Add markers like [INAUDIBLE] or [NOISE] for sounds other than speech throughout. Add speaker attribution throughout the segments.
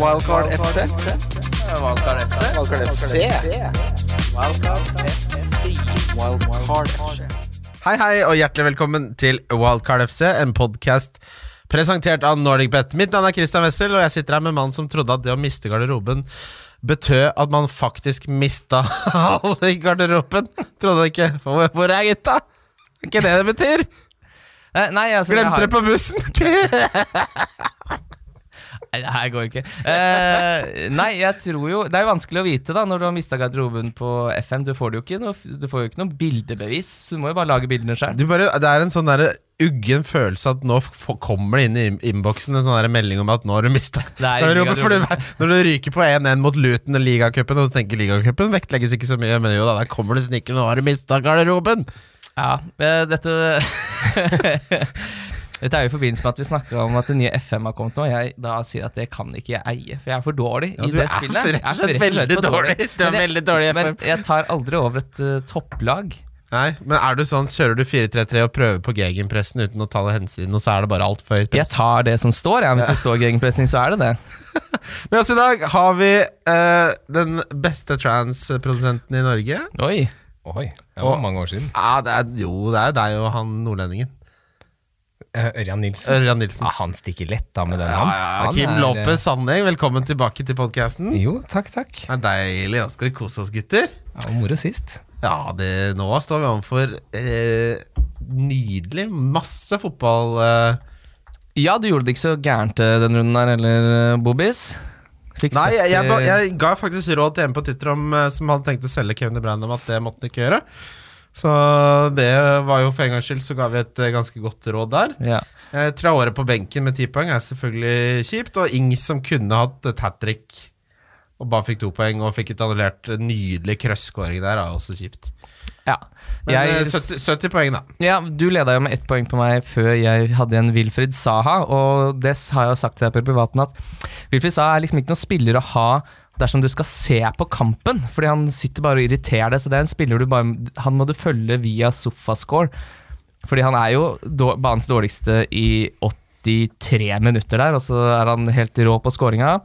Speaker 1: Wildcard FC.
Speaker 2: Wildcard FC.
Speaker 1: Wildcard FC. Wildcard FC.
Speaker 3: Hei, hei, og hjertelig velkommen til Wildcard FC, en podkast presentert av NordicBet. Mitt navn er Christian Wessel, og jeg sitter her med en mann som trodde at det å miste garderoben betød at man faktisk mista alle i garderoben. Trodde ikke. Hvor hvor er gutta? Er ikke det det betyr?
Speaker 2: Eh, Nei, altså, jeg
Speaker 3: Glemte
Speaker 2: har,
Speaker 3: det på
Speaker 2: [LAUGHS]
Speaker 3: bussen!
Speaker 2: nei, det her går ikke. Eh, nei, jeg tror jo Det er jo vanskelig å vite da når du har mista garderoben på FM. Du får det jo ikke noe, du får jo ikke noe bildebevis, så du må jo bare lage bildene sjøl.
Speaker 3: Du bare, det er en sånn der uggen følelse at nå f kommer det inn i in- innboksen en sånn der melding om at nå har du mista
Speaker 2: er ingen
Speaker 3: garderoben. For
Speaker 2: garderobe.
Speaker 3: du- Når du ryker på 1-1 mot Luton og ligacupen, og du tenker ligacupen vektlegges ikke så mye, men jo da, der kommer det snikende, nå har du mista garderoben!
Speaker 2: Ja, eh, dette [LAUGHS] Dette er jo i forbindelse med at vi snakker om at det nye FM har kommet nå. og Jeg da sier at det kan ikke jeg eie, for jeg er for dårlig
Speaker 3: Ja,
Speaker 2: i
Speaker 3: du
Speaker 2: det
Speaker 3: er
Speaker 2: spillet. Jeg
Speaker 3: for- rett og slett
Speaker 2: for
Speaker 3: veldig
Speaker 2: for
Speaker 3: dårlig. Du er
Speaker 2: Men jeg-
Speaker 3: veldig dårlig i
Speaker 2: Men
Speaker 3: FM.
Speaker 2: jeg tar aldri over et eh, topplag.
Speaker 3: Nei, men er du sånn, kjører du 4-3-3 og prøver på gegenpressen uten å ta noe hensyn, og så er det bare altfor høyt
Speaker 2: Jeg
Speaker 3: press?
Speaker 2: tar det som står, ja. Hvis det står gegenpressing, så er det det.
Speaker 3: Med oss i dag har vi eh, den beste trans-produsenten i Norge.
Speaker 2: Oi.
Speaker 4: Oi, det var
Speaker 3: Og-
Speaker 4: mange år siden.
Speaker 3: Ja, det er, jo, det er deg og han nordlendingen.
Speaker 4: Eh, Ørjan Nilsen.
Speaker 3: Ørjan Nilsen.
Speaker 4: Ja, han stikker lett da med den.
Speaker 3: Ja, eh, ja, ja.
Speaker 4: Han
Speaker 3: Kim
Speaker 4: er,
Speaker 3: Lopez Sandeng, velkommen tilbake til podkasten.
Speaker 4: eh, Jo, takk, takk.
Speaker 3: Det er deilig. Nå skal vi kose oss, gutter.
Speaker 4: Det var moro sist.
Speaker 3: Ja, det, nå står vi overfor eh, nydelig masse fotball. Eh.
Speaker 2: Ja, du gjorde det ikke så gærent eh, den runden her heller, eh, Bobis. Fikk
Speaker 3: Nei, jeg, jeg, ba-
Speaker 2: eh,
Speaker 3: jeg ga faktisk råd til en på Twitter om, eh, som hadde tenkt å selge Kevin De Bruyne om at det måtte han ikke gjøre. Så det var jo for en gangs skyld så ga vi et eh, ganske godt råd der.
Speaker 2: ja.
Speaker 3: Eh, Traore på benken med ti poeng er selvfølgelig kjipt, og Ings som kunne hatt et hat trick og bare fikk to poeng og fikk et annullert nydelig krøsskåring der, er også kjipt.
Speaker 2: ja.
Speaker 3: Men
Speaker 2: Jeg-
Speaker 3: eh, 70, 70 poeng, da.
Speaker 2: Ja, Du leda jo med ett poeng på meg før jeg hadde en Wilfrid Saha. Og det har jeg jo sagt til deg på privaten at Wilfrid Saha er liksom ikke noen spiller å ha dersom du skal se på kampen. Fordi han sitter bare og irriterer deg, så det er en spiller du bare Han må du følge via sofascore. Fordi han er jo då- banens dårligste i 83 minutter der, og så er han helt rå på scoringa.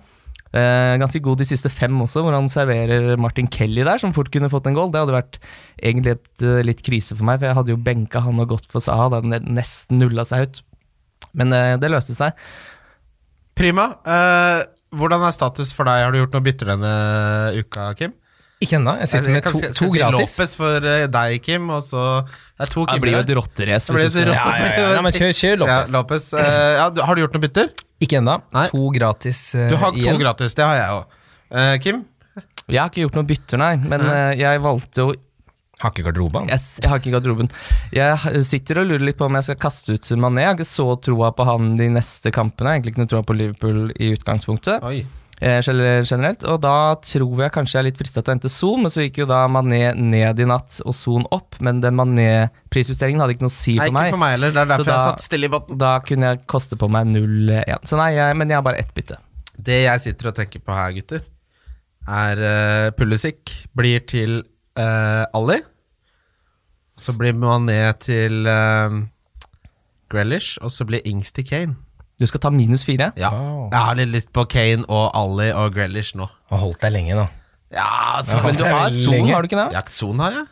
Speaker 2: Eh, ganske god de siste fem også, hvor han serverer Martin Kelly der, som fort kunne fått en goal. Det hadde vært egentlig et, eh, litt krise for meg, for jeg hadde jo benka han og gått for Saha. Det hadde nesten nulla seg ut. Men eh, det løste seg.
Speaker 3: Prima. Eh, hvordan er status for deg? Har du gjort noe bytter denne uka, Kim?
Speaker 4: Ikke ennå. Jeg sitter
Speaker 3: Jeg
Speaker 4: med
Speaker 3: kan-
Speaker 4: to,
Speaker 3: skal-
Speaker 4: to
Speaker 3: skal si
Speaker 4: gratis.
Speaker 3: Lopez for eh, deg, Kim, og så Det er to
Speaker 2: Det
Speaker 3: Kim
Speaker 2: blir jo
Speaker 3: der.
Speaker 2: et rotterace.
Speaker 3: Det blir
Speaker 2: hvis du
Speaker 3: et
Speaker 2: skal-
Speaker 3: rotte-
Speaker 4: Ja, ja, ja. Nei, men kjør, kjør
Speaker 3: Ja,
Speaker 4: Lopez.
Speaker 3: Lopez. Eh, ja, du, har du gjort noe bytter?
Speaker 4: Ikke ennå.
Speaker 3: Nei.
Speaker 4: To gratis eh,
Speaker 3: Du har to
Speaker 4: igjen.
Speaker 3: gratis, det har jeg òg. Eh, Kim?
Speaker 2: Jeg har ikke gjort noe bytter, nei, men eh, jeg valgte å
Speaker 4: Har ikke garderobe, han.
Speaker 2: jeg, s- jeg har ikke garderoben. Jeg h- sitter og lurer litt på om jeg skal kaste ut Mané. Jeg har ikke så troa på han de neste kampene. Jeg har Egentlig ikke noe troa på Liverpool i utgangspunktet.
Speaker 3: Oi.
Speaker 2: eh, gel- generelt. Og da tror jeg kanskje jeg er litt frista til å hente Son, men så gikk jo da Mané ned i natt og Son opp. Men den Mané-prisjusteringen hadde ikke noe å si
Speaker 3: Nei,
Speaker 2: for
Speaker 3: ikke
Speaker 2: meg.
Speaker 3: for meg heller. Det er
Speaker 2: Så
Speaker 3: derfor
Speaker 2: da-
Speaker 3: jeg satt stille i båten.
Speaker 2: Da kunne jeg koste på meg 0-1. Så nei, jeg, men jeg har bare ett bytte.
Speaker 3: Det jeg sitter og tenker på her, gutter, er uh, Pulisic blir til eh, Ali. Så blir Mané til uh, Grealish, og så blir Ings til Kane.
Speaker 2: Du skal ta minus fire?
Speaker 3: Ja.
Speaker 4: Wow.
Speaker 3: Jeg har litt lyst på Kane og Ali og Grealish nå.
Speaker 4: Har holdt deg lenge nå.
Speaker 3: Ja, så,
Speaker 4: Ja,
Speaker 3: men
Speaker 2: Men du
Speaker 4: det er
Speaker 2: har
Speaker 4: veldig
Speaker 2: Son,
Speaker 4: lenge.
Speaker 2: har du ikke det?
Speaker 3: Ja, Son har jeg.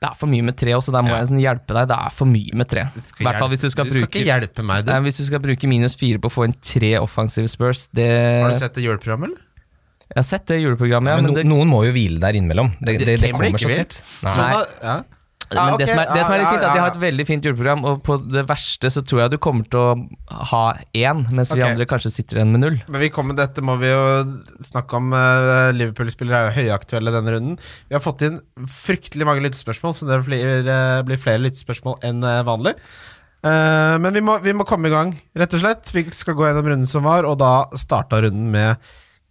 Speaker 2: Det er for mye med tre også, der må jeg sånn hjelpe deg. Det er for mye med tre.
Speaker 3: Du skal
Speaker 2: I hvert fall hvis du skal,
Speaker 3: du skal
Speaker 2: bruke,
Speaker 3: ikke hjelpe meg, du.
Speaker 2: Nei, hvis du skal bruke minus fire på å få inn tre offensive Spurs. Det,
Speaker 3: Har du sett det juleprogrammet, eller?
Speaker 2: Jeg har sett det juleprogrammet, ja.
Speaker 4: men
Speaker 2: Men det,
Speaker 4: no, noen må jo hvile der innimellom. Det, det, det
Speaker 3: Kane blir
Speaker 4: kommer
Speaker 3: ikke
Speaker 4: så
Speaker 3: vilt. Sånn
Speaker 4: tett.
Speaker 3: Son
Speaker 2: Nei.
Speaker 3: har- ja.
Speaker 2: Men
Speaker 3: Ja, Ah, ok,
Speaker 2: det, som er, det som er litt
Speaker 3: ja,
Speaker 2: fint, er
Speaker 3: ja,
Speaker 2: at jeg
Speaker 3: ja.
Speaker 2: har et veldig fint juleprogram, og på det verste så tror jeg du kommer til å ha én, mens vi
Speaker 3: Ok.
Speaker 2: andre kanskje sitter igjen med null.
Speaker 3: Men vi kommer, dette må vi jo snakke om. eh, Liverpool-spillere er jo høyaktuelle denne runden. Vi har fått inn fryktelig mange lyttespørsmål, så det blir, eh, blir flere lyttespørsmål enn eh, vanlig. Eh, Men vi må, vi må komme i gang, rett og slett. Vi skal gå gjennom runden som var, og da starta runden med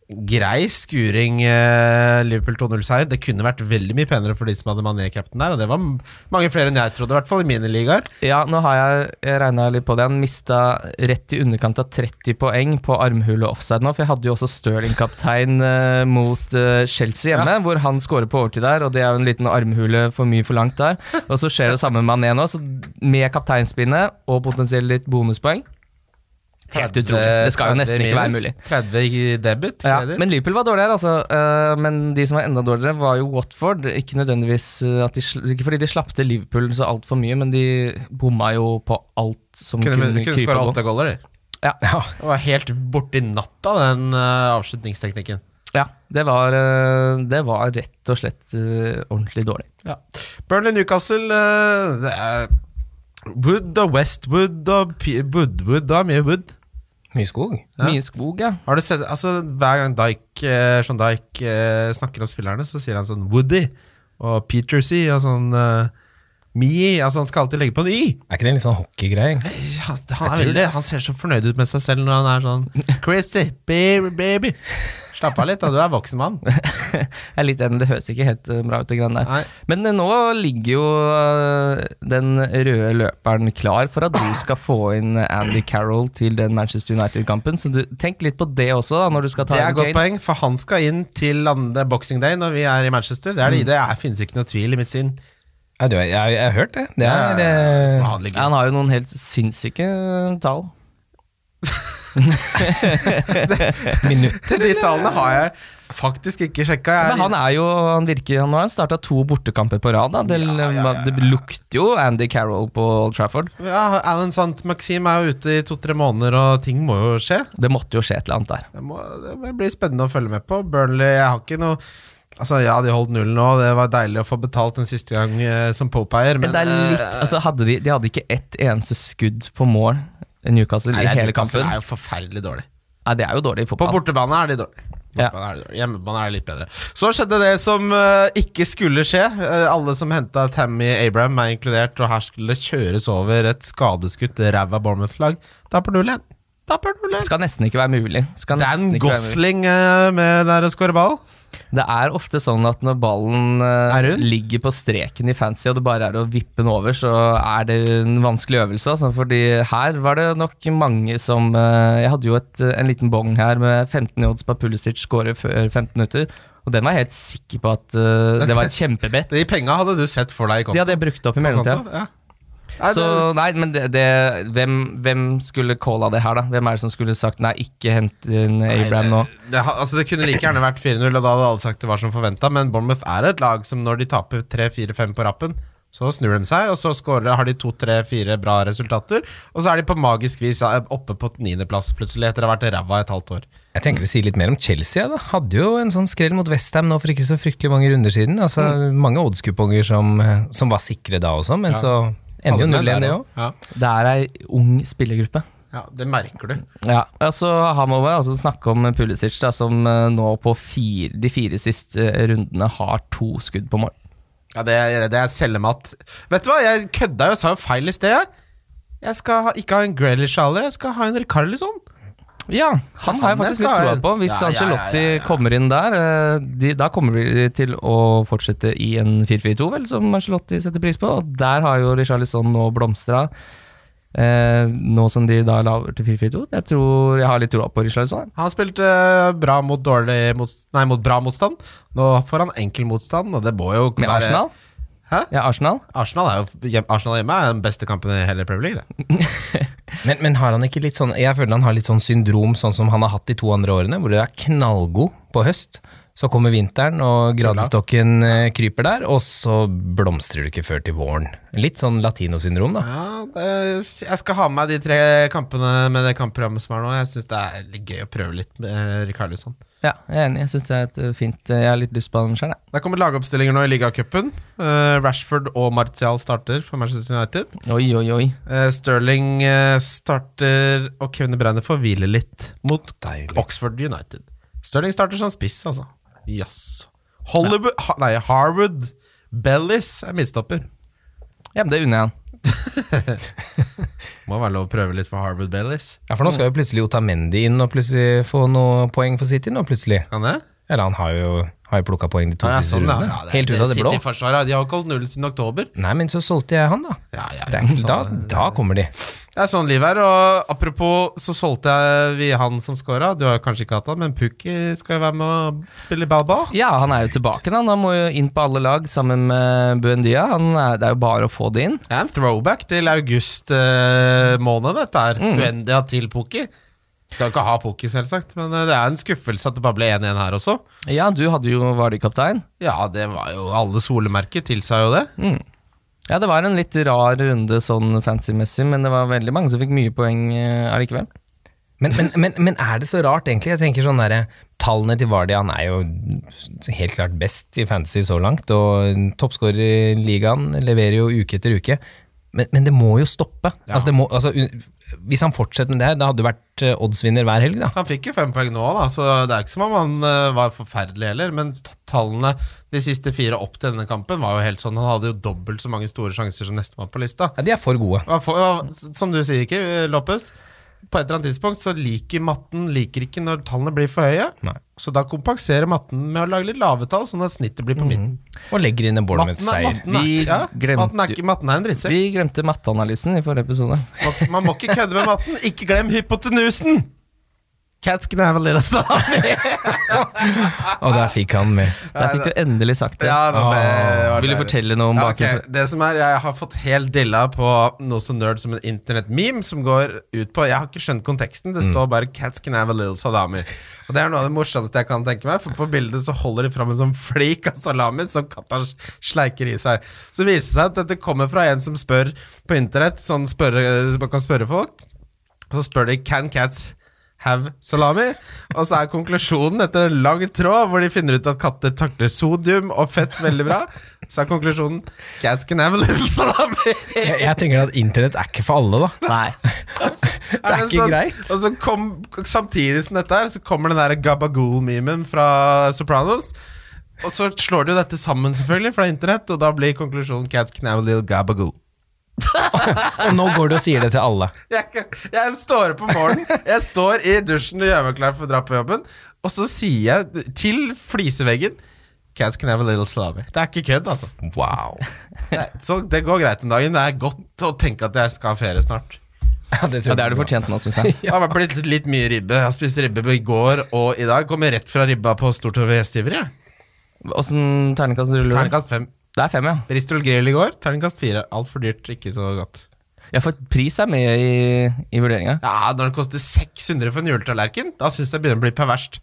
Speaker 3: grei skuring eh, Liverpool 2-0-seier. Det kunne vært veldig mye penere for de som hadde Mané-captain der, og det var m- mange flere enn jeg trodde, i hvert fall i mine ligaer.
Speaker 2: Ja, nå har jeg, jeg regna litt på det. Han mista rett i underkant av 30 poeng på armhule offside nå, for jeg hadde jo også Stirling-kaptein [LAUGHS] eh, mot eh, Chelsea hjemme, hvor han scorer på overtid der, og det er jo en liten armhule for mye for langt der. Og så skjer det samme med Mané nå, så med kapteinspinnet og potensielt litt bonuspoeng, Helt utrolig. Det skal jo nesten ikke være mulig.
Speaker 3: 30 i debit,
Speaker 2: Ja,
Speaker 3: kredit.
Speaker 2: men Liverpool var dårligere, altså. Eh, men de som var enda dårligere, var jo Watford. Ikke nødvendigvis eh, at de, sl- Ikke fordi de slapp til Liverpool så altfor mye, men de bomma jo på alt som kunne,
Speaker 3: kunne kunne
Speaker 2: krype og
Speaker 3: skåra
Speaker 2: gå.
Speaker 3: åtte goller, de.
Speaker 4: Ja,
Speaker 3: Det var helt borti natta, den eh, avslutningsteknikken.
Speaker 2: Ja, det var, eh, det var rett og slett eh, ordentlig dårlig.
Speaker 3: Burnley Newcastle eh, det er Wood og Westwood og P- Woodwood og mye Wood.
Speaker 4: mye skog.
Speaker 3: Ja.
Speaker 2: Mye skog, ja. [LAUGHS]
Speaker 3: Har du sett, altså Hver gang Dyke, eh, Sean Dyke eh, snakker om spillerne, så sier han sånn Woody og Petersey og sånn eh, Me Altså Han skal alltid legge på en Y.
Speaker 4: Er ikke det en litt sånn hockeygreie? egentlig?
Speaker 3: Ja, han, er
Speaker 4: Jeg tror
Speaker 3: veldig,
Speaker 4: det, ass.
Speaker 3: han ser så fornøyd ut med seg selv når han er sånn Christy, baby, baby. Slapp av litt, da. Du er voksen
Speaker 4: [LAUGHS]
Speaker 3: mann.
Speaker 2: Jeg er litt enig, det høres ikke helt eh, bra ut. det grann der.
Speaker 3: Nei.
Speaker 2: Men eh, nå ligger jo eh, den røde løperen klar for at du skal få inn Andy Carroll til den Manchester United-kampen. Så du, tenk litt på det også da, når du skal ta
Speaker 3: Det er
Speaker 2: inn
Speaker 3: et godt
Speaker 2: Kane.
Speaker 3: poeng, for han skal inn til andre Boxing Day når vi er i Manchester. Det, er
Speaker 2: Mm.
Speaker 3: det, det er, finnes ikke noe tvil i mitt sinn.
Speaker 4: Ja, du, jeg, jeg, jeg har hørt det. Det er
Speaker 3: som
Speaker 4: eh,
Speaker 3: vanlig.
Speaker 2: Ja, han har jo noen helt sinnssyke tall.
Speaker 3: [LAUGHS]
Speaker 4: minutter.
Speaker 3: De tallene har jeg faktisk ikke sjekka. Jeg
Speaker 2: Men han er jo, han virker, han har starta to bortekamper på rad. Da. Det, det lukter jo Andy Carroll på Old Trafford.
Speaker 3: Ja, Alan Sant Maxim er jo ute i to-tre måneder, og ting må jo skje.
Speaker 2: Det måtte jo skje et eller annet der.
Speaker 3: Det, må, det blir spennende å følge med på. Burnley jeg har ikke noe Altså, ja, de holdt nullen nå, det var deilig å få betalt den siste gang eh, som Pope-eier, men,
Speaker 2: Men det er litt,
Speaker 3: eh,
Speaker 2: altså hadde de, de hadde ikke ett eneste skudd på mål, Newcastle,
Speaker 3: nei,
Speaker 2: i
Speaker 3: det er
Speaker 2: hele
Speaker 3: Newcastle
Speaker 2: kampen.
Speaker 3: er jo forferdelig dårlig.
Speaker 2: Nei, det er jo dårlig i
Speaker 3: På
Speaker 2: fotball.
Speaker 3: bortebane er de dårlige.
Speaker 2: Ja.
Speaker 3: Bortebane er de dårlige. Hjemmebane er de litt bedre. Så skjedde det som eh, ikke skulle skje. Eh, alle som henta Tammy Abraham, er inkludert, og her skulle det kjøres over et skadeskutt ræva Bournemouth-lag. Taper 0-1. Taper 0-1.
Speaker 2: Skal nesten ikke være mulig. Skal
Speaker 3: Dan
Speaker 2: nesten ikke være mulig.
Speaker 3: Gosling eh, med der å skåre ball.
Speaker 2: Det er ofte sånn at når ballen eh,
Speaker 3: Er hun?
Speaker 2: ligger på streken i fancy, og det bare er å vippe den over, så er det en vanskelig øvelse. Altså, fordi her var det nok mange som eh, Jeg hadde jo et, en liten bong her med 15 i odds på at Pulisic scorer før 15 minutter, og den var jeg helt sikker på at eh, det var et kjempebett.
Speaker 3: De penga hadde du sett for deg i
Speaker 2: De
Speaker 3: konto.
Speaker 2: hadde jeg brukt opp i mellomtida.
Speaker 3: konto, ja. Nei,
Speaker 2: Så nei, men det, det, hvem, hvem skulle calla det her, da? Hvem er det som skulle sagt nei, ikke hent inn
Speaker 3: Nei,
Speaker 2: Abraham nå?
Speaker 3: Det, det, ha- altså det kunne like gjerne vært 4-0, og da hadde alle sagt det var som forventa, men Bournemouth er et lag som når de taper 3-4-5 på rappen, så snur de seg, og så scorer, har de to-tre-fire bra resultater, og så er de på magisk vis eh, oppe på niendeplass plutselig, etter å ha vært ræva et halvt år.
Speaker 4: Jeg tenker det sier litt mer om Chelsea. Da. Hadde jo en sånn skrell mot Westham nå for ikke så fryktelig mange runder siden. Altså,
Speaker 3: Mm.
Speaker 4: Mange oddskuponger som, eh, som var sikre da også, men så ender jo
Speaker 3: Alle
Speaker 4: 0-1 det
Speaker 3: der,
Speaker 4: òg.
Speaker 3: Ja.
Speaker 2: Det er ei ung spillergruppe.
Speaker 3: ja, det merker du.
Speaker 2: Ja, altså Her må vi også snakke om Pulisic, da, som eh, nå på fire, de fire siste eh, rundene har to skudd på mål.
Speaker 3: Ja, det, er- det er selvmat. Vet du hva, jeg kødda jo og sa jo feil i sted, jeg. Jeg skal ha, ikke ha en Grealish-ale, jeg skal ha en Rikarlison.
Speaker 2: Ja, han har jeg
Speaker 3: Han
Speaker 2: faktisk
Speaker 3: skal
Speaker 2: litt
Speaker 3: ha
Speaker 2: troa
Speaker 3: en.
Speaker 2: på. Hvis
Speaker 3: Ja, ja, ja,
Speaker 2: Ancelotti
Speaker 3: ja, ja.
Speaker 2: kommer inn der, eh, de, da kommer vi til å fortsette i en 4-4-2, vel, som Ancelotti setter pris på. Og der har jo Richarlison nå blomstra. Eh, nå som de da laver til 4-4-2. Jeg tror jeg har litt troa på Richarlison.
Speaker 3: Han spilte eh, bra mot, dårlig motst- nei, mot bra motstand. Nå får han enkel motstand, og det må jo
Speaker 2: Med Arsenal.
Speaker 3: Hæ?
Speaker 2: Ja, Arsenal.
Speaker 3: Arsenal, er jo, hjem- Arsenal hjemme er den beste kampen i hele Premier League.
Speaker 2: Mm.
Speaker 3: Det.
Speaker 4: Men, men har han ikke litt sånn Jeg føler han har litt sånn syndrom sånn som han har hatt de to andre årene, hvor det er knallgod på høst. Så kommer vinteren, og gradestokken eh, kryper der, og så blomstrer det ikke før til våren. Litt sånn latinosyndrom, da.
Speaker 3: Ja, det, jeg skal ha med meg de tre kampene med det kampprogrammet som er nå. Jeg syns det er litt gøy å prøve litt med eh, Rikarlisson.
Speaker 2: Ja, jeg er enig. Jeg syns det er et eh, fint eh, Jeg har litt lyst på han sjøl, jeg.
Speaker 3: Det kommer lagoppstillinger nå i ligacupen. Eh, Rashford og Martial starter for Manchester United.
Speaker 2: Oi, oi, oi.
Speaker 3: Eh, Sterling eh, starter, og Kevin De Bruyne får hvile litt mot
Speaker 4: Deilig.
Speaker 3: Oxford United. Sterling starter som spiss, altså. Jaså. Hollywood ha, Nei, Harwood Bellis er midtstopper.
Speaker 2: Ja, men det unner jeg han.
Speaker 3: Må være lov å prøve litt for Harwood Bellis.
Speaker 4: Ja, for nå skal jo plutselig Otamendi inn og plutselig få noe poeng for City nå, plutselig.
Speaker 3: Kan det?
Speaker 4: Eller han har jo, har jo plukka poeng de to
Speaker 3: Ja,
Speaker 4: siste
Speaker 3: sånn, ja.
Speaker 4: rundene.
Speaker 3: Ja, det,
Speaker 4: Helt ut av det blå.
Speaker 3: City-forsvaret, de har ikke holdt nullen siden oktober.
Speaker 4: Nei, men så solgte jeg han, da.
Speaker 3: Ja, ja,
Speaker 4: Så det er ikke, da, da kommer de.
Speaker 3: sånn. Det er sånn livet er, og apropos så solgte jeg vi han som scora. Du har jo kanskje ikke hatt han, men Pukki skal jo være med og spille ball-ball.
Speaker 2: Ja, han er jo tilbake, da. Han må jo inn på alle lag sammen med Buendia. Han er, det er jo bare å få det inn.
Speaker 3: Det er en throwback til august eh, måned, dette her. Uendia til Pukki. Skal jo ikke ha Pukki, selvsagt, men eh, det er en skuffelse at det bare ble 1-1 her også.
Speaker 2: Ja, du hadde jo Var du kaptein?
Speaker 3: Ja, det var jo alle solemerker tilsa jo det.
Speaker 2: Ja, det var en litt rar runde sånn fancy-messig, men det var veldig mange som fikk mye poeng eh, allikevel.
Speaker 4: Men, men, men, men er det så rart, egentlig? Jeg tenker sånn der, Tallene til Vardia han er jo helt klart best i fantasy så langt, og toppskårer i ligaen leverer jo uke etter uke. Men, men det må jo stoppe. Altså, det må, altså, u- hvis han fortsetter med det her, da hadde det vært eh, oddsvinner hver helg, da.
Speaker 3: Han fikk jo fem poeng nå, da, så det er ikke som om han eh, var forferdelig heller. Men t- tallene de siste fire opp til denne kampen var jo helt sånn. Han hadde jo dobbelt så mange store sjanser som nestemann på lista.
Speaker 4: Ja, de er for gode.
Speaker 3: Han får, ja, s- som du sier ikke, eh, Lopez, på et eller annet tidspunkt så liker matten liker ikke når tallene blir for høye.
Speaker 4: Nei.
Speaker 3: Så da kompenserer matten med å lage litt lave tall, sånn at snittet blir på
Speaker 2: Mhm.
Speaker 3: midten.
Speaker 4: Og legger inn en Bournemouth-seier.
Speaker 3: matten, er,
Speaker 2: Vi
Speaker 3: ja,
Speaker 2: glemte
Speaker 3: matten er ikke Matten er en drittsekk.
Speaker 2: Vi glemte matteanalysen i forrige episode.
Speaker 3: Man- Man må ikke kødde med matten. Ikke glem hypotenusen! Cats can have a little [LAUGHS] star.
Speaker 4: Og der fikk han med.
Speaker 2: Der fikk du endelig sagt det. Ah.
Speaker 3: Ja, men det var
Speaker 2: Vil du
Speaker 3: deilig.
Speaker 2: fortelle noe om
Speaker 3: Ja,
Speaker 2: bakgrunnen?
Speaker 3: ok. Det som er, Jeg har fått helt dilla på noe så nerd som en internettmeme som går ut på Jeg har ikke skjønt konteksten. Det står bare 'Cats can have a little salami'. Og Det er noe av det morsomste jeg kan tenke meg, for på bildet så holder de fram en sånn flik av salami som katta s- sleiker i seg. Så viser det seg at dette kommer fra en som spør på internett, sånn spørre, som man kan spørre folk. Og så spør de Can cats have salami? Og så er konklusjonen etter en lang tråd hvor de finner ut at katter takler sodium og fett veldig bra, så er konklusjonen Cats can have a little salami.
Speaker 4: Jeg, jeg tenker at internett er ikke for alle, da.
Speaker 2: Nei.
Speaker 3: Det
Speaker 4: er ikke
Speaker 3: sånn,
Speaker 4: greit.
Speaker 3: Og så kom, samtidig som dette her, så kommer den der gabagool-memen fra Sopranos. Og så slår du jo dette sammen, selvfølgelig, fra internett, og da blir konklusjonen Cats can have a little gabagool.
Speaker 4: [LAUGHS] Og nå går du og sier det til alle.
Speaker 3: Jeg, er ikke- jeg står opp om morgenen, jeg står i dusjen og gjør meg klar for å dra på jobben, og så sier jeg til fliseveggen Cats can have a little salami. Det er ikke kødd, altså.
Speaker 4: Wow.
Speaker 3: Det, er- så det går greit om dagen. Det er godt å tenke at jeg skal ha ferie snart.
Speaker 4: Ja, det, tror
Speaker 2: Ja, det
Speaker 4: jeg
Speaker 2: er du
Speaker 4: bra.
Speaker 2: fortjent nå, syns jeg. [LAUGHS]
Speaker 3: Det har blitt litt, litt mye ribbe. Jeg har spist ribbe i går og i dag. Kommer rett fra ribba på Stortorvet gjestgiver, jeg.
Speaker 2: Åssen terningkast ruller du?
Speaker 3: Terningkast fem.
Speaker 2: Det er fem, ja.
Speaker 3: Bristol grill i går. Terningkast fire. Altfor dyrt, ikke så godt.
Speaker 2: Ja, for pris er med i, i vurderinga.
Speaker 3: Ja, Når det koster 600 for en juletallerken, da syns jeg det begynner å bli perverst.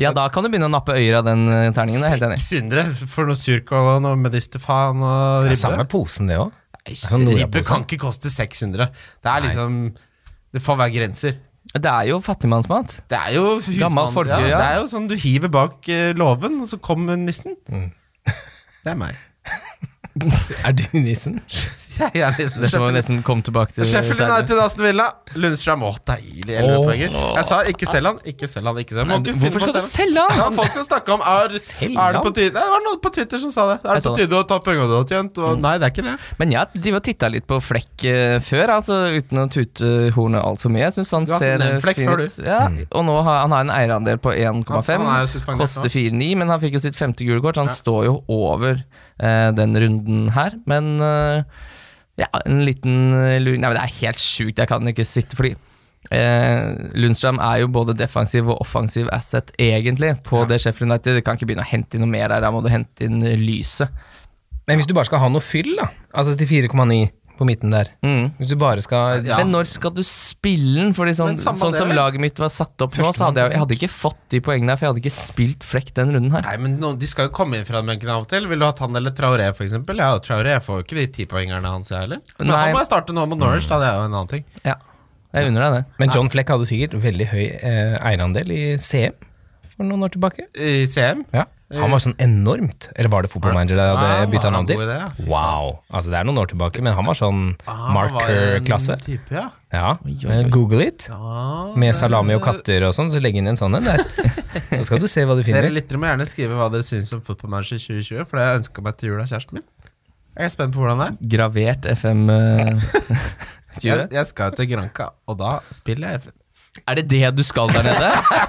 Speaker 2: Ja, da kan du begynne å nappe øyer av den eh, terningen. Jeg er helt enig.
Speaker 3: 600 for noe surkål og noe medisterfan og
Speaker 4: Det er
Speaker 3: ribbe.
Speaker 4: samme posen, det òg.
Speaker 3: Nei,
Speaker 4: sånn
Speaker 3: Ribbe
Speaker 4: nordapose.
Speaker 3: kan ikke koste 600. Det er liksom Det får være grenser.
Speaker 2: Det er jo fattigmannsmat.
Speaker 3: Det er jo husmann-
Speaker 2: Gammel folkelig,
Speaker 3: ja,
Speaker 2: ja.
Speaker 3: Det er jo sånn du hiver bak eh, låven, og så kommer nissen.
Speaker 2: Mm.
Speaker 3: [LAUGHS] Det er meg.
Speaker 4: Er du nissen?
Speaker 3: Jeg er nissen.
Speaker 2: Dette må vi
Speaker 3: Sheffield-
Speaker 2: nesten komme tilbake til
Speaker 3: Sheffield
Speaker 2: senere.
Speaker 3: United, Aston Villa. Lundstrøm. Å, deilig. 11 poenger. Jeg sa ikke selg han, ikke selg han, ikke selg han. Må ikke
Speaker 2: Hvorfor
Speaker 3: finne på
Speaker 2: skal
Speaker 3: å
Speaker 2: du selge
Speaker 3: Det
Speaker 2: han?
Speaker 3: var folk som snakka om er,
Speaker 4: Selge
Speaker 3: er det
Speaker 4: han?
Speaker 3: på tide Det var noen på Twitter som sa det. Er
Speaker 2: Jeg
Speaker 3: det
Speaker 2: så det.
Speaker 3: på
Speaker 2: Mm.
Speaker 3: tide å ta pengene du har tjent? Og, nei, det er ikke det.
Speaker 2: Men jeg ja, titta litt på Flekk eh, før, altså, uten å tute eh, hornet altfor mye. Jeg syns han
Speaker 3: Du har
Speaker 2: ser eh,
Speaker 3: nevnt Fleck
Speaker 2: fin
Speaker 3: før,
Speaker 2: ut. Ja, og nå har han har en eierandel på
Speaker 3: Han- han er
Speaker 2: 1,5.
Speaker 3: jo suspendert nå.
Speaker 2: Koster 4,9, men han fikk jo sitt femte gule kort, så han står jo over eh, den runden her. Men eh, ja, en liten eh, luring Nei, men det er helt sjukt, jeg kan ikke sitte fordi Eh, Lundstrøm er jo både defensiv og offensiv asset, egentlig, på det Sheffield United. Du kan ikke begynne å hente inn noe mer der, da må du hente inn eh, lyset.
Speaker 4: Men hvis du bare skal ha noe fyll, da. Altså til 4,9 på midten der. Hvis du bare skal
Speaker 3: Ja.
Speaker 2: Mm. Men når skal du spille den? Fordi sånn,
Speaker 3: Men samme
Speaker 2: sånn
Speaker 3: det,
Speaker 2: som
Speaker 3: vel?
Speaker 2: laget mitt var satt opp nå, så hadde jeg, jeg hadde ikke fått de poengene her, for jeg hadde ikke spilt flekk den runden her.
Speaker 3: Nei, men noen, De skal jo komme inn fra benken av og til. Vil du ha Tan eller Traoré, f.eks.? Ja, Traoré får jo ikke de tipoengerne hans, jeg heller. Men
Speaker 2: Nei.
Speaker 3: han må jeg starte nå mot Norwich, da. Det er jo en annen ting.
Speaker 2: Ja, jeg unner deg det.
Speaker 4: Men John Fleck hadde sikkert veldig høy eh, eierandel i CM for noen år tilbake.
Speaker 3: I CM?
Speaker 4: Ja. Han var sånn enormt Eller var det Football Manager jeg
Speaker 3: Ja,
Speaker 4: hadde bytta
Speaker 3: var Ah, han
Speaker 4: navn til?
Speaker 3: god i det, Ah,
Speaker 4: Wow. Altså det er noen år tilbake, men han var sånn
Speaker 3: Han var en
Speaker 4: marker-klasse.
Speaker 3: Type, ja.
Speaker 4: Ja.
Speaker 2: oi, oi.
Speaker 4: Google it.
Speaker 3: Ah,
Speaker 4: Med salami og katter og sånn, så legg inn en sånn
Speaker 3: [LAUGHS]
Speaker 4: en der. Så skal du se hva du
Speaker 3: dere
Speaker 4: finner.
Speaker 3: lyttere må gjerne skrive hva dere syns om Football Manager 2020, for det har jeg ønska meg til jul av kjæresten min. Jeg er spent på hvordan det er.
Speaker 2: Gravert FM eh,
Speaker 3: [LAUGHS] Jeg,
Speaker 2: 20.
Speaker 3: jeg skal til Granca, og da spiller jeg FN.
Speaker 2: Er det det du skal der nede?
Speaker 4: Å,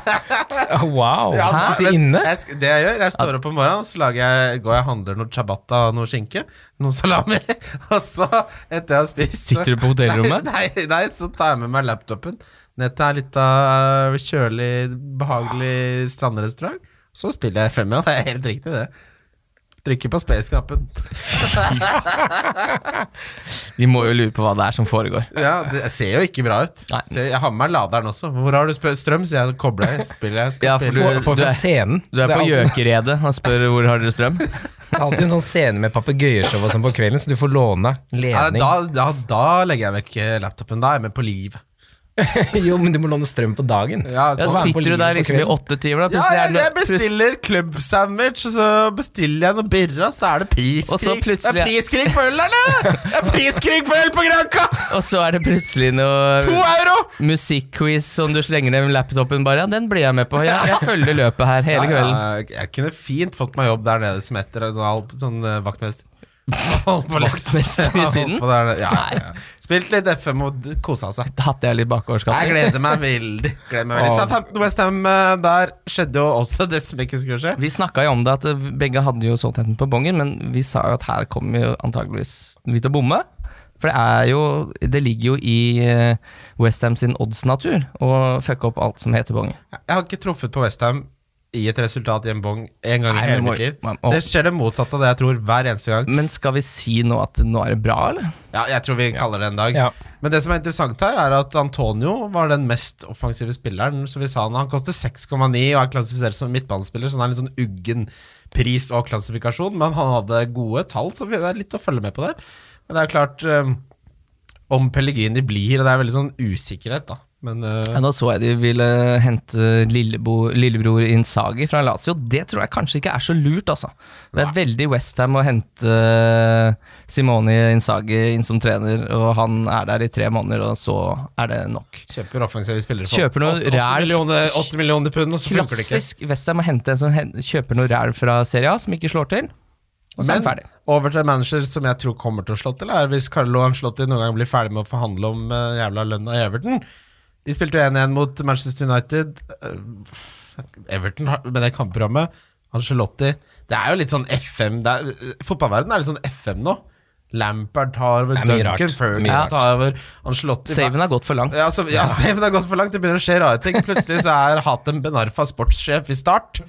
Speaker 4: Ah, Wow!
Speaker 3: Ja, altså,
Speaker 4: Sitte
Speaker 3: men
Speaker 4: inne?
Speaker 3: Jeg, sk- det jeg gjør, jeg står opp om morgenen, så lager jeg, går jeg og handler noe ciabatta og noe skinke. Noe salami. [LAUGHS] Og så, etter jeg har spist så-
Speaker 2: Sitter du på hotellrommet?
Speaker 3: [LAUGHS] Nei, nei, nei, så tar jeg med meg laptopen ned til en liten øh, kjølig, behagelig strandrestaurant. Så spiller jeg femmila. Det er helt riktig, det. Trykker på space-knappen. [LAUGHS]
Speaker 2: De må jo lure på hva det er som foregår.
Speaker 3: Ja, det ser jo ikke bra ut.
Speaker 2: Nei.
Speaker 3: Ser, jeg har med meg laderen også. Hvor har du spø- strøm? Så jeg kobler. jeg, Spiller jeg. Skal
Speaker 2: Ja, for
Speaker 3: spille.
Speaker 2: du-
Speaker 4: Få- få
Speaker 2: du
Speaker 4: fra
Speaker 2: er-
Speaker 4: scenen.
Speaker 2: Du er
Speaker 4: Det
Speaker 2: på
Speaker 4: alltid-
Speaker 2: gjøkeredet og spør hvor har dere [LAUGHS] strøm.
Speaker 4: Det er alltid en sånn scene med papegøyeshow og sånn på kvelden, så du får låne
Speaker 3: Ja,
Speaker 4: ledning.
Speaker 3: da, da, da legger jeg vekk eh, laptopen. Da er jeg med på liv.
Speaker 4: [LAUGHS] jo, men du må låne strøm på dagen.
Speaker 3: Ja,
Speaker 2: Ja,
Speaker 4: Sånn er det på
Speaker 2: sitter du
Speaker 4: livet
Speaker 2: der
Speaker 4: på
Speaker 2: liksom i
Speaker 4: kvelden.
Speaker 2: åtte timer, da.
Speaker 3: Ja,
Speaker 2: plutselig er
Speaker 3: jeg,
Speaker 2: det-
Speaker 3: jeg bestiller klubbsandwich, og så bestiller jeg noe birra, så er det
Speaker 2: Og så
Speaker 3: priskrig. Det
Speaker 2: plutselig-
Speaker 3: er priskrig på øl, eller? Det er priskrig på øl på Granka!
Speaker 2: plut- Og så er det plutselig
Speaker 3: To
Speaker 2: noe
Speaker 3: euro!
Speaker 2: musikkquiz som du slenger ned med laptopen bare. Ja, den blir jeg med på. Jeg, jeg følger løpet her hele kvelden.
Speaker 3: Ja, jeg, jeg kunne fint fått meg jobb der nede som etter sånn, halv- sånn eh, vaktmester. [LAUGHS] Holdt på litt.
Speaker 2: Vaktmester i
Speaker 3: [LAUGHS] Holdt
Speaker 2: Syden?
Speaker 3: på der, ja, ja. Spilt litt FM og d- kosa seg.
Speaker 2: Hatt jeg litt
Speaker 3: Jeg
Speaker 2: bakoverskap.
Speaker 3: gleder meg veldig. Gleder meg veldig.
Speaker 4: Åh.
Speaker 3: Southampton Westham, eh, der skjedde jo også det som ikke skulle skje.
Speaker 2: Vi snakka jo om det at eh, begge hadde jo Southampton på bongen, men vi sa jo at her kommer jo antageligvis vi til å bomme. For det er jo Det ligger jo i Westham sin odds-natur å fucke opp alt som heter bonge.
Speaker 3: Jeg har ikke truffet på Westham i et resultat i en bong en gang
Speaker 2: Nei,
Speaker 3: i hele
Speaker 2: men må-
Speaker 3: mitt liv.
Speaker 2: man- Mm. å.
Speaker 3: Det skjer det motsatte av det jeg tror hver eneste gang.
Speaker 2: Men skal vi si nå at nå er det bra, eller?
Speaker 3: Ja, jeg tror vi kaller det en dag.
Speaker 4: Ja.
Speaker 3: Men det som er interessant her, er at Antonio var den mest offensive spilleren. Så vi sa han, han koster 6,9 og er klassifisert som midtbanespiller, så han er en litt sånn uggen pris og klassifikasjon, men han hadde gode tall, så vi- det er litt å følge med på der. Men det er klart eh, om Pellegrini blir, og det er veldig sånn usikkerhet, da. Men eh,
Speaker 2: Ja, da så jeg de ville hente lillebo, lillebror Insagi fra Lazio. Det tror jeg kanskje ikke er så lurt, altså. Det er veldig Westham å hente eh, Simone Insagi inn som trener, og han er der i tre måneder, og så er det nok.
Speaker 3: kjøper offensive spillere for
Speaker 2: Kjøper noe
Speaker 3: 8,
Speaker 2: ræl.
Speaker 3: millioner, 8 millioner pund, og så funker det ikke.
Speaker 2: Klassisk Westham å hente en som hen- kjøper noe ræl fra Serie A, som ikke slår til, og så er
Speaker 3: Men
Speaker 2: han ferdig.
Speaker 3: over til en manager som jeg tror kommer til å slå til, er hvis Carlo Ancelotti noen gang blir ferdig med å forhandle om eh, jævla lønna i Everton. De spilte jo 1-1 mot Manchester United. Eh, Everton har- med det kampprogrammet. Ancelotti Det er jo litt sånn FM det er, Fotballverden er litt sånn FM nå. Lampard tar over,
Speaker 4: Det er mye
Speaker 3: Duncan
Speaker 4: rart. Mye
Speaker 3: Ferguson
Speaker 4: rart.
Speaker 3: tar over, Ancelotti
Speaker 2: Saven har gått for langt.
Speaker 3: ja, så, ja, saven har gått for langt. Det begynner å skje rare ting. Plutselig så er Hatem Benarfa sportssjef i Start.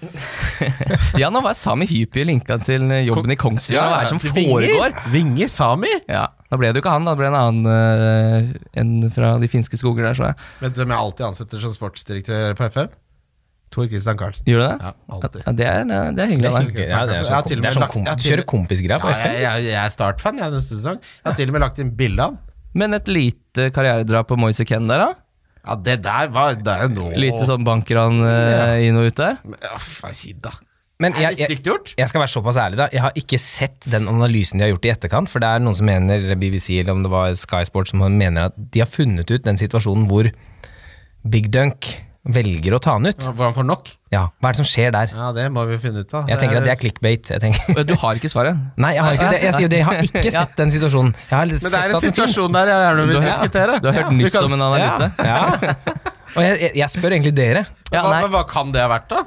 Speaker 2: [LAUGHS] Ja, nå var Sami Hypie linka til jobben i Kongsvinger. Hva er det som foregår?
Speaker 3: Vinge, Vinge Sami!
Speaker 2: Ja, Da ble det jo ikke han, da ble det en annen eh, en fra de finske skoger der, så jeg.
Speaker 3: Vet du hvem jeg alltid ansetter som sportsdirektør på FM? Tor Christian Carlsen.
Speaker 2: Gjør du det?
Speaker 3: Ja, alltid.
Speaker 2: Ja, det, er, eh, det er hyggelig av deg.
Speaker 3: hyggelig.
Speaker 4: Ja, det er
Speaker 3: Jeg har til
Speaker 4: sånn,
Speaker 3: og
Speaker 4: det
Speaker 3: med
Speaker 4: er sånn
Speaker 3: lagt-
Speaker 4: kom,
Speaker 3: jeg har til-
Speaker 4: kjører kompisgreier på
Speaker 3: Ja,
Speaker 4: FM.
Speaker 3: jeg, jeg, jeg er Start-fan jeg neste sesong. Jeg har til og med lagt inn bilde av han.
Speaker 2: Men et lite karrieredrap på Moise Ken der, da?
Speaker 3: Ja, det der var Det er jo nå
Speaker 2: Lite sånn bankran eh, inn og ut der?
Speaker 3: Ja, faen, da.
Speaker 4: Men
Speaker 3: Er
Speaker 4: jeg,
Speaker 3: det
Speaker 4: jeg,
Speaker 3: stygt gjort?
Speaker 4: jeg skal være såpass ærlig, da. Jeg har ikke sett den analysen de har gjort i etterkant, for det er noen som mener, eller BBC eller om det var Sky Sports, som mener at de har funnet ut den situasjonen hvor Big Dunk velger å ta han ut.
Speaker 3: Hvor han får nok?
Speaker 4: Ja, hva er det som skjer der?
Speaker 3: Ja, det må vi finne ut av.
Speaker 4: Jeg tenker at det er clickbait. Jeg tenker. [LAUGHS]
Speaker 2: Du har ikke
Speaker 3: [LAUGHS]
Speaker 2: svaret?
Speaker 4: Nei, jeg har ikke det. Jeg sier jo det, jeg har ikke sett den situasjonen. Jeg har
Speaker 3: Men det er
Speaker 4: sett
Speaker 3: en
Speaker 4: at den finnes.
Speaker 3: situasjon der jeg gjerne vil
Speaker 2: har-
Speaker 3: diskutere.
Speaker 2: Du har hørt nyss om en analyse?
Speaker 4: Ja. ja. [LAUGHS] Og jeg, jeg, jeg spør egentlig dere.
Speaker 2: Ja,
Speaker 3: hva,
Speaker 2: nei.
Speaker 3: men hva kan det ha vært, da?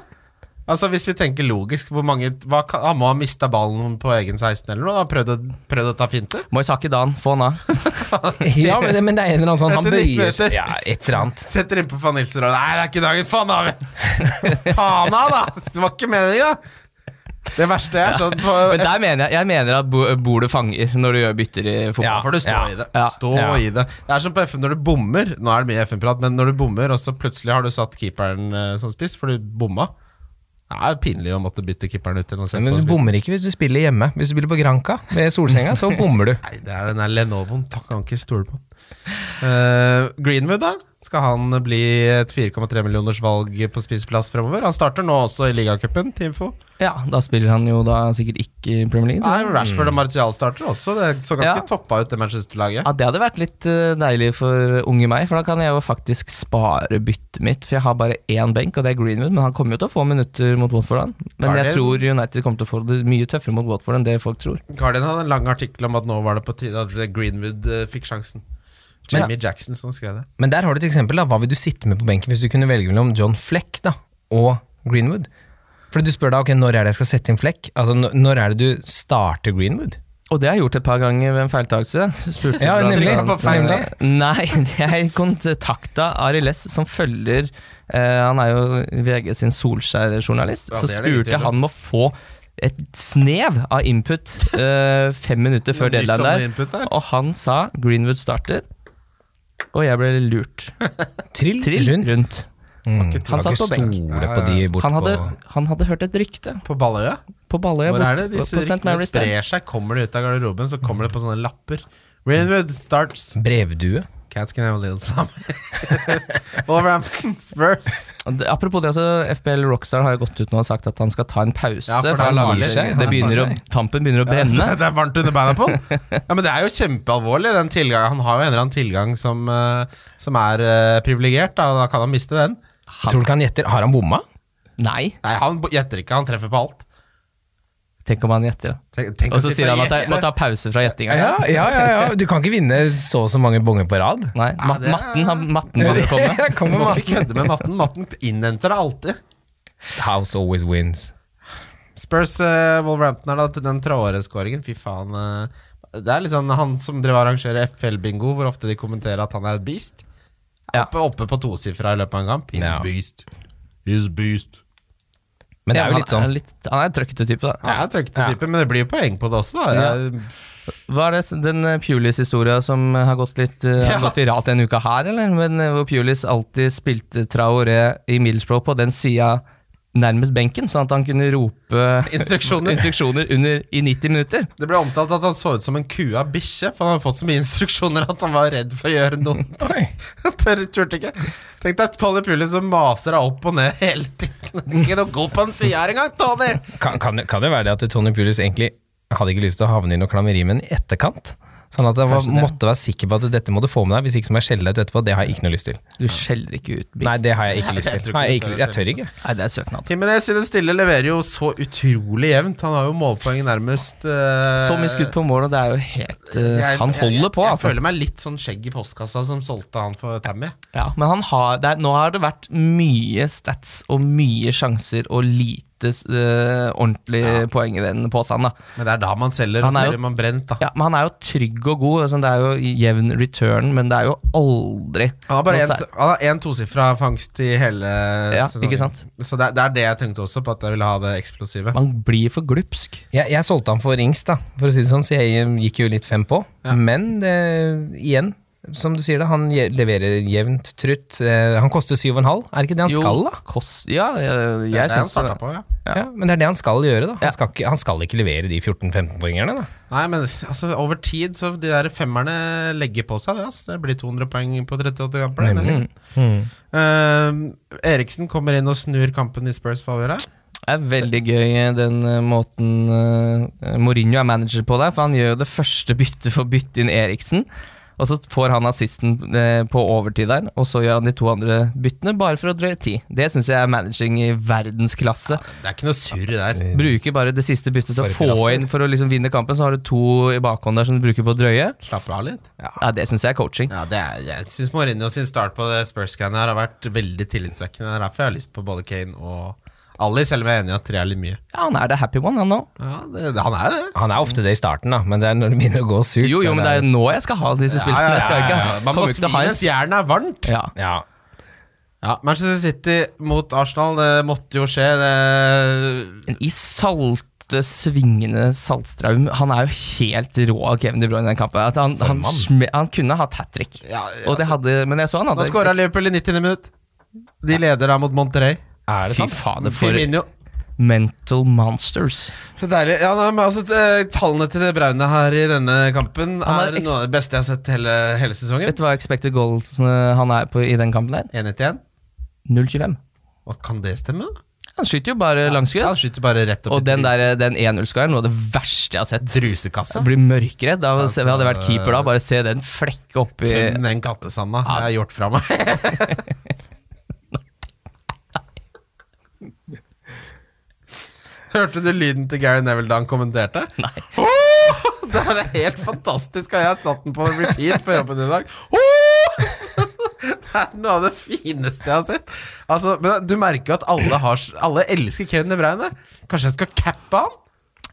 Speaker 3: Altså Hvis vi tenker logisk, hvor mange hva kan, Han må ha mista ballen på egen 16 eller noe? og Prøvd å, prøvd å ta finter?
Speaker 2: Moise har ikke dagen, få han av.
Speaker 4: [LAUGHS] [LAUGHS] Ja, men det, men det er en eller annen sånn Han
Speaker 3: Etter nitt
Speaker 4: bøyer
Speaker 3: minutter.
Speaker 4: seg Ja, et eller annet.
Speaker 3: Setter innpå van Nilsen og Nei, det er ikke dagen! Faen, David! [LAUGHS] Ta han av, da! Det var ikke meninga! Det verste er sånn på
Speaker 2: Men
Speaker 3: [LAUGHS]
Speaker 2: der mener jeg, jeg mener at bo- bor du fanger når du gjør bytter i fotball.
Speaker 4: Ja.
Speaker 3: får du stå
Speaker 4: ja,
Speaker 3: i det.
Speaker 2: ja,
Speaker 3: stå
Speaker 4: ja.
Speaker 3: i det. Det er som på FN når du bommer. Nå er det mye FN-prat, men når du bommer, og så plutselig har du satt keeperen eh, som spiss, for du bomma. Det er pinlig å måtte bytte keeperen ut igjen og sette
Speaker 4: Men
Speaker 3: på
Speaker 4: du
Speaker 3: spissen.
Speaker 4: bommer ikke hvis du spiller hjemme. Hvis du spiller på Granca ved solsenga, [LAUGHS] så bommer du.
Speaker 3: Nei, det er den der Lenovoen. Takk, han ikke stole på den. Eh, Greenwood, da? Skal han bli et 4,3 millioners valg på spiseplass fremover? Han starter nå også i ligacupen, Teamfo.
Speaker 2: Ja, Da spiller han jo da sikkert ikke i Premier League. tror
Speaker 3: Nei,
Speaker 2: jeg.
Speaker 3: Rashford og Martial starter også. Det så ganske
Speaker 2: Ja.
Speaker 3: toppa ut, det Manchester-laget.
Speaker 2: Ja, Det hadde vært litt eh, deilig for unge meg, for da kan jeg jo faktisk spare byttet mitt. For jeg har bare én benk, og det er Greenwood, men han kommer jo til å få minutter mot Watford. Han. Men
Speaker 3: Har
Speaker 2: jeg
Speaker 3: de-
Speaker 2: tror United kommer til å få det mye tøffere mot Watford enn det folk tror.
Speaker 3: Guardian hadde en lang artikkel om at nå var det på tide at Greenwood eh, fikk sjansen. Jamie Jackson som skrev det.
Speaker 4: Men der har du et eksempel. da Hva vil du sitte med på benken hvis du kunne velge mellom John Fleck da og Greenwood? For du spør da ok, når er det jeg skal sette inn Fleck? Altså, n- Når er det du starter Greenwood?
Speaker 2: Og det har jeg gjort et par ganger ved en feiltakelse. Spurte
Speaker 4: Ja,
Speaker 2: blant
Speaker 4: nemlig.
Speaker 2: annet-
Speaker 3: På feil dag.
Speaker 2: Nei, [LAUGHS] jeg kontakta Ari Less, som følger eh, Han er jo VG sin Solskjær-journalist.
Speaker 3: Ja,
Speaker 2: så
Speaker 3: det er det ingen
Speaker 2: spurte
Speaker 3: tvil
Speaker 2: jeg
Speaker 3: om.
Speaker 2: han om å få et snev av input eh, fem minutter før
Speaker 3: Ny
Speaker 2: deadline der,
Speaker 3: sommer-input sånn der.
Speaker 2: [LAUGHS] og han sa Greenwood starter. Og jeg ble lurt.
Speaker 4: Trill,
Speaker 2: Trill rundt.
Speaker 4: rundt. Mm.
Speaker 3: ikke
Speaker 4: Han satt på benk. Stole på de bort
Speaker 2: Han, hadde,
Speaker 4: på
Speaker 2: han hadde hørt et rykte
Speaker 3: På Balløya?
Speaker 2: på Balløya.
Speaker 3: Hvor
Speaker 2: bort-
Speaker 3: er det disse
Speaker 2: på St.
Speaker 3: ryktene
Speaker 2: Mary's der.
Speaker 3: sprer seg? Kommer det ut av garderoben, så kommer det på sånne lapper. Greenwood starts.
Speaker 4: Brevdue.
Speaker 3: Cats can have a little slam. [LAUGHS] Wolverhampton Spurs.
Speaker 2: Og det- Apropos det, altså, FBL Rockstar har jo gått ut nå og sagt at han skal ta en pause.
Speaker 3: Ja, for det
Speaker 2: for
Speaker 3: er
Speaker 2: han
Speaker 3: farlig.
Speaker 2: gir seg. Det
Speaker 4: Ja, det er
Speaker 2: begynner å,
Speaker 4: farlig.
Speaker 2: tampen begynner å
Speaker 3: [LAUGHS]
Speaker 2: brenne.
Speaker 3: [LAUGHS] Det er varmt under beina på han. Ja, men det er jo kjempealvorlig. Den tilgang, han har jo en eller annen tilgang som, eh, som er uh, privilegert. Da. da kan han miste den.
Speaker 4: Tror du ikke han gjetter? Har han bomma?
Speaker 2: Nei,
Speaker 3: Nei, han bo- gjetter ikke. Han treffer på alt.
Speaker 2: tenk om han gjetter.
Speaker 3: Tenk, tenk
Speaker 2: Og
Speaker 3: å
Speaker 2: så
Speaker 3: sitte
Speaker 2: sier han
Speaker 3: og
Speaker 2: at jeg
Speaker 3: gjette.
Speaker 2: må ta pause fra gjettinga.
Speaker 4: ja, ja, ja. Du kan ikke vinne så og så mange bonger på rad.
Speaker 2: Nei, ma
Speaker 3: det er-
Speaker 2: matten, han, matten må
Speaker 4: [LAUGHS]
Speaker 2: komme.
Speaker 3: Du
Speaker 4: Kommer
Speaker 3: må
Speaker 4: man.
Speaker 3: ikke kødde med matten. Matten innhenter det alltid.
Speaker 4: House always wins.
Speaker 3: Spurs eh, Wolverhampton er da til den Traore-skåringen. Fy faen. eh, det er litt sånn han som driver og arrangerer FL-bingo, hvor ofte de kommenterer at han er et beast.
Speaker 2: Ja.
Speaker 3: Oppe, oppe på tosifra i løpet av en kamp. He's
Speaker 4: Ja.
Speaker 3: a beast. He's a beast.
Speaker 4: Men det er jo
Speaker 2: Ja,
Speaker 4: litt
Speaker 2: han
Speaker 4: sånn
Speaker 2: litt- Han er en trøkkete type, da.
Speaker 3: Ja, jeg trøkte type, men det blir jo poeng på det også, da. Jeg,
Speaker 2: Hva er det, den eh, Pulis-historia som eh, har gått litt eh, har
Speaker 3: Ja.
Speaker 2: gått viralt denne uka her, eller? Men eh, hvor Pulis alltid spilte Traoré i Middlesbrough på den sida nærmest benken, sånn at han kunne rope
Speaker 3: [LAUGHS] Instruksjoner.
Speaker 2: instruksjoner under, i 90 minutter.
Speaker 3: Det ble omtalt at han så ut som en kue av bikkje, for han hadde fått så mye instruksjoner at han var redd for å gjøre [LAUGHS] noe.
Speaker 4: Oi.
Speaker 3: Han tør- turte ikke. Tenk deg Tony Pulis som maser deg opp og ned hele tiden. Det er Ikke noe god på den sida her engang, Tony!
Speaker 4: Kan, kan, det- kan det være det at Tony Pulis egentlig hadde ikke lyst til å havne i noe klammeri, men i etterkant? Sånn at jeg var,
Speaker 2: Kanskje det.
Speaker 4: måtte være sikker på at dette må du få med deg, hvis ikke så må jeg skjelle deg ut etterpå. Det har jeg ikke noe lyst til.
Speaker 2: Du skjeller ikke ut Biggs.
Speaker 4: Nei, det har jeg ikke lyst
Speaker 3: Jeg tror
Speaker 4: til.
Speaker 3: ikke
Speaker 4: Nei,
Speaker 3: du
Speaker 4: jeg, ikke,
Speaker 3: tør
Speaker 4: jeg tør ikke.
Speaker 2: Nei, det er søknad.
Speaker 3: Jimenez i det stille leverer jo så utrolig jevnt. Han har jo målpoeng nærmest eh,
Speaker 2: Så mye skudd på mål, og det er jo helt eh,
Speaker 3: jeg-
Speaker 2: Han
Speaker 3: jeg-
Speaker 2: holder på,
Speaker 3: Jeg, jeg
Speaker 2: altså.
Speaker 3: føler meg litt sånn skjegg i postkassa som solgte han for Tammy.
Speaker 2: Ja, men han har det er, Nå har det vært mye stats og mye sjanser og lite eh, ordentlig poeng i den posen, da.
Speaker 3: Men det er da man selger, og
Speaker 2: Han er
Speaker 3: så
Speaker 2: jo-
Speaker 3: blir man brent, da.
Speaker 2: Ja, men han er jo trygg og god. altså, Det er jo jevn return, men det er jo aldri
Speaker 3: Han har bare
Speaker 2: noe
Speaker 3: en-
Speaker 2: sær-
Speaker 3: han har én tosifra fangst i hele
Speaker 2: Ja,
Speaker 3: sesongen.
Speaker 2: ikke sant?
Speaker 3: Så det, er- det er det jeg tenkte også, på at jeg ville ha det eksplosive.
Speaker 2: Man blir for glupsk.
Speaker 4: Jeg, jeg solgte han for rings, da, for å si det sånn, så jeg gikk jo litt fem på. Men det, igjen, som du sier, da, han je- leverer jevnt trutt. Eh, han koster 7,5, er det ikke det han
Speaker 2: Jo,
Speaker 4: skal, da?
Speaker 2: Kost, ja, jeg,
Speaker 3: det er
Speaker 2: jeg
Speaker 3: det
Speaker 2: syns
Speaker 3: han
Speaker 2: det.
Speaker 3: startet på, ja.
Speaker 4: Ja. men det er det han skal gjøre, da.
Speaker 2: Ja.
Speaker 4: Han, skal ikke, han skal ikke levere de 14-15-poengerne, da.
Speaker 3: Nei, men altså, over tid så de der femmerne legger på seg det. ass. Det blir 200 poeng på 38 kamper. Det, er nesten. Eh, Eriksen kommer inn og snur kampen i Spurs favør her.
Speaker 2: Det er veldig gøy eh, den eh, måten eh, Mourinho er manager på der, for han gjør jo det første byttet for å bytte inn Eriksen. Og så får han assisten eh, på overtid der, og så gjør han de to andre byttene bare for å drøye ti. Det syns jeg er managing i verdensklasse.
Speaker 3: Det er ikke noe surr der.
Speaker 2: Bruker bare det siste byttet til å
Speaker 4: For
Speaker 2: få
Speaker 4: krasser.
Speaker 2: inn for å liksom vinne kampen, så har du to i bakhånd der som du bruker på å drøye.
Speaker 3: Slapp av litt.
Speaker 2: Ja, det syns jeg er coaching.
Speaker 3: Ja, det er, jeg syns Mourinho sin start på det Spurs-greiene her har vært veldig tillitvekkende. Det er derfor jeg har lyst på både Kane og Ali, selv om jeg er enig i at tre er litt mye.
Speaker 2: Ja, han er the happy one, han nå.
Speaker 3: Ja, det, det, han er jo det.
Speaker 4: Han er ofte det i starten, da, men det er når det begynner å gå surt.
Speaker 2: Jo, jo,
Speaker 4: da,
Speaker 2: men det er nå jeg skal ha disse
Speaker 3: Ja, ja,
Speaker 2: spillene. Jeg skal
Speaker 3: ja,
Speaker 2: ikke
Speaker 3: ja, ja. Man må
Speaker 2: kommer ikke til å
Speaker 3: svi
Speaker 2: ha en
Speaker 3: mens jernet er varmt.
Speaker 2: Ja.
Speaker 4: ja.
Speaker 3: Ja, Manchester City mot Arsenal, det måtte jo skje. Det,
Speaker 2: I salte, svingende Saltstraum Han er jo helt rå av Kevin De Bruyne i den kampen. At han, han, sme- han kunne hatt hat trick,
Speaker 3: ja, altså,
Speaker 2: og det hadde, men jeg så han
Speaker 3: Da
Speaker 2: hadde
Speaker 3: skåra Liverpool i 90. minutt. De leder da mot Monterrey.
Speaker 4: Er det
Speaker 2: Fy
Speaker 4: sant?
Speaker 2: fader, for
Speaker 3: Firmino.
Speaker 2: mental monsters.
Speaker 3: Deilig. Ja, nei, men altså, eh, tallene til det braune her i denne kampen
Speaker 2: Han
Speaker 3: er
Speaker 2: er eks-
Speaker 3: noe av det beste jeg har sett hele, hele sesongen.
Speaker 2: Vet du hva expected goals eh, han er på i den kampen der?
Speaker 3: 1-1.
Speaker 2: 0-25.
Speaker 3: Hva Kan det stemme? da?
Speaker 2: Han skyter jo bare
Speaker 3: Ja,
Speaker 2: langskudd.
Speaker 3: han skyter bare rett opp
Speaker 2: Og
Speaker 3: i
Speaker 2: den,
Speaker 3: trus-
Speaker 2: der, eh, den 1-0-skåren, noe av det verste jeg har sett.
Speaker 3: trusekassa.
Speaker 2: Jeg blir mørkredd av å se,
Speaker 3: Altså,
Speaker 2: hadde jeg vært keeper da, bare se den flekke oppi
Speaker 3: Tønn den kattesanda jeg har gjort
Speaker 4: [LAUGHS]
Speaker 3: fra meg. Hørte du lyden til Gary Neville da han kommenterte? Nei. det er helt fantastisk, og jeg har satt den på repeat på jobben i dag. Åh! er noe av det fineste jeg har sett. Altså, men Du merker jo at alle, har, alle elsker Kevin De Bruyne. Kanskje jeg skal cappe han?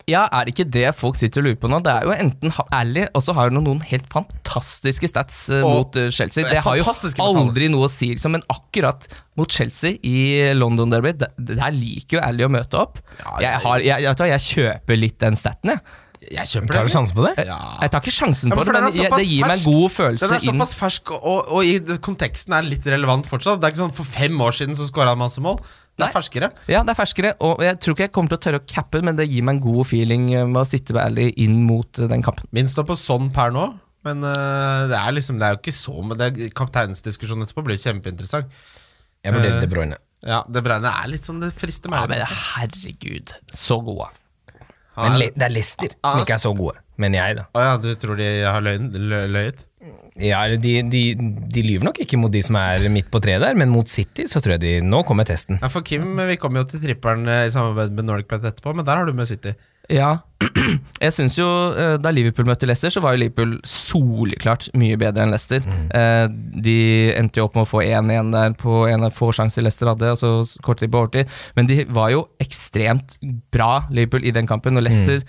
Speaker 2: Ja, er det ikke det folk sitter og lurer på nå? Det er jo enten ha- ærlig, og så har hun noen helt fantastiske stats eh,
Speaker 3: Og-
Speaker 2: mot eh, Chelsea.
Speaker 3: Det er
Speaker 2: Det har jo
Speaker 3: fantastiske
Speaker 2: aldri noe å si, liksom, men akkurat mot Chelsea i London Derby, der, der liker jo Ally å møte opp.
Speaker 3: Ja,
Speaker 2: Jeg,
Speaker 3: jeg-
Speaker 2: har, jeg, jeg, vet du hva, jeg kjøper litt den staten, jeg.
Speaker 3: Jeg kjøper
Speaker 4: Tar du sjanse på det?
Speaker 3: Ja.
Speaker 2: Jeg tar ikke sjansen
Speaker 3: Ja,
Speaker 2: på
Speaker 3: men for
Speaker 2: det,
Speaker 3: den
Speaker 2: men
Speaker 3: er
Speaker 2: jeg, det
Speaker 3: såpass
Speaker 2: gir meg
Speaker 3: fersk.
Speaker 2: en god
Speaker 3: Den
Speaker 2: følelse
Speaker 3: er
Speaker 2: inn.
Speaker 3: såpass fersk, og, og, og i det- konteksten er litt relevant fortsatt. Det er ikke sånn For fem år siden så skåra han masse mål. Det
Speaker 2: Nei.
Speaker 3: er ferskere.
Speaker 2: Ja, det er ferskere, og jeg tror ikke jeg kommer til å tørre å cappe, men det gir meg en god feeling eh, med å sitte med Ally inn mot eh, den kampen.
Speaker 3: Min står på sånn per nå, men eh, det er liksom Det er jo ikke så men det er- Kapteinsdiskusjonen etterpå blir kjempeinteressant.
Speaker 4: Jeg
Speaker 2: eh,
Speaker 4: vurderer De Bruyne.
Speaker 3: Ja, Det Breine er litt sånn Det frister
Speaker 2: Ja,
Speaker 3: meg.
Speaker 2: men
Speaker 3: litt, altså.
Speaker 2: herregud, så gode.
Speaker 3: Han
Speaker 4: Men
Speaker 3: er-
Speaker 4: Le- det er Leicester som
Speaker 3: Ah,
Speaker 4: ikke er så gode, mener jeg, da.
Speaker 3: Å ja, du tror de har løgn, lø, løyet?
Speaker 4: Ja, eller de, de, de lyver nok ikke mot de som er midt på treet der, men mot City så tror jeg de Nå kommer testen.
Speaker 3: Ja, for Kim, vi kommer jo til trippelen eh, i samarbeid med Nordic Bet etterpå, men der har du med City.
Speaker 2: Ja. [CLEARS THROAT] Jeg syns jo eh, da Liverpool møtte Leicester, så var jo Liverpool soleklart mye bedre enn Leicester. Eh, De endte jo opp med å få 1-1 der på en av få sjanser Leicester hadde, og så kort tid på overtid. Men de var jo ekstremt bra, Liverpool, i den kampen, og Leicester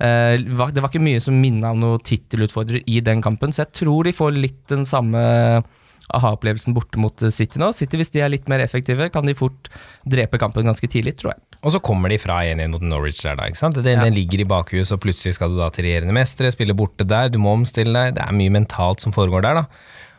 Speaker 2: eh, var- Det var ikke mye som minna om noen tittelutfordrer i den kampen, så jeg tror de får litt den samme aha-opplevelsen borte mot eh, City nå. City, hvis de er litt mer effektive, kan de fort drepe kampen ganske tidlig, tror jeg.
Speaker 4: Og så kommer de fra 1-1 mot Norwich der, da. ikke sant? Den, den ligger i bakhus, og plutselig skal du da til regjerende mestere, spille borte der, du må omstille deg. Det er mye mentalt som foregår der, da.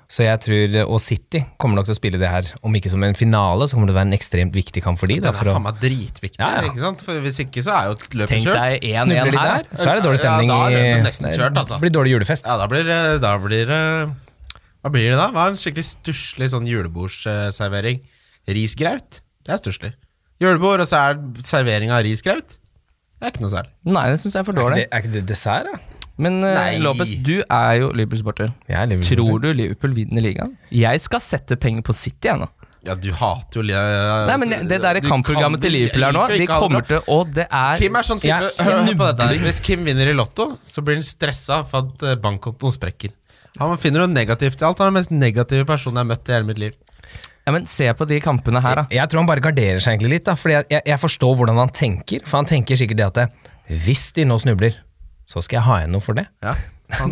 Speaker 4: Så jeg tror, Og City kommer nok til å spille det her, om ikke som en finale, så kommer det til å være en ekstremt viktig kamp for de.
Speaker 3: Den
Speaker 4: Da,
Speaker 3: er
Speaker 4: for å,
Speaker 3: faen meg dritviktig,
Speaker 4: Ja, ja.
Speaker 3: ikke sant? For hvis ikke så er jo løpet
Speaker 2: Tenk
Speaker 3: kjørt.
Speaker 2: deg 1-1
Speaker 4: snubler de
Speaker 2: her.
Speaker 4: der, så er det dårlig stemning.
Speaker 3: Ja, da er
Speaker 4: i-
Speaker 3: løpet nesten kjørt, altså.
Speaker 4: Det blir dårlig julefest.
Speaker 3: Ja, da blir det da blir, det- Hva blir det da? Hva er en skikkelig stusslig sånn julebordsservering? Risgraut? Det er stusslig. Julebord, og så er servering av risgraut? Det er ikke noe særlig.
Speaker 2: Nei, det syns jeg er for
Speaker 4: Er ikke,
Speaker 2: dårlig.
Speaker 4: det, er ikke det dessert, da?
Speaker 2: Men uh,
Speaker 3: Nei.
Speaker 2: Lopez, du er jo Liverpool-supporter.
Speaker 4: Jeg er Liverpool.
Speaker 2: Tror du Liverpool vinner ligaen? Jeg skal sette penger på City jeg nå.
Speaker 3: Ja, du hater jo li-
Speaker 2: Nei, men det, det der
Speaker 3: Du
Speaker 2: kampprogrammet
Speaker 3: kan-
Speaker 2: til Liverpool her nå,
Speaker 3: Jeg liker
Speaker 2: de
Speaker 3: ikke alle
Speaker 2: kommer til å Det er
Speaker 3: Kim er sånn type,
Speaker 4: Jeg
Speaker 3: hør hør på dette her Hvis Kim vinner i lotto, så blir han stressa for at eh, bankkontoen sprekker. Han finner noe negativt i alt. Han er den mest negative personen jeg har møtt i hele mitt liv.
Speaker 2: ja, Men se på de kampene her, da.
Speaker 4: Jeg tror han bare garderer seg egentlig litt, da, fordi jeg, jeg, jeg forstår hvordan han tenker. For han tenker sikkert det at det, hvis de nå snubler, så skal jeg ha igjen noe for det.
Speaker 3: Ja. Han,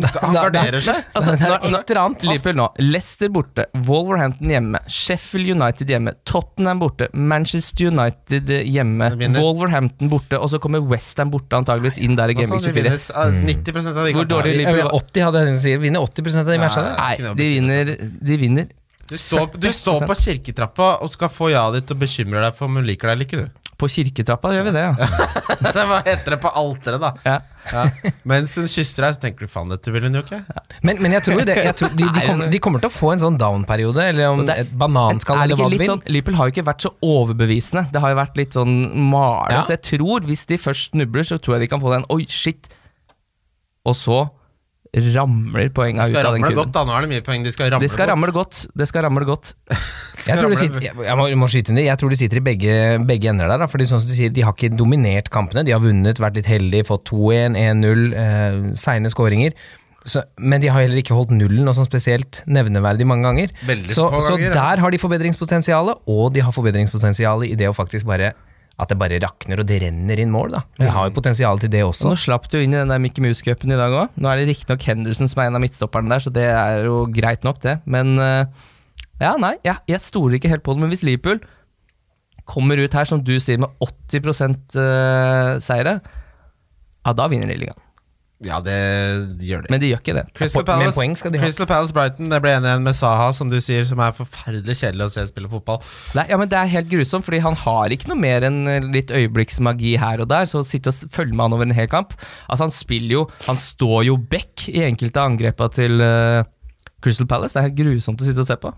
Speaker 2: [LAUGHS]
Speaker 3: han
Speaker 4: Da- da-
Speaker 3: garderer seg.
Speaker 4: Altså, det er
Speaker 2: nå- nå-
Speaker 4: et eller annet liv.
Speaker 2: Liverpool nå. Leicester borte, Wolverhampton hjemme, Sheffield United hjemme, Tottenham borte, Manchester United hjemme,
Speaker 3: Jeg vinner.
Speaker 2: Wolverhampton borte, og så kommer Westham borte antageligvis inn der i
Speaker 3: Altså,
Speaker 2: Game
Speaker 3: de
Speaker 2: 24.
Speaker 3: vinnes, ah, 90 av de
Speaker 2: Hvor
Speaker 3: kampene.
Speaker 2: dårlig
Speaker 4: Jeg vil- 80 hadde jeg tenkt å si. Vinner 80 av de matchene.
Speaker 3: Nei.
Speaker 4: der.
Speaker 2: Nei,
Speaker 3: ikke noe å altså.
Speaker 2: de vinner, de vinner
Speaker 3: Du står, du står på kirketrappa og skal få ja ditt og bekymre deg for om hun liker deg eller ikke, du.
Speaker 2: På kirketrappa gjør vi det, ja.
Speaker 3: [LAUGHS] det var heter det på alteret, da. [LAUGHS]
Speaker 2: ja.
Speaker 3: Ja. Mens hun kysser deg, så tenker du faen, dette vil hun jo ikke.
Speaker 4: Men, men jeg tror jo det. Jeg tror de, de, kommer, de kommer til å få en sånn down-periode, eller om
Speaker 2: det er-
Speaker 4: et bananskall
Speaker 2: Er det
Speaker 4: eller
Speaker 2: ikke
Speaker 4: hva du
Speaker 2: litt
Speaker 4: vil.
Speaker 2: sånn, Liverpool har jo ikke vært så overbevisende. Det har jo vært litt sånn male.
Speaker 4: Ja.
Speaker 2: Så jeg tror, hvis de først snubler, så tror jeg de kan få den Oi, shit! Og så ramler
Speaker 3: De
Speaker 2: poenga ut
Speaker 3: skal
Speaker 2: av den
Speaker 3: ramle
Speaker 2: kurven.
Speaker 3: godt, da. Nå er det mye poeng. De skal ramle,
Speaker 2: Det skal
Speaker 3: godt.
Speaker 2: ramle godt. Det skal ramle godt.
Speaker 4: Jeg tror, de sitter, jeg, jeg, må, jeg må skyte inn det. Jeg tror de sitter i begge, begge ender der. da, Fordi sånn som De sier, de har ikke dominert kampene. De har vunnet, vært litt heldige, fått 2-1, 1-0, eh, seine skåringer. Så, men de har heller ikke holdt nullen noe sånn spesielt nevneverdig mange ganger.
Speaker 3: Veldig
Speaker 4: Så,
Speaker 3: få
Speaker 4: så
Speaker 3: ganger, ja.
Speaker 4: der har de forbedringspotensialet, og de har forbedringspotensialet i det å faktisk bare at det bare rakner og det renner inn mål. da. De har jo potensial til det
Speaker 2: Så
Speaker 4: også.
Speaker 2: nå slapp du jo inn i den der Mickey Mouse-cupen i dag òg. Nå er det riktignok Henderson som er en av midtstopperne der, så det er jo greit nok, det. Men eh, ja, nei, jeg, jeg stoler ikke helt på det. Men hvis Liverpool kommer ut her, som du sier, med 80 eh, seire, ja, da vinner de ligaen.
Speaker 3: Ja, det gjør de.
Speaker 2: Men de gjør ikke det.
Speaker 3: Crystal
Speaker 4: po- men
Speaker 3: Palace,
Speaker 4: poeng skal de ha.
Speaker 3: Crystal Palace Brighton, det ble 1-1 med Saha, som du sier, som er forferdelig kjedelig å se spille fotball.
Speaker 2: Nei, ja, men Det er helt grusomt, fordi han har ikke noe mer enn eh, litt øyeblikksmagi her og der. Så å sitte og s- følge med han over en hel kamp Altså Han spiller jo Han står jo back i enkelte av angrepa til eh, Crystal Palace. Det er helt grusomt å sitte og se på.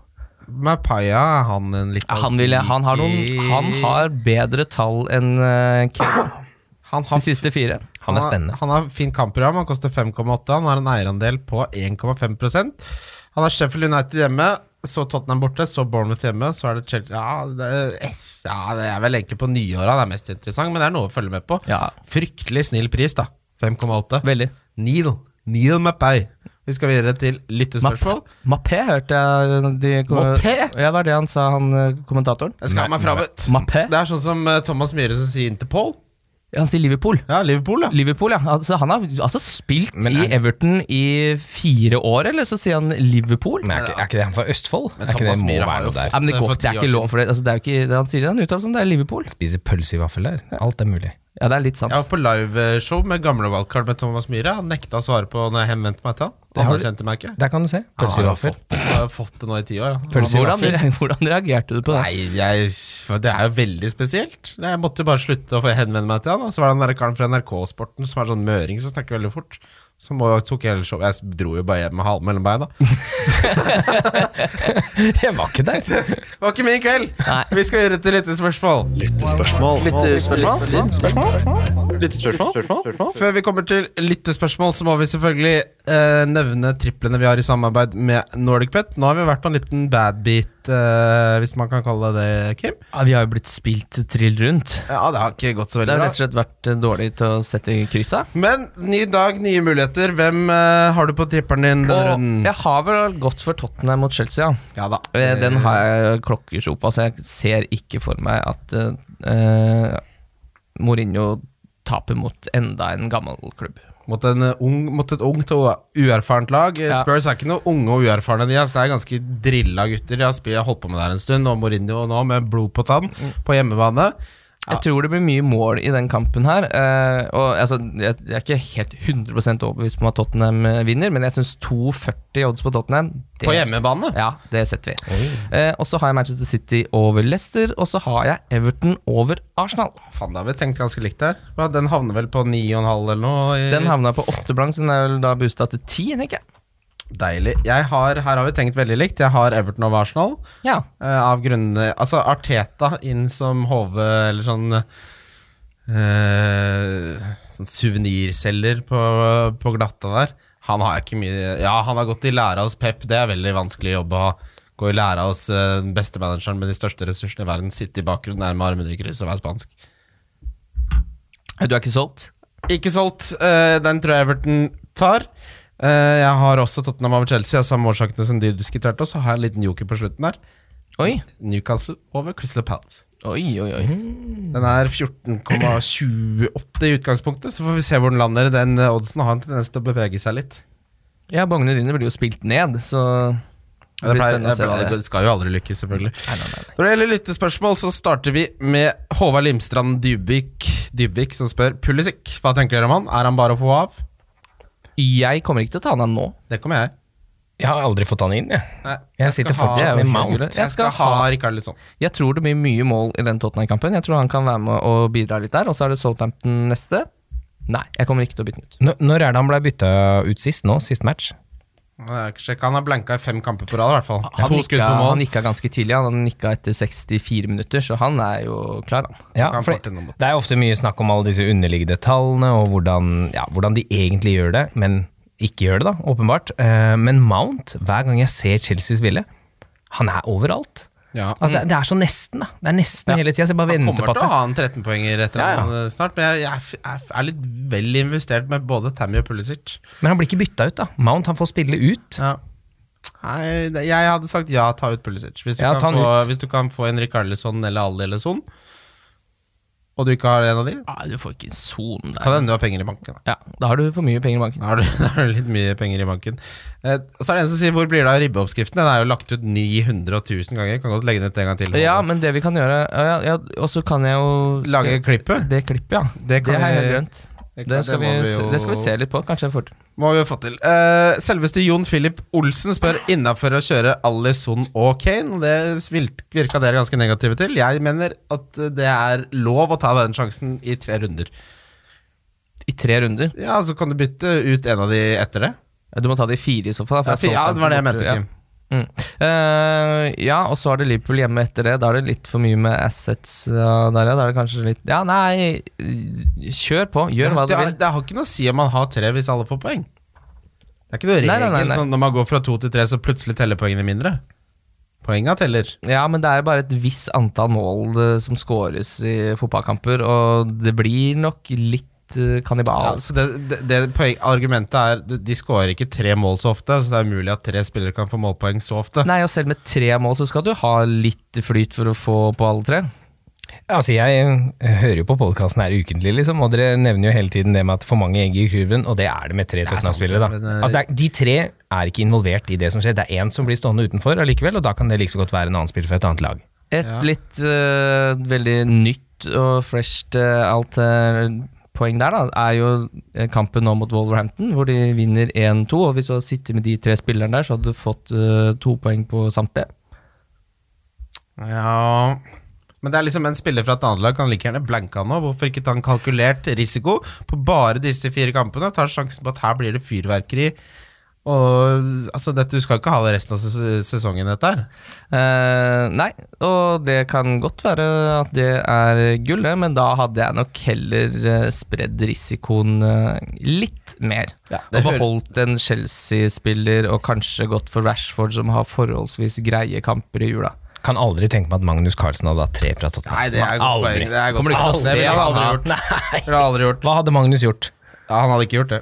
Speaker 3: Mapaya, han en litt
Speaker 2: Ja, Han, vil, han, har noen, han har bedre tall enn eh, Kevin
Speaker 3: han
Speaker 2: de
Speaker 3: har
Speaker 2: siste fire.
Speaker 4: Han er
Speaker 3: har-
Speaker 4: spennende.
Speaker 3: Han har fint kampprogram. Han koster 5,8. Han har en eierandel på 1,5 Han har Sheffield United hjemme, så Tottenham borte, så Bournemouth hjemme, så er det Chelsea Ja, det, eh, ja, det er vel egentlig på nyåra det er mest interessant, men det er noe å følge med på.
Speaker 2: Ja.
Speaker 3: Fryktelig snill pris, da. 5,8.
Speaker 2: Veldig.
Speaker 3: Neil. Neil Mappay. Vi skal videre til lyttespørsmål.
Speaker 2: Mappé hørte jeg de
Speaker 3: Mappé?
Speaker 2: Ja, hva er det han sa, han eh, kommentatoren?
Speaker 3: Jeg skal ha meg frabedt.
Speaker 2: Mappé?
Speaker 3: Det er sånn som eh, Thomas Myhre som sier Interpol.
Speaker 2: Ja, han sier Liverpool.
Speaker 3: Ja, Liverpool, ja.
Speaker 2: Liverpool, ja. Altså, han har altså spilt
Speaker 4: Men
Speaker 2: i
Speaker 4: er-
Speaker 2: Everton i fire år, eller så sier han Liverpool?
Speaker 4: Men er ikke, er ikke det han fra Østfold?
Speaker 3: Eh, Men
Speaker 4: er ikke
Speaker 3: Thomas
Speaker 4: det må
Speaker 3: Myhre har
Speaker 4: være
Speaker 3: jo
Speaker 4: noe der.
Speaker 2: Ja, men det,
Speaker 3: Det er
Speaker 2: går,
Speaker 3: for
Speaker 2: ikke- det
Speaker 3: ti
Speaker 2: er
Speaker 3: år
Speaker 2: ikke lov for det. Altså, det er jo ikke, det han sier det, han uttaler som det er Liverpool.
Speaker 4: Spiser pølse i vaffeler. Alt er mulig.
Speaker 2: Ja, det er litt sant.
Speaker 3: Jeg var på liveshow med gamle Wildcard med Thomas Myhre. Han nekta å svare på når jeg henvendte meg til han.
Speaker 4: Det
Speaker 3: Han
Speaker 4: har-
Speaker 3: erkjente meg ikke.
Speaker 4: Der kan du se. Pølse i
Speaker 3: Han har jo
Speaker 4: vaffel.
Speaker 3: fått- Han har jo fått det nå i ti år. han.
Speaker 4: Pølse i
Speaker 2: hvordan, [LAUGHS]
Speaker 4: vaffel.
Speaker 2: hvordan reagerte du på det?
Speaker 3: Nei, jeg, det er jo veldig spesielt. Jeg måtte bare slutte å få henvende meg til han. Og så var det han der karen fra NRK-sporten som er sånn møring som snakker veldig fort. Så må, tok jeg hele showet. Jeg dro jo bare hjem med halen mellom beina.
Speaker 4: [LAUGHS] Jeg var ikke der.
Speaker 3: Det var ikke min kveld!
Speaker 2: Nei.
Speaker 3: Vi skal gjøre et lite spørsmål.
Speaker 1: Lyttespørsmål.
Speaker 3: Før vi kommer til lyttespørsmål, så må vi selvfølgelig eh, nevne triplene vi har i samarbeid med Nordic Pet. Nå har vi vært på en liten badbeat, eh, hvis man kan kalle det det, Kim.
Speaker 2: Ja, vi har jo blitt spilt trill rundt.
Speaker 3: Ja, det har ikke gått så
Speaker 2: Det
Speaker 3: veldig
Speaker 2: har
Speaker 3: bra.
Speaker 2: rett og slett vært eh, dårlig til å sette kryssa.
Speaker 3: Men ny dag, nye muligheter. Hvem eh, har du på tripperen din denne
Speaker 2: Og
Speaker 3: runden?
Speaker 2: jeg har vel gått for Tottenham mot Chelsea, ja.
Speaker 3: Ja da.
Speaker 2: Eh, Den har jeg klokketro på. Altså, jeg ser ikke for meg at eh, eh, Mourinho taper mot enda en gammel klubb.
Speaker 3: Mot, en eh, ung, mot et ungt og uerfarent lag. Eh,
Speaker 2: Ja.
Speaker 3: Spurs er ikke noe unge og uerfarne. De altså, det er ganske drilla gutter. De har spilt- holdt på med det her en stund, og Mourinho nå med blod på tann
Speaker 2: Mm.
Speaker 3: på hjemmebane. Ja.
Speaker 2: Jeg tror det blir mye mål i den kampen her. eh, og altså, jeg, jeg er ikke helt 100 overbevist om at Tottenham eh, vinner, men jeg syns 2,40 odds på Tottenham det,
Speaker 3: På hjemmebane?
Speaker 2: Ja, det setter vi. Eh, og så har jeg Manchester City over Leicester, og så har jeg Everton over Arsenal.
Speaker 3: Faen, da har vi tenkt ganske likt her. Hva, Den havner vel på 9,5 eller noe? i-
Speaker 2: Den havna på åtte blank, så den er vel da boosta til ti, tenker jeg.
Speaker 3: Deilig. Jeg har, her har vi tenkt veldig likt. Jeg har Everton over Arsenal.
Speaker 2: Ja.
Speaker 3: eh, av grunnene Altså, Arteta inn som HV, eller sånn eh, Sånn suvenirselger på, på glatta der. Han har ikke mye Ja, han har gått i lære hos Pep. Det er veldig vanskelig jobb å ha. Gå i lære hos eh, den beste manageren med de største ressursene i verden. Sitte i bakgrunnen, nærme armene i kryss og være spansk.
Speaker 2: Du er ikke solgt?
Speaker 3: Ikke solgt. Eh, den tror jeg Everton tar. Eh, jeg har også Tottenham over Chelsea, av samme årsakene som de diskuterte. Og så har jeg en liten joker på slutten her.
Speaker 2: Oi, Mhm.
Speaker 3: Newcastle over Crystal Palace.
Speaker 2: oi, oi. oi.
Speaker 3: Den er 14,28 i utgangspunktet, så får vi se hvor den lander. Den eh, oddsen har en tendens til å bevege seg litt.
Speaker 2: Ja, bongene dine blir jo spilt ned, så det
Speaker 3: Ja, det,
Speaker 2: blir
Speaker 3: pleier,
Speaker 2: spennende å
Speaker 3: det,
Speaker 2: se hva
Speaker 3: pleier,
Speaker 2: det
Speaker 3: det skal jo aldri lykkes, selvfølgelig. Når det gjelder lyttespørsmål, så starter vi med Håvard Limstrand Dybvik, Dybvik som spør Pulisic. Hva tenker dere om han? Er han bare å få av?
Speaker 2: Jeg kommer ikke til å ta den av nå.
Speaker 3: Det kommer jeg.
Speaker 4: Jeg har aldri fått han inn, jeg.
Speaker 3: Nei,
Speaker 4: Jeg sitter
Speaker 2: Det er
Speaker 3: skal ha-
Speaker 4: fortsatt
Speaker 2: jo
Speaker 4: med
Speaker 2: helt
Speaker 4: Mount.
Speaker 2: greit.
Speaker 3: Jeg skal ha Rikard Lisson.
Speaker 2: Jeg tror det blir mye mål i den Tottenham-kampen. Jeg tror han kan være med og bidra litt der. Og så er det Southampton neste. Nei, jeg kommer ikke til å bytte den ut.
Speaker 4: Nå- Når er det han ble bytta ut sist nå? Sist match?
Speaker 3: Jeg har ikke sjekket. Han har blanka i fem kamper på rad, i hvert fall.
Speaker 2: Han
Speaker 3: to skudd
Speaker 2: nikka,
Speaker 3: på
Speaker 2: han
Speaker 3: mål.
Speaker 2: nikka ganske tidlig. Han nikka etter 64 minutter, så han er jo klar, han.
Speaker 4: Ja,
Speaker 3: Kan
Speaker 4: for
Speaker 3: fort innom.
Speaker 4: det er jo ofte mye snakk om alle disse underliggende tallene, og hvordan, ja, hvordan de egentlig gjør det, men ikke gjør det, da, åpenbart. Eh, Men Mount, hver gang jeg ser Chelsea spille, han er overalt.
Speaker 3: Ja.
Speaker 4: Altså, det, er- det er så nesten, da. Det er nesten hele tida. Så jeg bare
Speaker 3: Han
Speaker 4: venter
Speaker 3: kommer
Speaker 4: på
Speaker 3: til å
Speaker 4: at det.
Speaker 3: ha en 13-poenger etter
Speaker 4: Ja, ja.
Speaker 3: han, eh, snart, men jeg, jeg, er f- jeg er litt vel investert med både Tammy og Pulisic.
Speaker 4: Men han blir ikke bytta ut, da. Mount, han får spille ut.
Speaker 3: Ja. Nei, det- jeg hadde sagt ja, ta ut Pulisic. Hvis du,
Speaker 4: Ja, ta
Speaker 3: kan,
Speaker 4: han
Speaker 3: få,
Speaker 4: ut.
Speaker 3: hvis du kan få en Rikarlison eller Ali eller Son, og du ikke har en av de,
Speaker 2: Nei, du får ikke en son
Speaker 3: kan hende du har penger i banken. Da.
Speaker 2: Ja, da har du for mye penger i banken.
Speaker 3: Da har du, [LAUGHS] da har du litt mye penger i banken. Eh, så er det en som sier 'hvor blir det av ribbeoppskriften'? Den er jo lagt ut 900 og 1000 ganger. Kan godt legge den ut en gang til.
Speaker 2: Ja, men det vi kan gjøre ja, ja, Og så kan jeg jo
Speaker 3: Lage klippet?
Speaker 2: Det klippet, ja.
Speaker 3: Det
Speaker 2: Det,
Speaker 3: kan
Speaker 2: er
Speaker 3: vi-
Speaker 2: helt grønt.
Speaker 3: Det,
Speaker 2: Det skal, vi,
Speaker 3: må
Speaker 2: se-
Speaker 3: jo-
Speaker 2: det skal vi se litt på, kanskje jeg får til.
Speaker 3: Må vi jo få til. Eh, selveste Jon Philip Olsen spør innafor å kjøre Alison og Kane. og Det vil- virka dere ganske negative til. Jeg mener at det er lov å ta den sjansen i tre runder.
Speaker 2: I tre runder.
Speaker 3: Ja, så kan du bytte ut en av de etter det.
Speaker 2: Ja, Du må ta det i fire i så fall. da,
Speaker 3: Ja,
Speaker 2: for jeg så
Speaker 3: det var det jeg
Speaker 2: borte-
Speaker 3: mente,
Speaker 2: ja.
Speaker 3: Kim.
Speaker 2: Mm. Eh, ja, og så er det Liverpool hjemme etter det. Da er det litt for mye med assets ja, der, ja. Da er det kanskje litt Ja, nei, kjør på. Gjør hva du
Speaker 3: det, har-
Speaker 2: vil.
Speaker 3: det har ikke noe å si om man har tre hvis alle får poeng. Det er ikke noe regel
Speaker 2: Nei, nei, nei, nei.
Speaker 3: sånn når man går fra to til tre, så plutselig teller poengene mindre. Poenga teller.
Speaker 2: Ja, men det er bare et visst antall mål eh, som scores i fotballkamper, og det blir nok litt eh, kannibal.
Speaker 3: Ja, så det, det, det poeng, argumentet er de- de skårer ikke tre mål så ofte, så det er umulig at tre spillere kan få målpoeng så ofte.
Speaker 2: Nei, og selv med tre mål så skal du ha litt flyt for å få på alle tre.
Speaker 4: Altså, jeg hører jo på podkasten her ukentlig, liksom, og dere nevner jo hele tiden det med at for mange egg i kurven, og det er det med tre
Speaker 3: er sant,
Speaker 4: Tottenham-spillere, da.
Speaker 3: men, eh,
Speaker 4: Altså, det er, de tre er ikke involvert i det som skjer. Det er én som blir stående utenfor allikevel, og da kan det like så godt være en annen spiller fra et annet lag.
Speaker 2: Et
Speaker 3: Ja.
Speaker 2: litt eh, veldig nytt og fresht eh, alt eh, poeng der, da, er jo eh, kampen nå mot Wolverhampton, hvor de vinner 1-2. Og hvis du hadde sittet med de tre spillerne der, så hadde du fått eh, to poeng på samtlige.
Speaker 3: Ja Men det er liksom en spiller fra et annet lag kan like gjerne blanke han nå. Hvorfor ikke ta en kalkulert risiko på bare disse fire kampene? Tar sjansen på at her blir det fyrverkeri. Og altså, dette, Du skal ikke ha det resten av ses- sesongen, dette her.
Speaker 2: Eh, nei, og det kan godt være at det er gullet, men da hadde jeg nok heller eh, spredd risikoen eh, litt mer.
Speaker 3: Ja,
Speaker 2: Og
Speaker 3: det hører-
Speaker 2: beholdt en Chelsea-spiller, og kanskje gått for Rashford, som har forholdsvis greie kamper i jula.
Speaker 4: Kan aldri tenke meg at Magnus Carlsen hadde hatt tre fra Tottenham.
Speaker 3: Nei, det er godt
Speaker 4: Aldri.
Speaker 3: poeng. Det er godt
Speaker 2: Kommer du ikke til
Speaker 3: poeng.
Speaker 2: å se
Speaker 3: Det ville han
Speaker 2: han
Speaker 3: aldri
Speaker 2: da?
Speaker 3: gjort. Det ville han aldri gjort.
Speaker 4: Hva hadde Magnus gjort?
Speaker 3: Ja, han hadde ikke gjort det.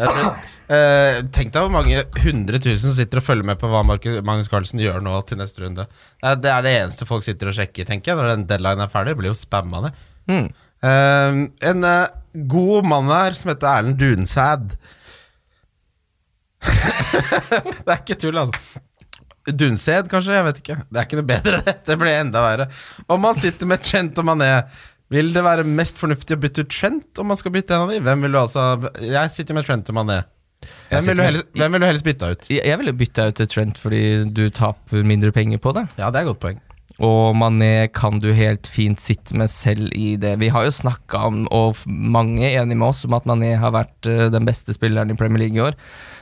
Speaker 3: Jeg tror, eh, tenk deg hvor mange hundre tusen som sitter og følger med på hva Markus- Magnus Carlsen gjør nå til neste runde. Det er det, er det eneste folk sitter og sjekker, tenker jeg, når den deadline er ferdig. Blir jo spamma ned. Eh, en eh, god mann her som heter Erlend Dunsæd. [LAUGHS] det er ikke tull, altså. Dunsæd, kanskje? Jeg vet ikke. Det er ikke noe bedre. [LAUGHS] det. Det blir enda verre. Om man sitter med Trent og Mané, vil det være mest fornuftig å bytte ut Trent om man skal bytte en av de? Hvem vil du altså Jeg sitter med Trent og Mané.
Speaker 4: Jeg
Speaker 3: Hvem
Speaker 4: sitter
Speaker 3: vil du
Speaker 4: med-
Speaker 3: helst, hvem vil du helst bytte ut?
Speaker 2: Jeg, jeg ville bytta ut Trent fordi du taper mindre penger på det.
Speaker 3: Ja, det er et godt poeng.
Speaker 2: Og Mané kan du helt fint sitte med selv i det. Vi har jo snakka om, og f- mange er enige med oss, om at Mané har vært eh, den beste spilleren i Premier League i år.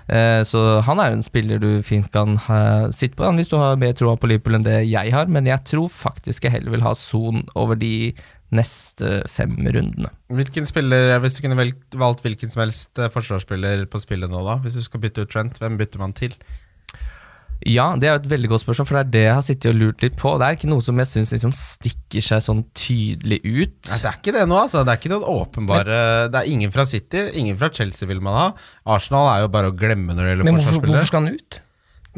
Speaker 2: Eh, Så han er jo en spiller du fint kan ha, sitte på, han, hvis du har mer troa på Liverpool enn det jeg har. Men jeg tror faktisk jeg heller vil ha Son over de neste fem rundene.
Speaker 3: Hvilken spiller, Hvis du kunne velgt, valgt hvilken som helst eh, forsvarsspiller på spillet nå, da? Hvis du skal bytte ut Trent, hvem bytter man til?
Speaker 2: Ja, det er jo et veldig godt spørsmål, for det er det jeg har sittet og lurt litt på. Det er ikke noe som jeg syns liksom stikker seg sånn tydelig ut.
Speaker 3: Nei, det er ikke det nå, altså. Det er ikke noen åpenbare Det er ingen fra City, ingen fra Chelsea vil man ha. Arsenal er jo bare å glemme når det gjelder
Speaker 4: Men hvorfor,
Speaker 3: forsvarsspillere.
Speaker 4: hvorfor skal han ut?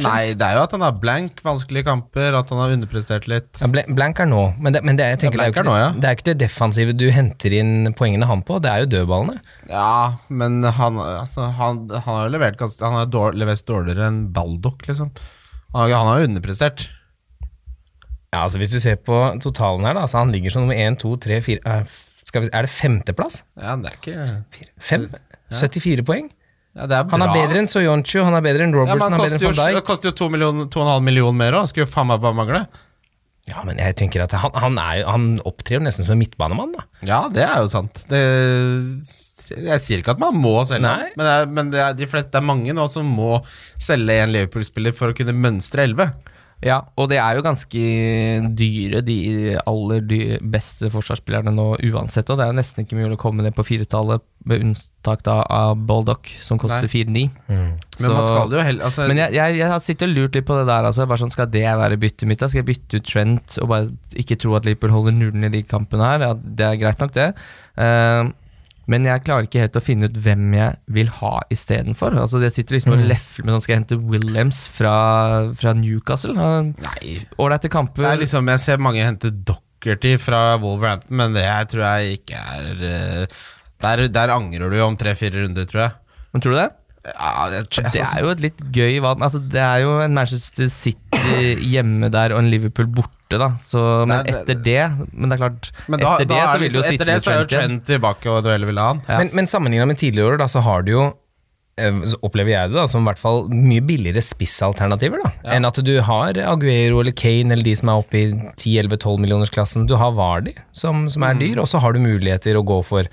Speaker 3: Nei, det er jo at han har blank, vanskelige kamper, at han har underprestert litt.
Speaker 4: Ja, Bla- Blank er nå, men det, men det, er- jeg
Speaker 3: Ja,
Speaker 4: tenker, det, er jo ikke,
Speaker 3: Blank er nå, ja.
Speaker 4: det, det er ikke det defensive du henter inn poengene han på, det er jo dødballene.
Speaker 3: Ja, men han, altså, han, han har jo levert ganske Han har dår, levert dårligere enn Baldock, liksom. Han har- han har jo underprestert.
Speaker 4: Ja, altså Hvis du ser på totalen her, da, så han ligger som nummer 1, 2, 3, 4 eh, f- skal vi, Er det femteplass?
Speaker 3: Ja, det er ikke
Speaker 4: Fire- Fem? 74 poeng?
Speaker 3: ja, det er bra.
Speaker 4: Han er bedre enn Soyonchu, han er bedre enn
Speaker 3: ja,
Speaker 4: Roberts,
Speaker 3: men
Speaker 4: han
Speaker 3: han
Speaker 4: er bedre
Speaker 3: koster jo,
Speaker 4: enn van
Speaker 3: det
Speaker 4: Dijk.
Speaker 3: koster jo 2,5 million, to og en halv million mer òg. Skulle jo faen meg bare mangle.
Speaker 4: Ja, men jeg tenker at han, han, er, jo- han opptrer jo nesten som en midtbanemann, da.
Speaker 3: Ja, det er jo sant. Det, jeg sier ikke at man må selge ham,
Speaker 4: Nei.
Speaker 3: men, det er, men det, er de fleste, det er mange nå som må selge en Liverpool-spiller for å kunne mønstre 11.
Speaker 2: Ja, og det er jo ganske dyre, de aller dy beste forsvarsspillerne nå uansett. Og det er jo nesten ikke mulig å komme ned på firetallet, med unntak da av Baldock, som koster 4-9.
Speaker 3: Men man skal jo heller altså,
Speaker 2: Men jeg, jeg, jeg har sittet og lurt litt på det der. Altså. Bare sånn, skal det være byttet mitt? da? Skal jeg bytte ut Trent og bare ikke tro at Liverpool holder nullen i de kampene her? Ja, det er greit nok, det. Eh, men jeg klarer ikke helt å finne ut hvem jeg vil ha istedenfor. Altså, jeg sitter liksom
Speaker 3: Mm.
Speaker 2: og lefler med sånn Skal jeg hente Williams fra, fra Newcastle? Han-
Speaker 3: Nei.
Speaker 2: Ålreite kamper.
Speaker 3: Det er liksom, jeg ser mange hente Dockerty fra Wolverhampton, men det her tror jeg ikke er eh, Der, der angrer du jo om tre-fire runder, tror jeg.
Speaker 2: Men tror du det?
Speaker 3: Ja, det, altså,
Speaker 2: Det er jo et litt gøy valg. Altså, det er jo en Manchester City hjemme der og en Liverpool borte, da. Så, men
Speaker 3: Nei, det-
Speaker 2: etter det Men det er klart,
Speaker 3: men da,
Speaker 2: etter
Speaker 3: da
Speaker 2: det
Speaker 3: er
Speaker 2: så
Speaker 3: det
Speaker 2: vil du jo
Speaker 3: liksom,
Speaker 2: sitte
Speaker 3: etter det
Speaker 2: med
Speaker 3: så er jo
Speaker 2: Trent igjen.
Speaker 3: Trent tilbake, og du heller vil ha han.
Speaker 2: Ja.
Speaker 4: Men, men sammenligna med tidligere år, da, så har du jo eh, så opplever jeg det da, som i hvert fall mye billigere spissalternativer da, enn at du har Aguero eller Kane eller de som er oppe i 10-11-12 millionersklassen. Du har Vardy, som, som
Speaker 3: Mm.
Speaker 4: er dyr, og så har du muligheter å gå for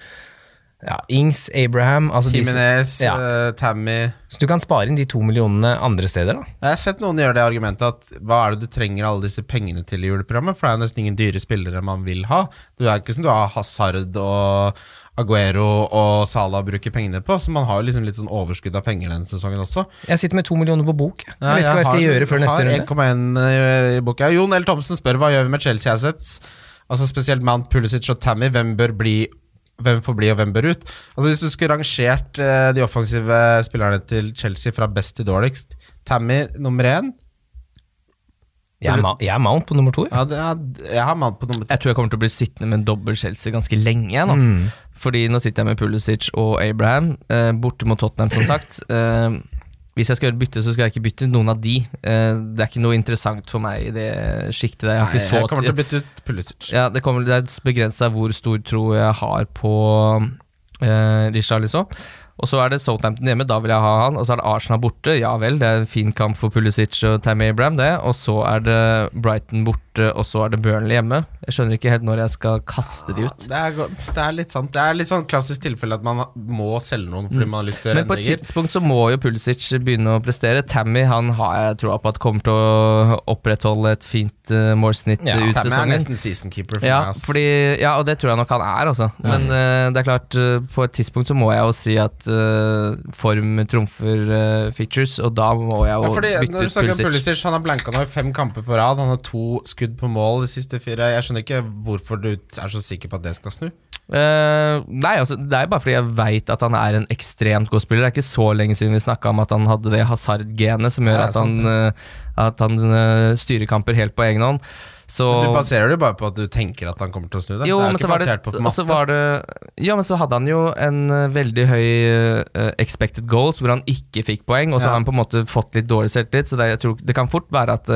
Speaker 4: ja, Ings, Abraham altså de som-
Speaker 3: Jimenez,
Speaker 4: ja.
Speaker 3: eh, Tammy
Speaker 4: Så du kan spare inn de to millionene andre steder, da.
Speaker 3: Jeg har sett noen gjøre det argumentet at hva er det du trenger alle disse pengene til i juleprogrammet, for det er jo nesten ingen dyre spillere man vil ha. Du er ikke som du har Hazard og Aguero og Salah bruker pengene på, så man har jo liksom litt sånn overskudd av penger denne sesongen også.
Speaker 4: Jeg sitter med to millioner på bok. Jeg,
Speaker 3: Ja,
Speaker 4: jeg vet ikke hva jeg skal
Speaker 3: har-
Speaker 4: gjøre før neste runde.
Speaker 3: Har 1,1 eh, i- i boka. Jon L. Thomsen spør hva gjør vi med Chelsea Assets? Altså spesielt Mount Pulisic og Tammy, hvem bør bli hvem får bli og hvem bør ut. Altså Hvis du skulle rangert eh, de offensive spillerne til Chelsea fra best til dårligst Tammy nummer én.
Speaker 4: Jeg er, ma jeg er Mount på nummer to. Ja.
Speaker 3: Ja, det er, jeg har mann på nummer
Speaker 2: Jeg tror jeg kommer til å bli sittende med en dobbel Chelsea ganske lenge. jeg, Nå. Fordi nå sitter jeg med Pulisic og Abraham, eh, borte mot Tottenham, som [LAUGHS] sagt. Eh, hvis jeg skal gjøre bytte, så skal jeg ikke bytte noen av de. Eh, det er ikke noe interessant for meg i det sjiktet der. Jeg har
Speaker 3: Nei,
Speaker 2: ikke så
Speaker 3: jeg kommer til å bytte ut Pulisic.
Speaker 2: Ja, det, kommer, det er begrensa hvor stor tro jeg har på eh, Lisson. Og så er det Southampton hjemme, da vil jeg ha han. Og så er det Arsenal borte, ja vel, det er en fin kamp for Pulisic og Tammy Abraham, det. Og så er det Brighton borte, og så er det Burnley hjemme. Jeg skjønner ikke helt når jeg skal kaste de ut.
Speaker 3: Det er, go- det er litt sant Det er litt sånn klassisk tilfelle at man må selge noen fordi man har lyst til å
Speaker 2: Mm.
Speaker 3: gjøre
Speaker 2: Men på et
Speaker 3: endringer.
Speaker 2: tidspunkt så må jo Pulisic begynne å prestere. Tammy han har jeg troa på at kommer til å opprettholde et fint eh, målsnitt
Speaker 4: Ja,
Speaker 2: eh, ut
Speaker 3: Tammy er
Speaker 2: sesongen.
Speaker 3: nesten season keeper for
Speaker 2: Ja,
Speaker 3: meg. ass.
Speaker 2: fordi, ja, og det tror jeg nok han er, altså. Men eh, det er klart, eh, på et tidspunkt så må jeg jo si at eh, form trumfer eh, features, og da må jeg jo
Speaker 3: Ja, fordi
Speaker 2: bytte
Speaker 3: når du
Speaker 2: ut
Speaker 3: snakker om
Speaker 2: Pulisic.
Speaker 3: Pulisic, Han har blanka nå i fem kamper på rad. Han har to skudd på mål de siste fire. Jeg skjønner ikke hvorfor du er så sikker på at det skal snu.
Speaker 2: Eh, nei, altså, det er jo bare fordi jeg veit at han er en ekstremt god spiller. Det er ikke så lenge siden vi snakka om at han hadde det hasard-genet som gjør
Speaker 3: Ja, det er
Speaker 2: at han,
Speaker 3: sant,
Speaker 2: eh, at han eh, styrer kamper helt på egen hånd. Så
Speaker 3: Du baserer det jo bare på at du tenker at han kommer til å snu det.
Speaker 2: Jo,
Speaker 3: det
Speaker 2: men
Speaker 3: er jo
Speaker 2: så
Speaker 3: ikke
Speaker 2: var
Speaker 3: basert
Speaker 2: det,
Speaker 3: på
Speaker 2: og så
Speaker 3: matte.
Speaker 2: var det Ja, men så hadde han jo en eh, veldig høy eh, expected goals hvor han ikke fikk poeng, og så
Speaker 3: Ja.
Speaker 2: har han på en måte fått litt dårlig selvtillit, så det, jeg tror, det kan fort være at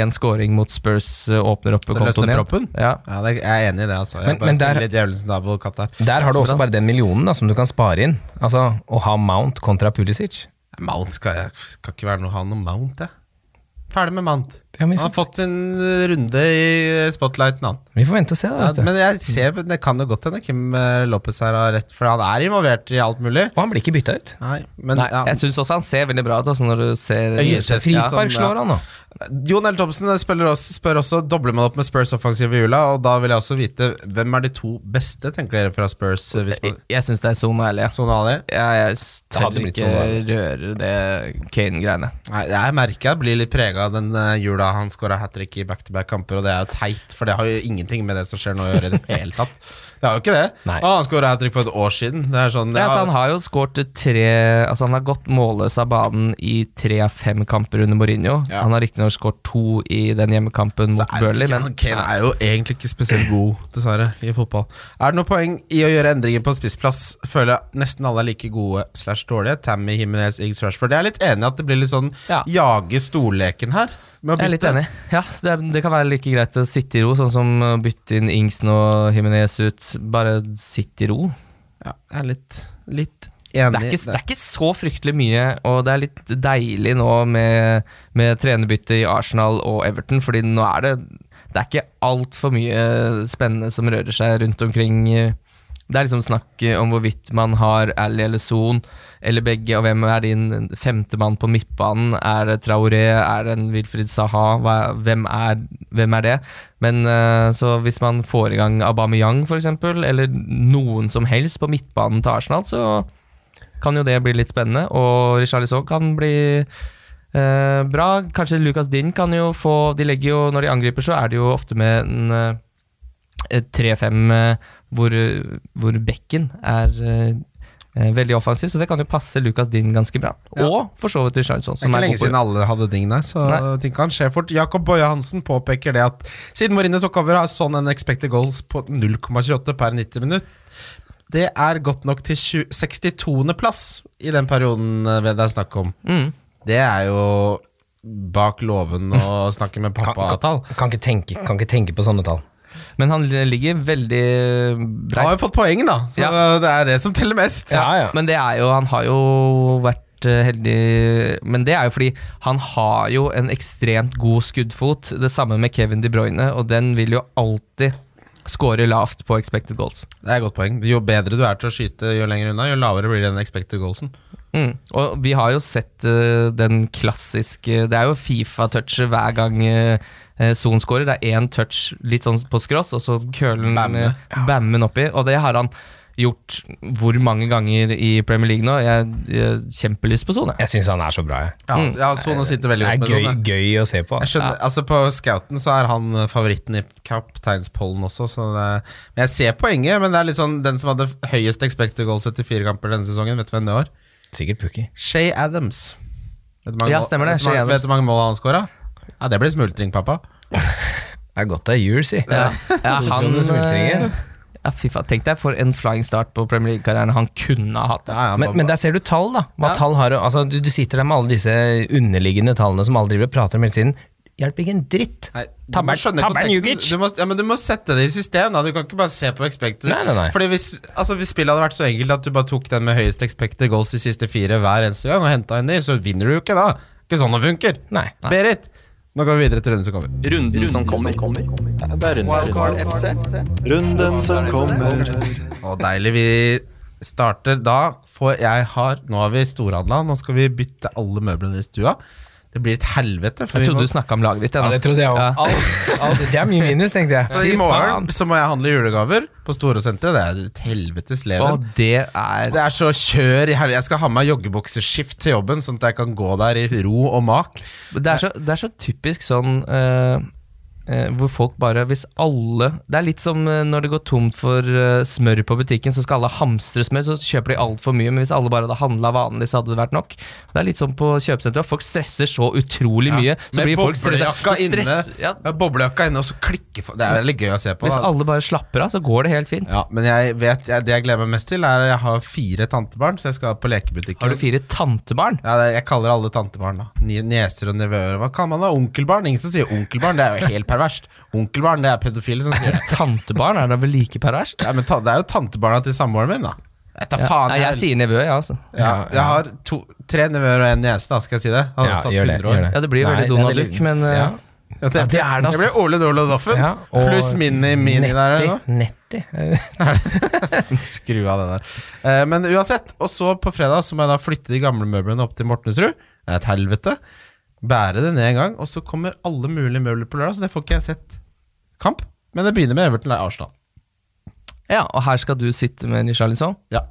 Speaker 2: én scoring mot Spurs eh, åpner opp kontoen
Speaker 3: løsner
Speaker 2: igjen.
Speaker 3: proppen?
Speaker 2: Ja.
Speaker 3: Ja, det, jeg er enig i det, altså. Jeg
Speaker 4: Men-
Speaker 3: bare
Speaker 4: men der-
Speaker 3: spiller litt djevelens nabokatt der.
Speaker 4: Der har du også bare den millionen da, som du kan spare inn. Altså, Å ha Mount kontra Pulisic.
Speaker 3: Mount skal, jeg, skal ikke være noe han om Mount, jeg. Ferdig med Mount.
Speaker 4: Ja, men
Speaker 3: Han har
Speaker 4: vi, får,
Speaker 3: fått sin runde i spotlighten, han.
Speaker 4: vi får vente og se. da,
Speaker 3: Ja,
Speaker 4: vet du.
Speaker 3: men jeg ser, det kan jo godt hende Kim eh, Lopez her har rett, for han er involvert i alt mulig.
Speaker 4: Og han blir ikke bytta ut.
Speaker 3: Nei, men
Speaker 2: Nei,
Speaker 3: ja.
Speaker 2: jeg syns også han ser veldig bra ut, også når du ser
Speaker 3: Øyespress. Testen, ja.
Speaker 4: Frispark slår han, da.
Speaker 3: Jon L. Thomsen eh, spiller også, spør også Dobler man opp med Spurs offensiv i jula Og da vil jeg også vite Hvem er de to beste Tenker dere fra Spurs eh, Hvis
Speaker 2: Jeg,
Speaker 3: man
Speaker 2: jeg syns det er Son og Ali. ja.
Speaker 3: Sånn Ali
Speaker 2: Jeg, jeg s-
Speaker 4: Det hadde
Speaker 2: tør
Speaker 4: blitt
Speaker 2: ikke
Speaker 4: Son og Ali.
Speaker 2: røre det Kane-greiene.
Speaker 3: Nei, Jeg merker jeg blir litt preget av den eh, jula Han skåret hat-trick i back-to-back kamper Og det er jo teit For det har jo ingenting med det som skjer nå Å gjøre i det hele tatt Det er jo ikke det
Speaker 4: Nei.
Speaker 3: Å, Han skåret hat-trick for et år siden Det er sånn
Speaker 2: Ja,
Speaker 3: ja,
Speaker 2: altså han har jo skåret tre Altså Han har gått målløs av banen i tre av fem kamper under Mourinho.
Speaker 3: Ja.
Speaker 2: Han har riktignok skåret to i den hjemmekampen mot
Speaker 3: så er det
Speaker 2: Burnley,
Speaker 3: ikke-
Speaker 2: men
Speaker 3: Kane er jo egentlig ikke spesielt god, dessverre, i fotball. Er det noe poeng i å gjøre endringer på spissplass? Føler jeg nesten alle er like gode slash dårlige. Tammy, Himinez, Ings, Rashford. Jeg er litt enig i at det blir litt sånn
Speaker 2: Ja.
Speaker 3: jage stolleken her. med å
Speaker 2: jeg er litt
Speaker 3: bytte.
Speaker 2: enig. Ja, det, er- det kan være like greit å sitte i ro, sånn som å bytte inn Ingsen og Himinez ut. Bare sitt i ro.
Speaker 3: Ja, jeg er litt, litt
Speaker 2: Det
Speaker 3: enig.
Speaker 2: er,
Speaker 3: i
Speaker 2: ikke, det er ikke så fryktelig mye, og det er litt deilig nå med, med trenerbytte i Arsenal og Everton, fordi nå er det Det er ikke altfor mye spennende som rører seg rundt omkring. Det er liksom snakk om hvorvidt man har Ally eller Son, eller begge, og hvem er din femtemann på midtbanen? Er det Traoré? Er det en Wilfried Saha? Hva, hvem, er, hvem er det? Men eh, så hvis man får i gang Aubameyang, f.eks., eller noen som helst på midtbanen til Arsenal, så kan jo det bli litt spennende. Og Richarlison kan bli eh, bra. Kanskje Lucas Din kan jo få De legger jo, når de angriper, så er det jo ofte med en eh, et 3-5 eh, hvor, hvor bekken er eh, eh, veldig offensiv, så det kan jo passe Lucas Din ganske bra.
Speaker 3: Ja.
Speaker 2: Og for så vidt Richarlison,
Speaker 3: Det er
Speaker 2: som
Speaker 3: ikke
Speaker 2: er
Speaker 3: lenge
Speaker 2: god på
Speaker 3: siden alle hadde ding der, så
Speaker 2: Nei.
Speaker 3: ting kan skje fort. Jakob Boje Hansen påpeker det at siden Mourinho tok over, har sånn en expected goals på 0,28 per 90 minutt. Det er godt nok til 20 62. plass i den perioden eh, det er snakk om.
Speaker 2: Mm.
Speaker 3: Det er jo bak låven
Speaker 2: Mm.
Speaker 3: å snakke med
Speaker 4: Kan, kan,
Speaker 3: pappa-tall.
Speaker 4: kan, ikke tenke, kan ikke tenke på sånne tall.
Speaker 2: Men han ligger veldig eh,
Speaker 3: Han
Speaker 2: breit.
Speaker 3: har jo fått poeng, da, så
Speaker 2: Ja.
Speaker 3: det er det som teller mest.
Speaker 4: Ja, ja.
Speaker 2: Men det er jo Han har jo vært eh, heldig Men det er jo fordi han har jo en ekstremt god skuddfot. Det samme med Kevin De Bruyne, og den vil jo alltid score lavt på expected goals.
Speaker 3: Det er et godt poeng. Jo bedre du er til å skyte, jo lenger unna, jo lavere blir den expected goalsen.
Speaker 2: Mm. Og vi har jo sett eh, den klassiske Det er jo Fifa-touchet hver gang eh, eh, Son scorer. Det er én touch litt sånn på skrås, og så køler han
Speaker 3: Bamme.
Speaker 2: eh, bammen oppi. Og det har han gjort hvor mange ganger i Premier League nå. Jeg, jeg kjempelyst på sone.
Speaker 4: Jeg syns han er så bra, jeg.
Speaker 3: Ja, ja
Speaker 2: Mm.
Speaker 3: Sone sitter veldig
Speaker 4: Det
Speaker 3: godt med
Speaker 4: er gøy,
Speaker 3: sånn. jeg.
Speaker 4: gøy å se på.
Speaker 3: Jeg
Speaker 4: ass.
Speaker 3: skjønner, altså På scouten så er han eh, favoritten i kapteinspollen også. Så det, men Jeg ser poenget, men det er litt sånn den som hadde høyest expected goals etter fire kamper denne sesongen, vet du hvem det var?
Speaker 4: Sikkert Pukki.
Speaker 3: Shay Adams. Vet du hvor mange
Speaker 2: Ja,
Speaker 3: mål-
Speaker 2: stemmer det,
Speaker 3: Vet du hvor
Speaker 2: Shay
Speaker 3: mange-
Speaker 2: Adams.
Speaker 3: vet du hvor mange mål han scora? Ja, det blir smultring, pappa.
Speaker 4: Det er godt det er jul, si.
Speaker 2: Ja, ja han
Speaker 4: Tokroner smultringen.
Speaker 2: eh, ja, fy faen. Tenk deg for en flying start på Premier League-karrieren han kunne ha hatt.
Speaker 3: Ja, ja,
Speaker 4: Men,
Speaker 3: pappa.
Speaker 4: men der ser du tall, da. Hva tall har å- altså, du, du sitter der med alle disse underliggende tallene som alle driver og prater om hele tiden. Hjelper ikke en dritt.
Speaker 3: Nei, du må
Speaker 4: Tabern
Speaker 3: skjønne
Speaker 4: Tabern
Speaker 3: konteksten.
Speaker 4: Jugic!
Speaker 3: Du må, ja, men du må sette det i system. Da. Du kan ikke bare se på expected.
Speaker 4: Nei, nei, nei.
Speaker 3: Fordi hvis, altså, hvis spillet hadde vært så enkelt at du bare tok den med høyest expected goals de siste fire hver eneste gang og henta en ny, så vinner du jo ikke da. Ikke sånn det funker.
Speaker 4: Nei.
Speaker 3: Berit, nå går vi videre til runden som kommer.
Speaker 5: Runden som kommer. Det er runden som
Speaker 1: Wildcard
Speaker 5: kommer.
Speaker 1: FC.
Speaker 5: Runden som kommer.
Speaker 3: Og deilig. Vi starter da, for jeg har Nå har vi storhandla. Nå skal vi bytte alle møblene i stua. Det blir et helvete. For
Speaker 2: Jeg
Speaker 3: vi må-
Speaker 2: trodde du snakka om laget ditt. jeg,
Speaker 4: Ja,
Speaker 2: nå.
Speaker 4: det trodde jeg òg.
Speaker 2: Ja.
Speaker 4: Det er mye minus, tenkte jeg.
Speaker 3: så i morgen så må jeg handle julegaver på Storosenteret. Det er et helvetes leven.
Speaker 2: Og det er
Speaker 3: Det er så kjør i helvete. Jeg skal ha med meg joggebukseskift til jobben, sånn at jeg kan gå der i ro og mak.
Speaker 2: Det er så, det er så typisk sånn eh, eh, hvor folk bare Hvis alle Det er litt som eh, når det går tomt for eh, smør på butikken, så skal alle hamstre smør, så kjøper de altfor mye. Men hvis alle bare hadde handla vanlig, så hadde det vært nok. Det er litt sånn på kjøpesenteret. at Folk stresser så utrolig mye. Så
Speaker 3: Med
Speaker 2: blir folk stressa.
Speaker 3: boblejakka inne,
Speaker 2: Stress, ja,
Speaker 3: med boblejakka inne, og så klikker folk. Det er veldig gøy å se på.
Speaker 2: hvis
Speaker 3: Da.
Speaker 2: alle bare slapper av, så går det helt fint.
Speaker 3: Ja, men jeg vet, jeg, det jeg gleder meg mest til, er at jeg har fire tantebarn, så jeg skal på lekebutikken.
Speaker 2: Har du fire tantebarn?
Speaker 3: Ja, det- jeg kaller alle tantebarn, da. Ni- Nieser og nevøer. Hva kan man ha? Onkelbarn? Ingen som sier onkelbarn, det er jo helt perverst. Onkelbarn, det er pedofile som sier det.
Speaker 2: Tantebarn er da vel like perverst?
Speaker 3: Ja, men ta, det er jo tantebarna til samboeren min, da. Jeg tar faen
Speaker 2: Nei, jeg
Speaker 3: jeg,
Speaker 2: sier nevø, jeg, ja, altså.
Speaker 3: ja, jeg har to, tre nevøer og en niese, da, skal jeg si det. Det Hadde
Speaker 4: Ja,
Speaker 3: tatt
Speaker 4: gjør det,
Speaker 3: 100 år.
Speaker 4: gjør
Speaker 2: Ja, det blir jo
Speaker 4: Nei,
Speaker 2: veldig
Speaker 4: det er
Speaker 2: Donald
Speaker 4: veldig-
Speaker 2: Duck, men eh,
Speaker 4: Ja.
Speaker 3: Ja,
Speaker 4: Ja, det er det, ass.
Speaker 3: Jeg ble Ole Dole Doffen.
Speaker 4: Ja, og-
Speaker 3: Pluss Mini Mini der. eller noe.
Speaker 4: Netti. Netti.
Speaker 3: Skru av det der. Eh, men uansett. Og så på fredag så må jeg da flytte de gamle møblene opp til Mortensrud. Det er et helvete. Bære det ned en gang. Og så kommer alle mulige møbler på lørdag, så det får ikke jeg sett kamp. Men det begynner med Everton nei, Arsenal.
Speaker 2: ja, og her skal du sitte med Nishalinson?
Speaker 3: Ja.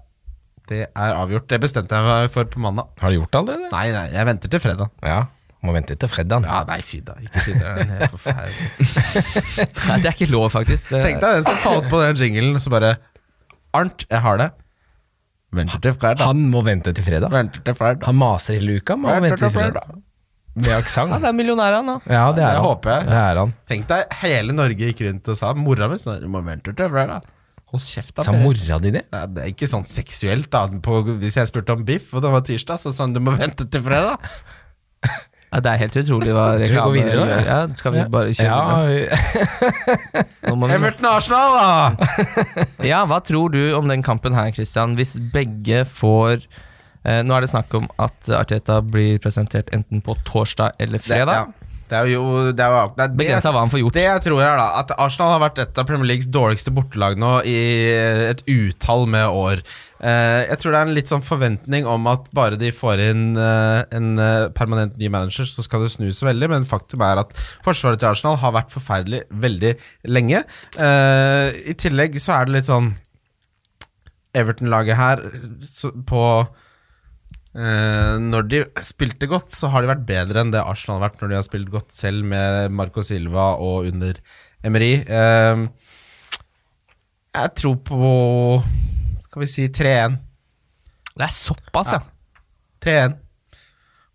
Speaker 3: Det er avgjort. Det bestemte jeg meg for på mandag.
Speaker 4: Har du gjort det allerede?
Speaker 3: Nei, nei, jeg venter til fredag.
Speaker 4: Ja. Må vente til fredag.
Speaker 3: Ja, nei, fy da. Ikke si det. det er forferdelig.
Speaker 4: [LAUGHS]
Speaker 2: Nei, det er ikke lov, faktisk. Det,
Speaker 3: Tenk deg den som falt på den jinglen, og så bare Arnt, jeg har det. Venter til fredag.
Speaker 4: Han må vente til fredag.
Speaker 3: Venter til fredag.
Speaker 4: Han maser hele uka, men han må vente til fredag. Med
Speaker 2: ja,
Speaker 4: aksent.
Speaker 2: det er millionær, han, da.
Speaker 4: Ja, det
Speaker 3: Det
Speaker 4: er han.
Speaker 3: håper jeg.
Speaker 4: Det er han.
Speaker 3: Tenk deg, hele Norge gikk rundt og sa Mora mi sånn, du må vente til fredag. Hold kjeft, da.
Speaker 4: Sa
Speaker 3: Per.
Speaker 4: mora di det?
Speaker 3: Nei, Det er ikke sånn seksuelt, da. På, hvis jeg spurte om biff, og det var tirsdag, så sa han du må vente til fredag.
Speaker 2: Ja, det er helt utrolig hva
Speaker 4: Skal vi gå
Speaker 2: reklame
Speaker 4: videre, da?
Speaker 2: gjør. Ja, skal vi bare kjøre videre?
Speaker 4: Ja,
Speaker 2: Nå må vi
Speaker 3: Everton Arsenal, da!
Speaker 2: Ja, hva tror du om den kampen her, Christian? Hvis begge får eh, Nå er det snakk om at Arteta blir presentert enten på torsdag eller
Speaker 3: Det, ja.
Speaker 2: fredag.
Speaker 3: det er jo det er, jo- det, er-
Speaker 2: Begrensa hva han får gjort.
Speaker 3: Det jeg tror er da At Arsenal har vært et av Premier Leagues dårligste bortelag nå I et utall med år Eh, Jeg tror det er en litt sånn forventning om at Bare de får inn eh, en eh, permanent ny manager Så skal det snus veldig Men faktum er at forsvaret til Arsenal har vært forferdelig Veldig lenge Eh, I tillegg så er det litt sånn Everton-laget her så, På eh, Når de spilte godt Så har de vært bedre enn det Arsenal har vært Når de har spilt godt selv med Marco Silva Og under Emery Eh, Jeg tror på Skal vi si 3-1
Speaker 2: Det er såpass, ja.
Speaker 3: 3-1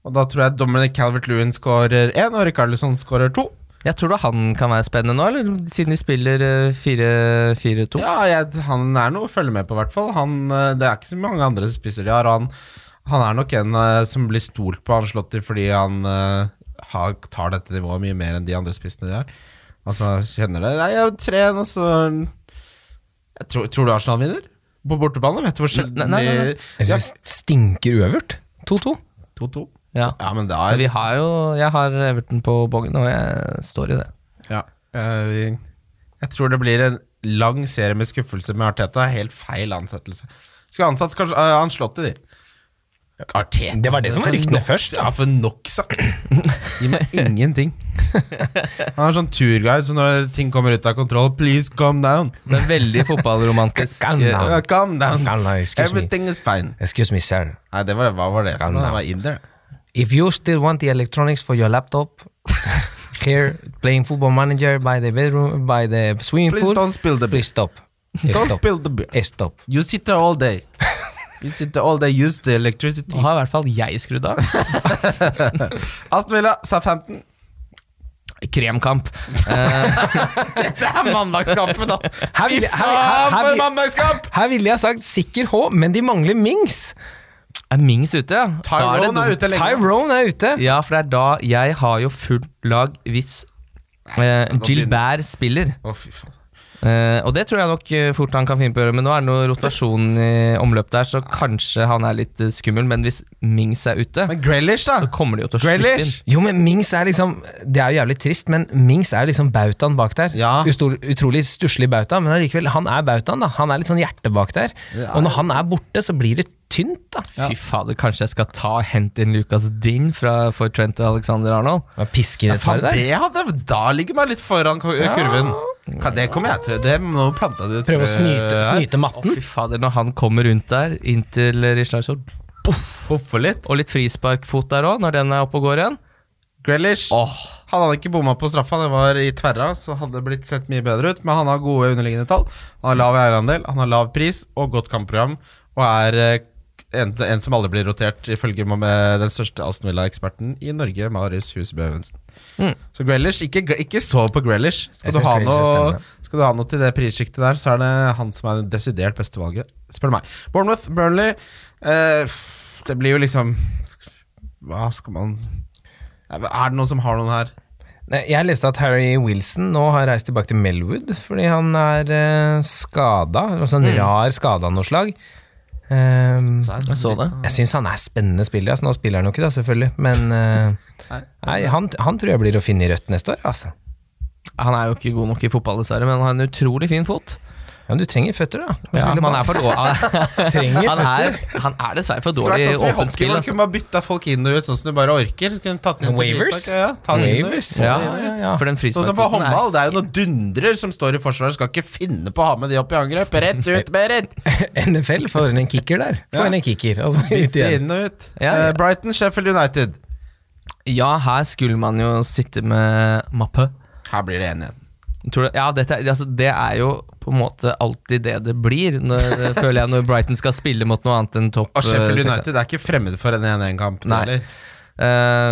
Speaker 3: Og da tror jeg Dominic Calvert-Lewin skårer 1 Og Rikarlison skårer 2
Speaker 2: Jeg tror da han kan være spennende nå, eller? Siden de spiller eh, 4-4-2.
Speaker 3: Ja, jeg, han er noe å følge med på, i hvert fall. Han, eh, det er ikke så mange andre spisser de har. og Han, han er nok en eh, som blir stolt på Ancelotti fordi han eh, har, tar dette nivået mye mer enn de andre spissene de har. Altså, kjenner det. Nei, jeg tren, og så jeg tror, tror du Arsenal vinner? På bortebane? Vet du hvor
Speaker 2: Nei,
Speaker 3: sjelden
Speaker 2: nei, nei, nei.
Speaker 3: de
Speaker 4: Jeg
Speaker 3: Ja,
Speaker 4: syns det stinker uøvert. 2-2.
Speaker 3: 2-2.
Speaker 2: Ja.
Speaker 3: Ja, men da
Speaker 2: Men
Speaker 3: er
Speaker 2: Vi har jo Jeg har Everton på bongen, og jeg står i det.
Speaker 3: ja, eh, Jeg tror det blir en lang serie med skuffelse med Arteta. Helt feil ansettelse. Skulle ansatt kanskje, eh, Ancelotti, de. Arteta.
Speaker 4: Det var det som var
Speaker 3: For
Speaker 4: ryktene
Speaker 3: nok-
Speaker 4: først, da.
Speaker 3: Ja, for nok sagt. Gi meg ingenting. Han er sånn turguide, så når ting kommer ut av kontroll Please calm down.
Speaker 2: Men veldig fotballromantisk.
Speaker 4: Calm down.
Speaker 2: eh,
Speaker 3: Ja, calm down.
Speaker 4: Calm down, excuse me.
Speaker 3: Everything is fine.
Speaker 4: Excuse me, sir.
Speaker 3: Nei, det var, hva var det? for
Speaker 4: Calm
Speaker 3: noe?
Speaker 4: down.
Speaker 3: Han var inder.
Speaker 4: If you still want the electronics for your laptop, [LAUGHS] here playing Football Manager by the bedroom, by the swimming
Speaker 3: Please
Speaker 4: pool,
Speaker 3: don't spill the beer.
Speaker 4: please stop. Eh,
Speaker 3: Don't
Speaker 4: stop.
Speaker 3: spill the beer.
Speaker 4: Eh, stop.
Speaker 3: You sit there all day. You sit there all day, use the electricity.
Speaker 2: Nå har i hvert fall jeg skrudd av.
Speaker 3: Aston Villa, Southampton.
Speaker 2: Kremkamp.
Speaker 3: Det er mandagskampen, ass!
Speaker 4: Her
Speaker 3: Fy
Speaker 4: vil- her- her-
Speaker 3: faen
Speaker 4: her
Speaker 3: for en
Speaker 4: vil-
Speaker 3: mandagskamp!
Speaker 4: Her ville jeg sagt sikker H, men de mangler Mings.
Speaker 2: Er Mings ute? ja? Da det
Speaker 3: Tyrone er
Speaker 2: dumt.
Speaker 3: ute lenge.
Speaker 4: Tyrone er ute.
Speaker 2: Ja, for det er da jeg har jo fullt lag hvis eh,
Speaker 3: nå begynner-
Speaker 2: Gilbert spiller.
Speaker 3: Å, fy faen.
Speaker 2: Eh, og det tror jeg nok eh, fort han kan finne på å gjøre, men nå er det noe rotasjon i omløp der, så kanskje han er litt eh, skummel, men hvis Mings er ute,
Speaker 3: Men Grealish, da?
Speaker 2: så kommer de jo til å slippe inn.
Speaker 3: Grealish!
Speaker 4: Jo, men Mings er liksom Det er jo jævlig trist, men Mings er jo liksom bautaen bak der.
Speaker 3: Ja.
Speaker 4: Ustor, utrolig stusslig bauta, men allikevel, han er bautaen, da. Han er litt sånn hjerte bak der.
Speaker 3: Ja.
Speaker 4: Og når han er borte, så blir det tynt, da.
Speaker 2: Fy fader, kanskje jeg skal ta og hente inn Lucas Dinn fra, for Trent og Alexander Arnold?
Speaker 4: Hva Piske i det
Speaker 3: Faen,
Speaker 4: paret der.
Speaker 3: det hadde, da ligger man litt foran ku- kurven. Ka- Det kommer jeg til. Det nå planta du et
Speaker 4: Prøve å
Speaker 3: frø
Speaker 4: snyte,
Speaker 3: eh, her.
Speaker 4: snyte
Speaker 2: Å,
Speaker 4: matten.
Speaker 2: fy fader, når han kommer rundt der, inn til Rishlarsson,
Speaker 3: Poffe litt.
Speaker 2: og litt frisparkfot der òg, når den er oppe og går igjen
Speaker 3: Grealish.
Speaker 2: Åh,
Speaker 3: Han hadde ikke bomma på straffa, det var i tverra, så hadde det blitt sett mye bedre ut. Men han har gode underliggende tall. Han har lav eierandel, han har lav pris og godt kampprogram. Og er eh, en, en som aldri blir rotert, ifølge med- med den største Aston Villa-eksperten i Norge, Marius Husebø Evensen. Så Grealish, ikke, gre- ikke sov på Grealish. Skal
Speaker 4: Mm. Jeg
Speaker 3: du,
Speaker 4: synes
Speaker 3: ha
Speaker 4: Grealish er
Speaker 3: noe,
Speaker 4: spennende.
Speaker 3: skal du ha noe til det prissjiktet der, så er det han som er det desidert beste valget, spør du meg. Bournemouth, Burnley eh, Det blir jo liksom Hva skal man Er det noen som har noen her?
Speaker 4: Nei, Jeg leste at Harry Wilson nå har reist tilbake til Melwood fordi han er eh, skada. Altså
Speaker 3: Mm.
Speaker 4: en rar skade av noe slag. Ehm,
Speaker 2: jeg så det.
Speaker 4: jeg syns han er spennende spiller. Altså, nå spiller han jo ikke, da, selvfølgelig, men eh, nei, han, han tror jeg blir å finne i rødt neste år. Altså.
Speaker 2: Han er jo ikke god nok i fotball, dessverre, men han har en utrolig fin fot.
Speaker 4: Ja, men du trenger føtter, da. Å
Speaker 2: Ja,
Speaker 4: spille
Speaker 2: han
Speaker 4: ball.
Speaker 2: er for [LAUGHS] dårlig.
Speaker 4: [LAUGHS] Trenger
Speaker 2: Han er,
Speaker 4: føtter.
Speaker 2: han er dessverre for
Speaker 3: Skulle
Speaker 2: dårlig i
Speaker 3: vært sånn som i
Speaker 2: åpent
Speaker 3: hockey,
Speaker 2: spill.
Speaker 3: hvor du
Speaker 2: Altså.
Speaker 3: kunne bare bytta folk inn og ut sånn som du bare orker. Så kunne du tatt den inn til
Speaker 4: Waivers?
Speaker 3: frispark, Ja, ja, ta den inn og ut.
Speaker 4: Waivers?
Speaker 3: Ta
Speaker 2: Ja,
Speaker 3: den inn og ut.
Speaker 2: ja, ja. For den
Speaker 3: Sånn som på
Speaker 2: frisparkfoten er
Speaker 3: håndball, det er jo noen dundrer som står i forsvaret. Skal ikke finne på å ha med de opp i angrep. Rett ut, Berit!
Speaker 4: NFL får inn en kicker der. Får
Speaker 3: Ja.
Speaker 4: inn en kicker, altså ut
Speaker 3: Bytte
Speaker 4: igjen.
Speaker 3: inn og ut.
Speaker 2: Ja, ja.
Speaker 3: Eh, Brighton, Sheffield United.
Speaker 2: Ja, her skulle man jo sitte med mappe.
Speaker 3: Her blir det 1 igjen.
Speaker 2: Tror du, ja, dette, er- altså, det er jo på en måte alltid det det blir, når, [LAUGHS] føler jeg, når Brighton skal spille mot noe annet enn topp
Speaker 3: Og
Speaker 2: eh,
Speaker 3: Sheffield
Speaker 2: seks.
Speaker 3: United er ikke fremmed for en 1-1-kamp.
Speaker 2: Nei. Eh,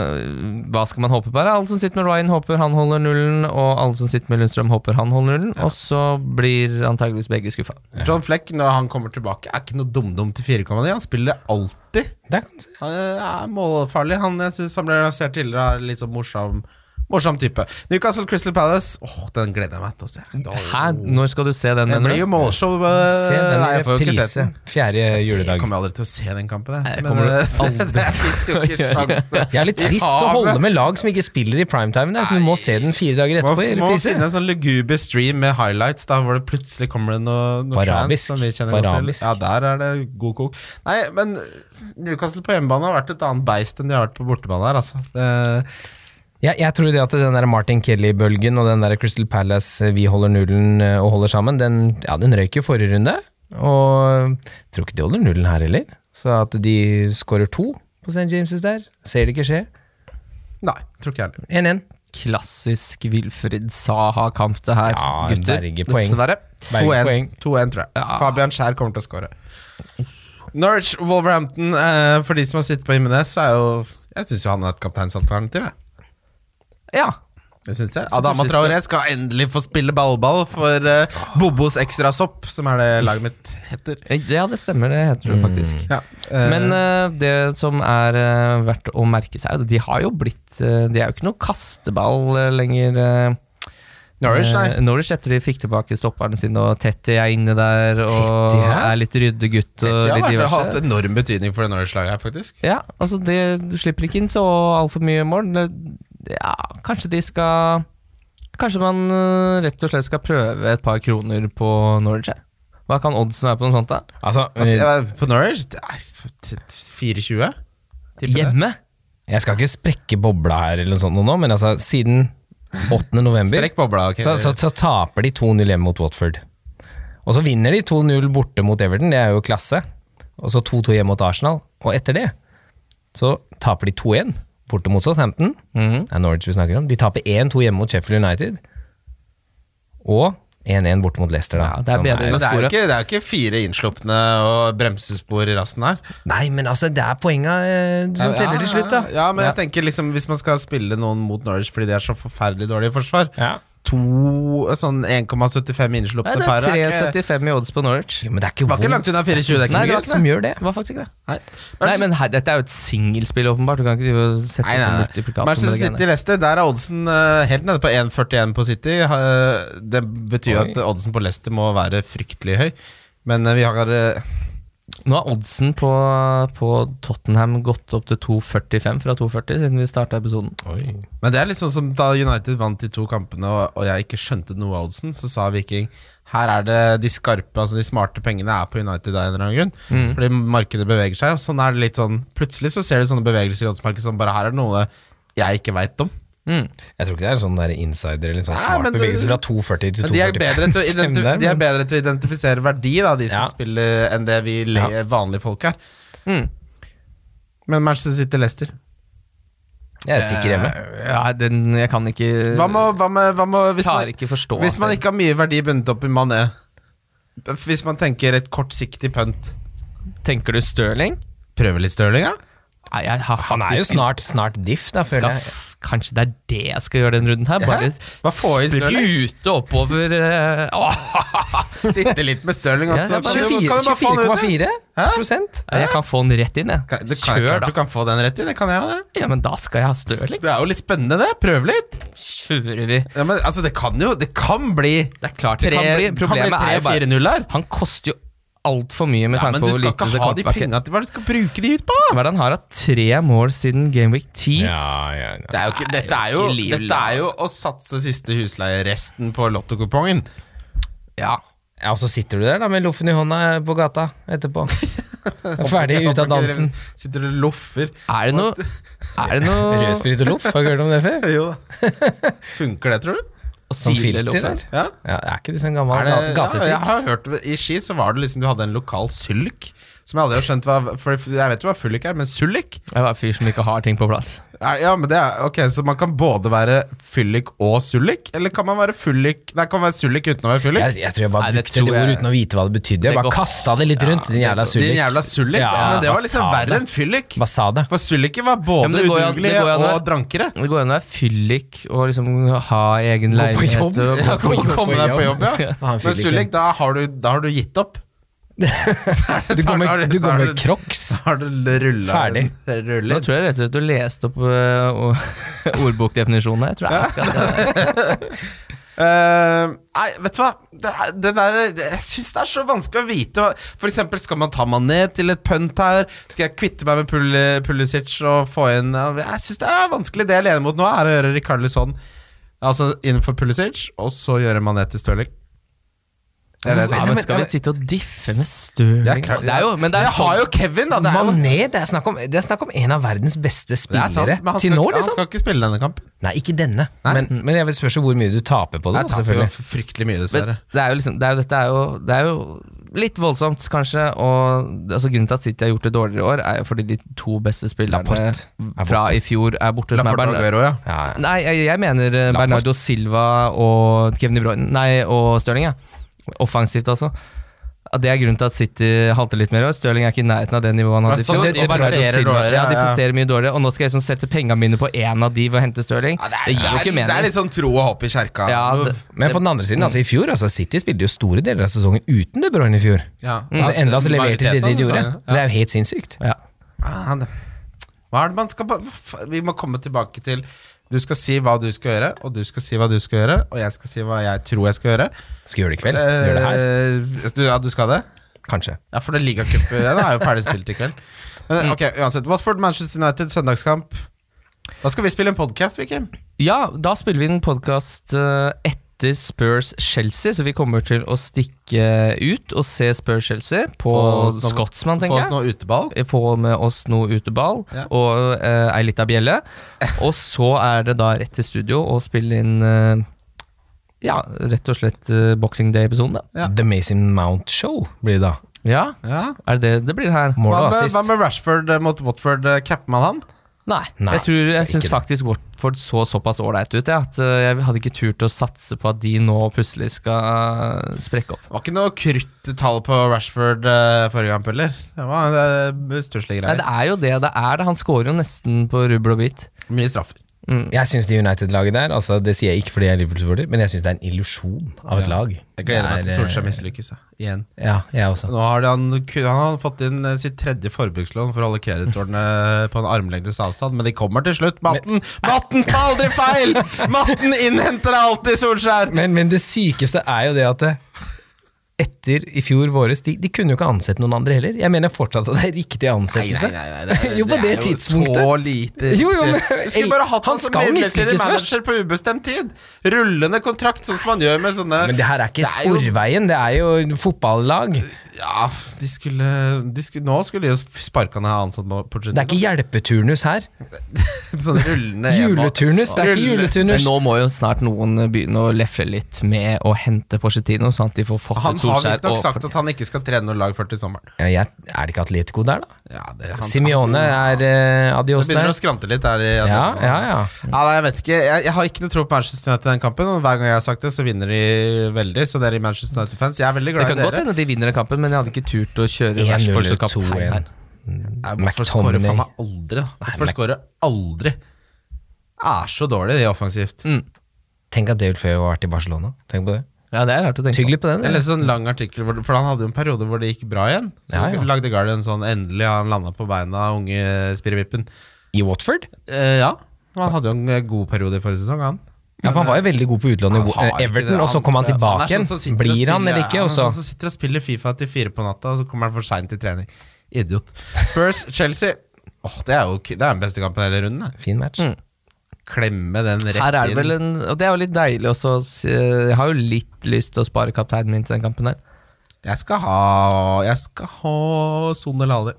Speaker 2: hva skal man håpe på? her? Alle som sitter med Ryan, håper han holder nullen. Og alle som sitter med Lundstrøm, håper han holder nullen. Og så blir antageligvis begge skuffa.
Speaker 3: John Fleck, når han kommer tilbake, er ikke noe dum-dum til 4,9. Han spiller alltid.
Speaker 4: Der kan du se.
Speaker 3: Han eh, er målfarlig. Han, jeg synes han ble lansert tidligere, er litt sånn morsom, morsom type. Newcastle Crystal Palace, åh, den gleder jeg meg til å se. Da-
Speaker 2: Hæ? Når skal du se den,
Speaker 3: Det
Speaker 2: mener
Speaker 3: blir
Speaker 2: du?
Speaker 3: jo målshow. eh,
Speaker 4: Se den
Speaker 3: Nei,
Speaker 4: i
Speaker 3: jeg får jo ikke sett
Speaker 4: reprise
Speaker 3: den.
Speaker 4: fjerde
Speaker 3: Jeg
Speaker 4: juledag.
Speaker 3: kommer aldri til å se den kampen,
Speaker 2: Nei,
Speaker 3: jeg.
Speaker 2: det
Speaker 3: Men
Speaker 2: kommer du
Speaker 3: eh, [LAUGHS]
Speaker 2: aldri
Speaker 3: det fins
Speaker 4: [LAUGHS]
Speaker 3: jo ikke sjanse.
Speaker 4: Jeg er
Speaker 3: [LAUGHS]
Speaker 4: litt trist å holde med lag som ikke spiller i primetime, der, så du må se den fire dager
Speaker 3: Man
Speaker 4: etterpå i
Speaker 3: må
Speaker 4: reprise.
Speaker 3: finne en sånn luguber stream med highlights, da, hvor det plutselig kommer det noe, noe
Speaker 4: På
Speaker 3: trance
Speaker 4: arabisk.
Speaker 3: Som vi kjenner
Speaker 4: På
Speaker 3: godt til.
Speaker 4: arabisk.
Speaker 3: Ja, der er det god kok. Nei, men Newcastle på hjemmebane har vært et annet beist enn de har vært på bortebane her, altså. Det,
Speaker 4: Jeg, jeg tror det at den der Martin Kelly-bølgen og den der Crystal Palace eh, vi holder nullen eh, og holder sammen, den, ja, den røyk jo forrige runde. Og jeg tror ikke de holder nullen her heller. Så at de skårer to på St. James' der, ser det ikke skje.
Speaker 3: nei, tror ikke jeg heller.
Speaker 4: 1-1.
Speaker 2: Klassisk Wilfred Saha-kamp, det her,
Speaker 4: Ja, en
Speaker 2: gutter.
Speaker 4: bergepoeng.
Speaker 2: Dessverre.
Speaker 4: Berg poeng.
Speaker 3: 2-1, 2-1, tror jeg. Fabian Skjær kommer til å skåre. Norwich Wolverhampton, eh, for de som har sittet på Jimenez, så er jo Jeg syns jo han er et kapteinsalternativ, jeg.
Speaker 2: Ja.
Speaker 3: Det synes jeg. Adama
Speaker 2: synes
Speaker 3: Traoré skal endelig få spille ballball for eh, Bobos Ekstrasopp, som er det laget mitt heter.
Speaker 2: ja, det stemmer, det heter det faktisk.
Speaker 3: Ja, eh,
Speaker 2: Men eh, det som er eh, verdt å merke seg, er at de har jo blitt eh, De er jo ikke noe kasteball eh, lenger. eh,
Speaker 3: Norwich,
Speaker 2: Eh,
Speaker 3: nei.
Speaker 2: Norwich etter de fikk tilbake stopperne sine, og Tetty er inne der og
Speaker 4: Tetty, hæ?
Speaker 2: er litt ryddegutt og
Speaker 3: De har
Speaker 2: litt
Speaker 3: vært, hatt
Speaker 2: diverse.
Speaker 3: enorm betydning for det Norwich-laget her, faktisk.
Speaker 2: Ja, altså det, du slipper ikke inn så altfor mye mål. Det- Ja, kanskje de skal Kanskje man eh, rett og slett skal prøve et par kroner på Norwich her. Hva kan oddsen være på noe sånt, da?
Speaker 4: Altså,
Speaker 3: At,
Speaker 4: eh,
Speaker 3: eh, på Norwich det er s- t- 24? tipper jeg.
Speaker 2: Hjemme?
Speaker 4: jeg skal ikke sprekke bobla her, eller noe sånt nå, men altså, siden 8. november
Speaker 3: Strekk bobla. ok.
Speaker 4: så, så, så taper de 2-0 hjemme mot Watford. Og så vinner de 2-0 borte mot Everton, det er jo klasse. Og så 2-2 hjemme mot Arsenal. Og etter det så taper de 2-1 borte mot Southampton.
Speaker 3: Mhm.
Speaker 4: Det er Norwich vi snakker om. De taper 1-2 hjemme mot Sheffield United. Og 1-1 borte mot Leicester. Da,
Speaker 2: Ja, det er
Speaker 4: som
Speaker 2: bedre
Speaker 3: Men det er, jo
Speaker 2: Sporet.
Speaker 3: ikke, det er jo ikke fire innslupne og bremsespor i rassen her.
Speaker 4: Nei, men altså, det er poenga eh, som
Speaker 3: Ja,
Speaker 4: teller til slutt, da.
Speaker 3: Ja, ja men jeg tenker liksom hvis man skal spille noen mot Norwich fordi de er så forferdelig dårlige i forsvar
Speaker 4: Ja.
Speaker 3: To sånn 1,75
Speaker 2: Nei,
Speaker 3: innslupne
Speaker 2: det
Speaker 3: par
Speaker 2: er
Speaker 3: er ikke-
Speaker 2: 3,75 i odds på Norwich.
Speaker 4: Jo, men det er ikke
Speaker 3: Var ikke langt unna 24, det
Speaker 2: Nei, det
Speaker 3: er ikke mye.
Speaker 2: var
Speaker 4: Wolves som gjør det.
Speaker 2: Det var faktisk ikke det.
Speaker 3: Nei.
Speaker 2: Nei, men her, dette er jo et singelspill, åpenbart. Du kan ikke drive og sette ut
Speaker 3: Nei,
Speaker 2: en
Speaker 3: nei, nei.
Speaker 2: multiplikator med
Speaker 3: Manchester
Speaker 2: det greiene.
Speaker 3: City Leicester, der er oddsen eh, helt nede på 1,41 på City. Ha- eh, Det betyr
Speaker 4: Oi.
Speaker 3: at oddsen på Leicester må være fryktelig høy. Men eh, vi har eh,
Speaker 2: Nå har oddsen på, på Tottenham gått opp til 2,45 fra 2,40 siden vi starta episoden.
Speaker 3: Men det er litt sånn som da United vant de to kampene og, og jeg ikke skjønte noe av oddsen, så sa Viking her er det de skarpe, altså de smarte pengene er på United av en eller annen grunn.
Speaker 4: Mm.
Speaker 3: Fordi markedet beveger seg, og sånn er det litt sånn Plutselig så ser du sånne bevegelser i oddsmarkedet som bare her er det noe jeg ikke veit om.
Speaker 4: Jeg tror ikke det er en sånn der insider eller en sånn
Speaker 3: Nei,
Speaker 4: smart
Speaker 3: men det-
Speaker 4: bevegelse fra 2,40 til
Speaker 3: Men de er
Speaker 4: 2,45.
Speaker 3: bedre
Speaker 4: [LAUGHS]
Speaker 3: til å, identi
Speaker 4: Der,
Speaker 3: de er
Speaker 4: men-
Speaker 3: bedre til å identifisere verdi, da, de som
Speaker 4: Ja.
Speaker 3: spiller, enn det vi le vanlige folk er.
Speaker 2: Mm.
Speaker 3: Men Manchester City Leicester.
Speaker 4: Jeg er sikker hjemme.
Speaker 2: Eh, Ja, den, jeg kan ikke
Speaker 3: Hva med, hva med, hva med hvis man-
Speaker 2: Klarer ikke forstå
Speaker 3: Hvis man ikke har mye verdi bundet opp i Mané Hvis man tenker et kortsiktig pønt
Speaker 2: Tenker du Stirling?
Speaker 3: Prøve litt Stirling, ja?
Speaker 2: Nei, jeg har
Speaker 4: Han er jo
Speaker 2: faktisk-
Speaker 4: snart, snart diff, da, føler jeg.
Speaker 2: Skaff- Kanskje det er det jeg skal gjøre den runden her? Bare
Speaker 3: Hva får jeg i Stirling?
Speaker 2: sprute oppover eh, åh.
Speaker 3: Sitte litt med Stirling også.
Speaker 2: [LAUGHS] Ja, det er
Speaker 3: Kan du- kan du bare få den ut, ja?
Speaker 4: 24,4
Speaker 3: Hæ?
Speaker 4: prosent.
Speaker 2: Nei, Jeg kan få den rett inn, jeg.
Speaker 3: Kan- Du kan,
Speaker 2: Kjør,
Speaker 3: klart
Speaker 2: da.
Speaker 3: du kan få den rett i, det kan jeg jo det.
Speaker 2: Ja, men da skal jeg ha Stirling.
Speaker 3: Det er jo litt spennende, det. Prøv litt.
Speaker 2: Kjører vi.
Speaker 3: Ja, men altså, det kan jo Det kan bli
Speaker 2: Det er klart det kan bli. Problemet er jo bare
Speaker 3: 3-4-0 her.
Speaker 2: Han koster jo altfor mye med
Speaker 3: Ja,
Speaker 2: tanke
Speaker 3: men
Speaker 2: på
Speaker 3: du
Speaker 2: hvor
Speaker 3: skal
Speaker 2: lite
Speaker 3: ikke
Speaker 2: det
Speaker 3: ha de
Speaker 2: kommer tilbake.
Speaker 3: penga til hva du skal bruke de ut på!
Speaker 2: Hva er det han har hatt tre mål siden Gameweek 10?
Speaker 4: Ja, ja, ja.
Speaker 3: Det er jo ikke, dette, er jo,
Speaker 2: ikke liv,
Speaker 3: dette er jo å satse siste husleie resten på lottokupongen.
Speaker 2: Ja.
Speaker 4: Ja, og så sitter du der da med loffen i hånda eh, på gata
Speaker 3: [LAUGHS]
Speaker 4: etterpå. Ferdig ute av dansen.
Speaker 3: Sitter og loffer.
Speaker 2: Er det noe Er det
Speaker 4: [LAUGHS]
Speaker 2: noe
Speaker 4: Rødsprit og loff, har du hørt om det før?
Speaker 3: [LAUGHS] Jo da. Funker det, tror du?
Speaker 2: å
Speaker 4: Som
Speaker 2: sile
Speaker 4: filter
Speaker 2: loffen?
Speaker 4: der.
Speaker 3: Ja.
Speaker 4: Ja, er ikke det sånn gammel
Speaker 3: Er det,
Speaker 4: gate-
Speaker 3: ja, jeg har
Speaker 4: gatetips?
Speaker 3: hørt I Ski så var det liksom du hadde en lokal sylk. Som jeg aldri har skjønt hva For jeg vet jo hva fyllik er, men syllik?
Speaker 2: Jeg var en fyr som ikke har ting på plass.
Speaker 3: Er, ja, men det er Ok, så man kan både være fyllik og sullik? Eller kan man være fyllik Nei, kan man være sullik uten å være fyllik?
Speaker 4: Jeg, jeg tror jeg bare
Speaker 2: Nei, det
Speaker 4: brukte
Speaker 2: tror
Speaker 4: det
Speaker 2: jeg-
Speaker 4: ordet uten å vite hva det betydde.
Speaker 2: Det
Speaker 4: Jeg bare
Speaker 2: går-
Speaker 4: kasta det litt rundt, din jævla
Speaker 3: Din
Speaker 4: sullik.
Speaker 3: jævla sullik. Ja,
Speaker 4: Ja,
Speaker 3: men det
Speaker 4: hva
Speaker 3: var liksom
Speaker 4: sa det?
Speaker 3: verre enn fyllik.
Speaker 4: Bare sa det.
Speaker 3: For sulliker var
Speaker 2: Ja, men
Speaker 3: både
Speaker 2: det går jo an- det
Speaker 3: udugelige
Speaker 2: går jo an å
Speaker 3: og
Speaker 2: være-
Speaker 3: drankere.
Speaker 2: Det går an å være fyllik og liksom ha egen
Speaker 4: Gå på
Speaker 2: leilighet.
Speaker 4: jobb.
Speaker 2: og
Speaker 3: Ja,
Speaker 2: gå på
Speaker 3: kom,
Speaker 2: jobb.
Speaker 3: komme deg på jobb, ja.
Speaker 4: Ha
Speaker 3: Men
Speaker 4: en fyllik,
Speaker 3: sullik, da har du, da har du gitt opp.
Speaker 4: Du går
Speaker 3: [LAUGHS] Da har
Speaker 4: med, du
Speaker 3: da
Speaker 4: går
Speaker 3: har
Speaker 4: med
Speaker 3: [LAUGHS]
Speaker 4: crocs.
Speaker 3: Da har du rulla
Speaker 4: Ferdig.
Speaker 2: Nå
Speaker 3: Ruller.
Speaker 2: tror jeg rett og slett du leste opp øh, og- [LAUGHS] ordbokdefinisjonen her. Tror jeg akkurat det.
Speaker 3: Eh, nei, vet du hva? Det, er- det der, det, jeg syns det er så vanskelig å vite. hva- For eksempel, skal man ta Mané til et pønt her? Skal jeg kvitte meg med Pul- Pulisic og få inn ja, Jeg syns det er vanskelig. Det jeg lener mot nå, er å gjøre Rikarlison altså, innenfor Pulisic, og så gjøre Mané til Stirling. Det er det jeg
Speaker 2: Ja,
Speaker 3: tenker.
Speaker 2: men skal vi sitte og diffe med støling?
Speaker 3: Det er klart.
Speaker 2: Det er jo, men det er
Speaker 3: jeg har jo Kevin, da. Det er, jo,
Speaker 4: Mané, det er, snakk om, det er snakk om en av verdens beste
Speaker 3: det er sant,
Speaker 4: spillere
Speaker 3: men han skal,
Speaker 4: til nå,
Speaker 3: ikke- han
Speaker 4: liksom.
Speaker 3: skal ikke spille denne kampen.
Speaker 4: Nei, ikke denne, men, men jeg vil spørre hvor mye du taper på det.
Speaker 3: Jeg
Speaker 4: da,
Speaker 3: taper jo
Speaker 4: selvfølgelig.
Speaker 3: fryktelig mye,
Speaker 2: Men
Speaker 3: dessverre.
Speaker 2: det er jo liksom, det er jo, dette er jo, det er jo litt voldsomt, kanskje. Og det- altså, grunnen til at City har gjort det dårligere i år, er jo fordi de to beste spillerne
Speaker 4: Laporte er
Speaker 2: fra i fjor er borte. som er
Speaker 3: Laporte og
Speaker 2: Bernard-
Speaker 3: Aguero, ja.
Speaker 4: Ja, ja.
Speaker 2: Nei, jeg, jeg mener eh, Bernardo Silva og Kevin De Bruyne Nei, og Stirling, ja. Offensivt, altså. At Det er grunnen til at City halter litt mer. i år. Stirling er ikke i nærheten av det nivået han hadde i
Speaker 3: Ja, sånn,
Speaker 2: fjor.
Speaker 3: de- de
Speaker 2: og Bernardo
Speaker 3: presterer
Speaker 2: Silva-
Speaker 3: dårligere,
Speaker 2: Ja, de
Speaker 3: ja, ja.
Speaker 2: presterer mye dårligere. Og nå skal jeg liksom sette pengene mine på én av de ved å hente Stirling.
Speaker 3: Ja,
Speaker 2: det, gir jo ikke
Speaker 3: det er
Speaker 2: mening.
Speaker 3: litt sånn tro og håp i kjerka.
Speaker 2: Ja,
Speaker 3: Altså,
Speaker 2: det-
Speaker 4: Men på den andre siden, altså i fjor, altså City spilte jo store deler av sesongen uten De Bruyne i fjor.
Speaker 3: ja.
Speaker 4: Altså, enda så leverte de det de
Speaker 3: Majoriteten,
Speaker 4: gjorde.
Speaker 3: altså,
Speaker 4: Det er jo helt sinnssykt.
Speaker 2: ja.
Speaker 3: Ah, det- Hva er det man skal ba- f- Vi må komme tilbake til Du skal si hva du skal gjøre, og du skal si hva du skal gjøre, og jeg skal si hva jeg tror jeg skal gjøre.
Speaker 4: Skal gjøre det i kveld. Gjør det her,
Speaker 3: Eh, du, ja, du skal det?
Speaker 4: kanskje.
Speaker 3: Ja, for det ligacupen den er jo ferdig spilt i kveld.
Speaker 4: Mm.
Speaker 3: Men, ok, uansett. Watford, Manchester United, søndagskamp. Da skal vi spille en podkast, Vikim.
Speaker 2: Ja, da spiller vi en podkast eh, etter møter Spurs Chelsea, så vi kommer til å stikke ut og se Spurs Chelsea på
Speaker 3: Få oss noe-
Speaker 2: Scotsman,
Speaker 3: Få
Speaker 2: tenker
Speaker 3: oss
Speaker 2: jeg.
Speaker 3: noe uteball.
Speaker 2: Få med oss noe uteball
Speaker 3: Ja.
Speaker 2: og eh, ei lita
Speaker 3: [LAUGHS]
Speaker 2: bjelle. Og så er det da rett til studio og spille inn eh, Ja, rett og slett eh, Boxing Day-episoden, da.
Speaker 3: Ja.
Speaker 4: The Mason Mount Show blir det da.
Speaker 2: Ja,
Speaker 3: Ja.
Speaker 2: er det det det blir her?
Speaker 4: Mål
Speaker 3: Hva
Speaker 4: og
Speaker 3: med,
Speaker 4: assist.
Speaker 3: hva med Rashford eh, mot Watford? eh, Capper man han?
Speaker 2: Nei.
Speaker 4: Nei,
Speaker 2: jeg tror,
Speaker 4: skal
Speaker 2: jeg
Speaker 4: ikke
Speaker 2: syns
Speaker 4: det.
Speaker 2: faktisk Watford så såpass ålreit ut jeg, at eh, jeg hadde ikke turt å satse på at de nå plutselig skal eh, sprekke opp.
Speaker 3: Det var ikke noe kruttall på Rashford eh, forrige kamp heller. Det var uh, stusslige
Speaker 2: Nei,
Speaker 3: greier.
Speaker 2: det er jo det det er. det Han scorer jo nesten på rubbel og bit.
Speaker 3: Mye straffer.
Speaker 4: Jeg syns det United-laget der, altså det sier jeg ikke fordi jeg er Liverpool-supporter, men jeg syns det er en illusjon av et
Speaker 3: Ja.
Speaker 4: lag.
Speaker 3: Jeg gleder meg
Speaker 4: Det
Speaker 3: til
Speaker 4: er,
Speaker 3: Solskjær mislykkes. jeg. Igjen.
Speaker 4: Ja, jeg også.
Speaker 3: Nå har han, han har fått inn eh, sitt tredje forbrukslån for å holde kreditorene på en armlengdes avstand, men de kommer til slutt. Matten Matten tar aldri feil! Matten innhenter alltid Solskjær!
Speaker 4: Men, men det sykeste er jo det at det, etter i fjor våres de, de kunne jo ikke ansette noen andre heller. Jeg mener fortsatt at det er riktig ansettelse. [LAUGHS] Jo, på det tidspunktet.
Speaker 3: Så lite
Speaker 4: Jo, jo, men-
Speaker 3: Du skulle bare hatt
Speaker 4: Han
Speaker 3: han som
Speaker 4: skal
Speaker 3: midlertidig
Speaker 4: mislykkes
Speaker 3: manager på ubestemt tid! Rullende kontrakt, sånn som man gjør med sånne
Speaker 4: Men det her er ikke
Speaker 3: Det er jo-
Speaker 4: Sporveien, det er jo fotballag. Det
Speaker 3: Ja, de skulle, de skulle Nå skulle de jo sparka ned ansatt med
Speaker 4: er ikke hjelpeturnus her.
Speaker 3: Sånn
Speaker 4: [LAUGHS]
Speaker 3: rullende emo.
Speaker 4: Juleturnus, det er ikke
Speaker 3: Rullende-
Speaker 2: Men
Speaker 4: juleturnus.
Speaker 2: nå må jo snart noen begynne å lefle litt med å hente Porcetino, sånn at de får fått
Speaker 3: Han
Speaker 2: ut
Speaker 3: har
Speaker 2: Solskjær.
Speaker 3: visstnok
Speaker 2: og-
Speaker 3: sagt at han ikke skal trene noe lag før til sommeren.
Speaker 4: Ja, jeg, er det ikke Atletico der, da?
Speaker 3: Ja, det, han,
Speaker 4: Simione er eh,
Speaker 3: Det
Speaker 4: adios
Speaker 3: begynner
Speaker 4: der.
Speaker 3: å skrante litt der. I,
Speaker 4: Ja, ja, ja.
Speaker 3: Ja, nei, jeg vet ikke. Jeg, jeg har ikke noe tro på Manchester United i den kampen. Og hver gang jeg har sagt det, så vinner de veldig. Så dere i Manchester United-fans, jeg er veldig
Speaker 2: Det
Speaker 3: glad
Speaker 2: kan
Speaker 3: i
Speaker 2: godt
Speaker 3: dere.
Speaker 2: hende de vinner den kampen, men jeg hadde ikke turt å kjøre
Speaker 4: 1-0
Speaker 2: Rashford som
Speaker 4: eller
Speaker 2: kaptein
Speaker 4: 2-1.
Speaker 2: her.
Speaker 3: Nei, Watford skårer
Speaker 4: McTominay.
Speaker 3: faen meg aldri. da. Watford skårer aldri. Er så dårlig, de offensivt.
Speaker 4: Tenk at David Feo har vært i Barcelona. Tenk på det.
Speaker 2: Ja, det er rart å tenke på.
Speaker 4: Tygg litt på den.
Speaker 3: Jeg
Speaker 4: eller?
Speaker 3: leste en lang artikkel, hvor, for han hadde jo en periode hvor det gikk bra igjen. Så
Speaker 4: Ja, ja.
Speaker 3: lagde Guardian sånn Endelig har han landa på beina, unge Spirrevippen.
Speaker 4: I Watford?
Speaker 3: Eh, ja, han hadde jo en eh, god periode i forrige sesong, han.
Speaker 4: Ja, for Han var jo veldig god på utlån i
Speaker 3: Han har
Speaker 4: Wa-
Speaker 3: ikke
Speaker 4: Everton,
Speaker 3: det.
Speaker 4: og så kom han
Speaker 3: Han- han er
Speaker 4: tilbake
Speaker 3: sånn
Speaker 4: igjen.
Speaker 3: som sitter og
Speaker 4: Blir han
Speaker 3: spiller-
Speaker 4: eller ikke?
Speaker 3: Han
Speaker 4: Og
Speaker 3: er
Speaker 4: så
Speaker 3: sånn som sitter og spiller Fifa til fire på natta, og så kommer han for seint til trening. Idiot.
Speaker 4: [LAUGHS]
Speaker 3: Spurs, Chelsea. Åh, Det er jo k- det er den beste kampen i hele runden. det.
Speaker 4: Fin match.
Speaker 3: Klemme den rett
Speaker 2: Her er det vel
Speaker 3: inn.
Speaker 2: en, og det er jo litt deilig også. å se- Jeg har jo litt lyst til å spare kapteinen min til den kampen her.
Speaker 3: Jeg skal ha Jeg skal ha Son eller Ali.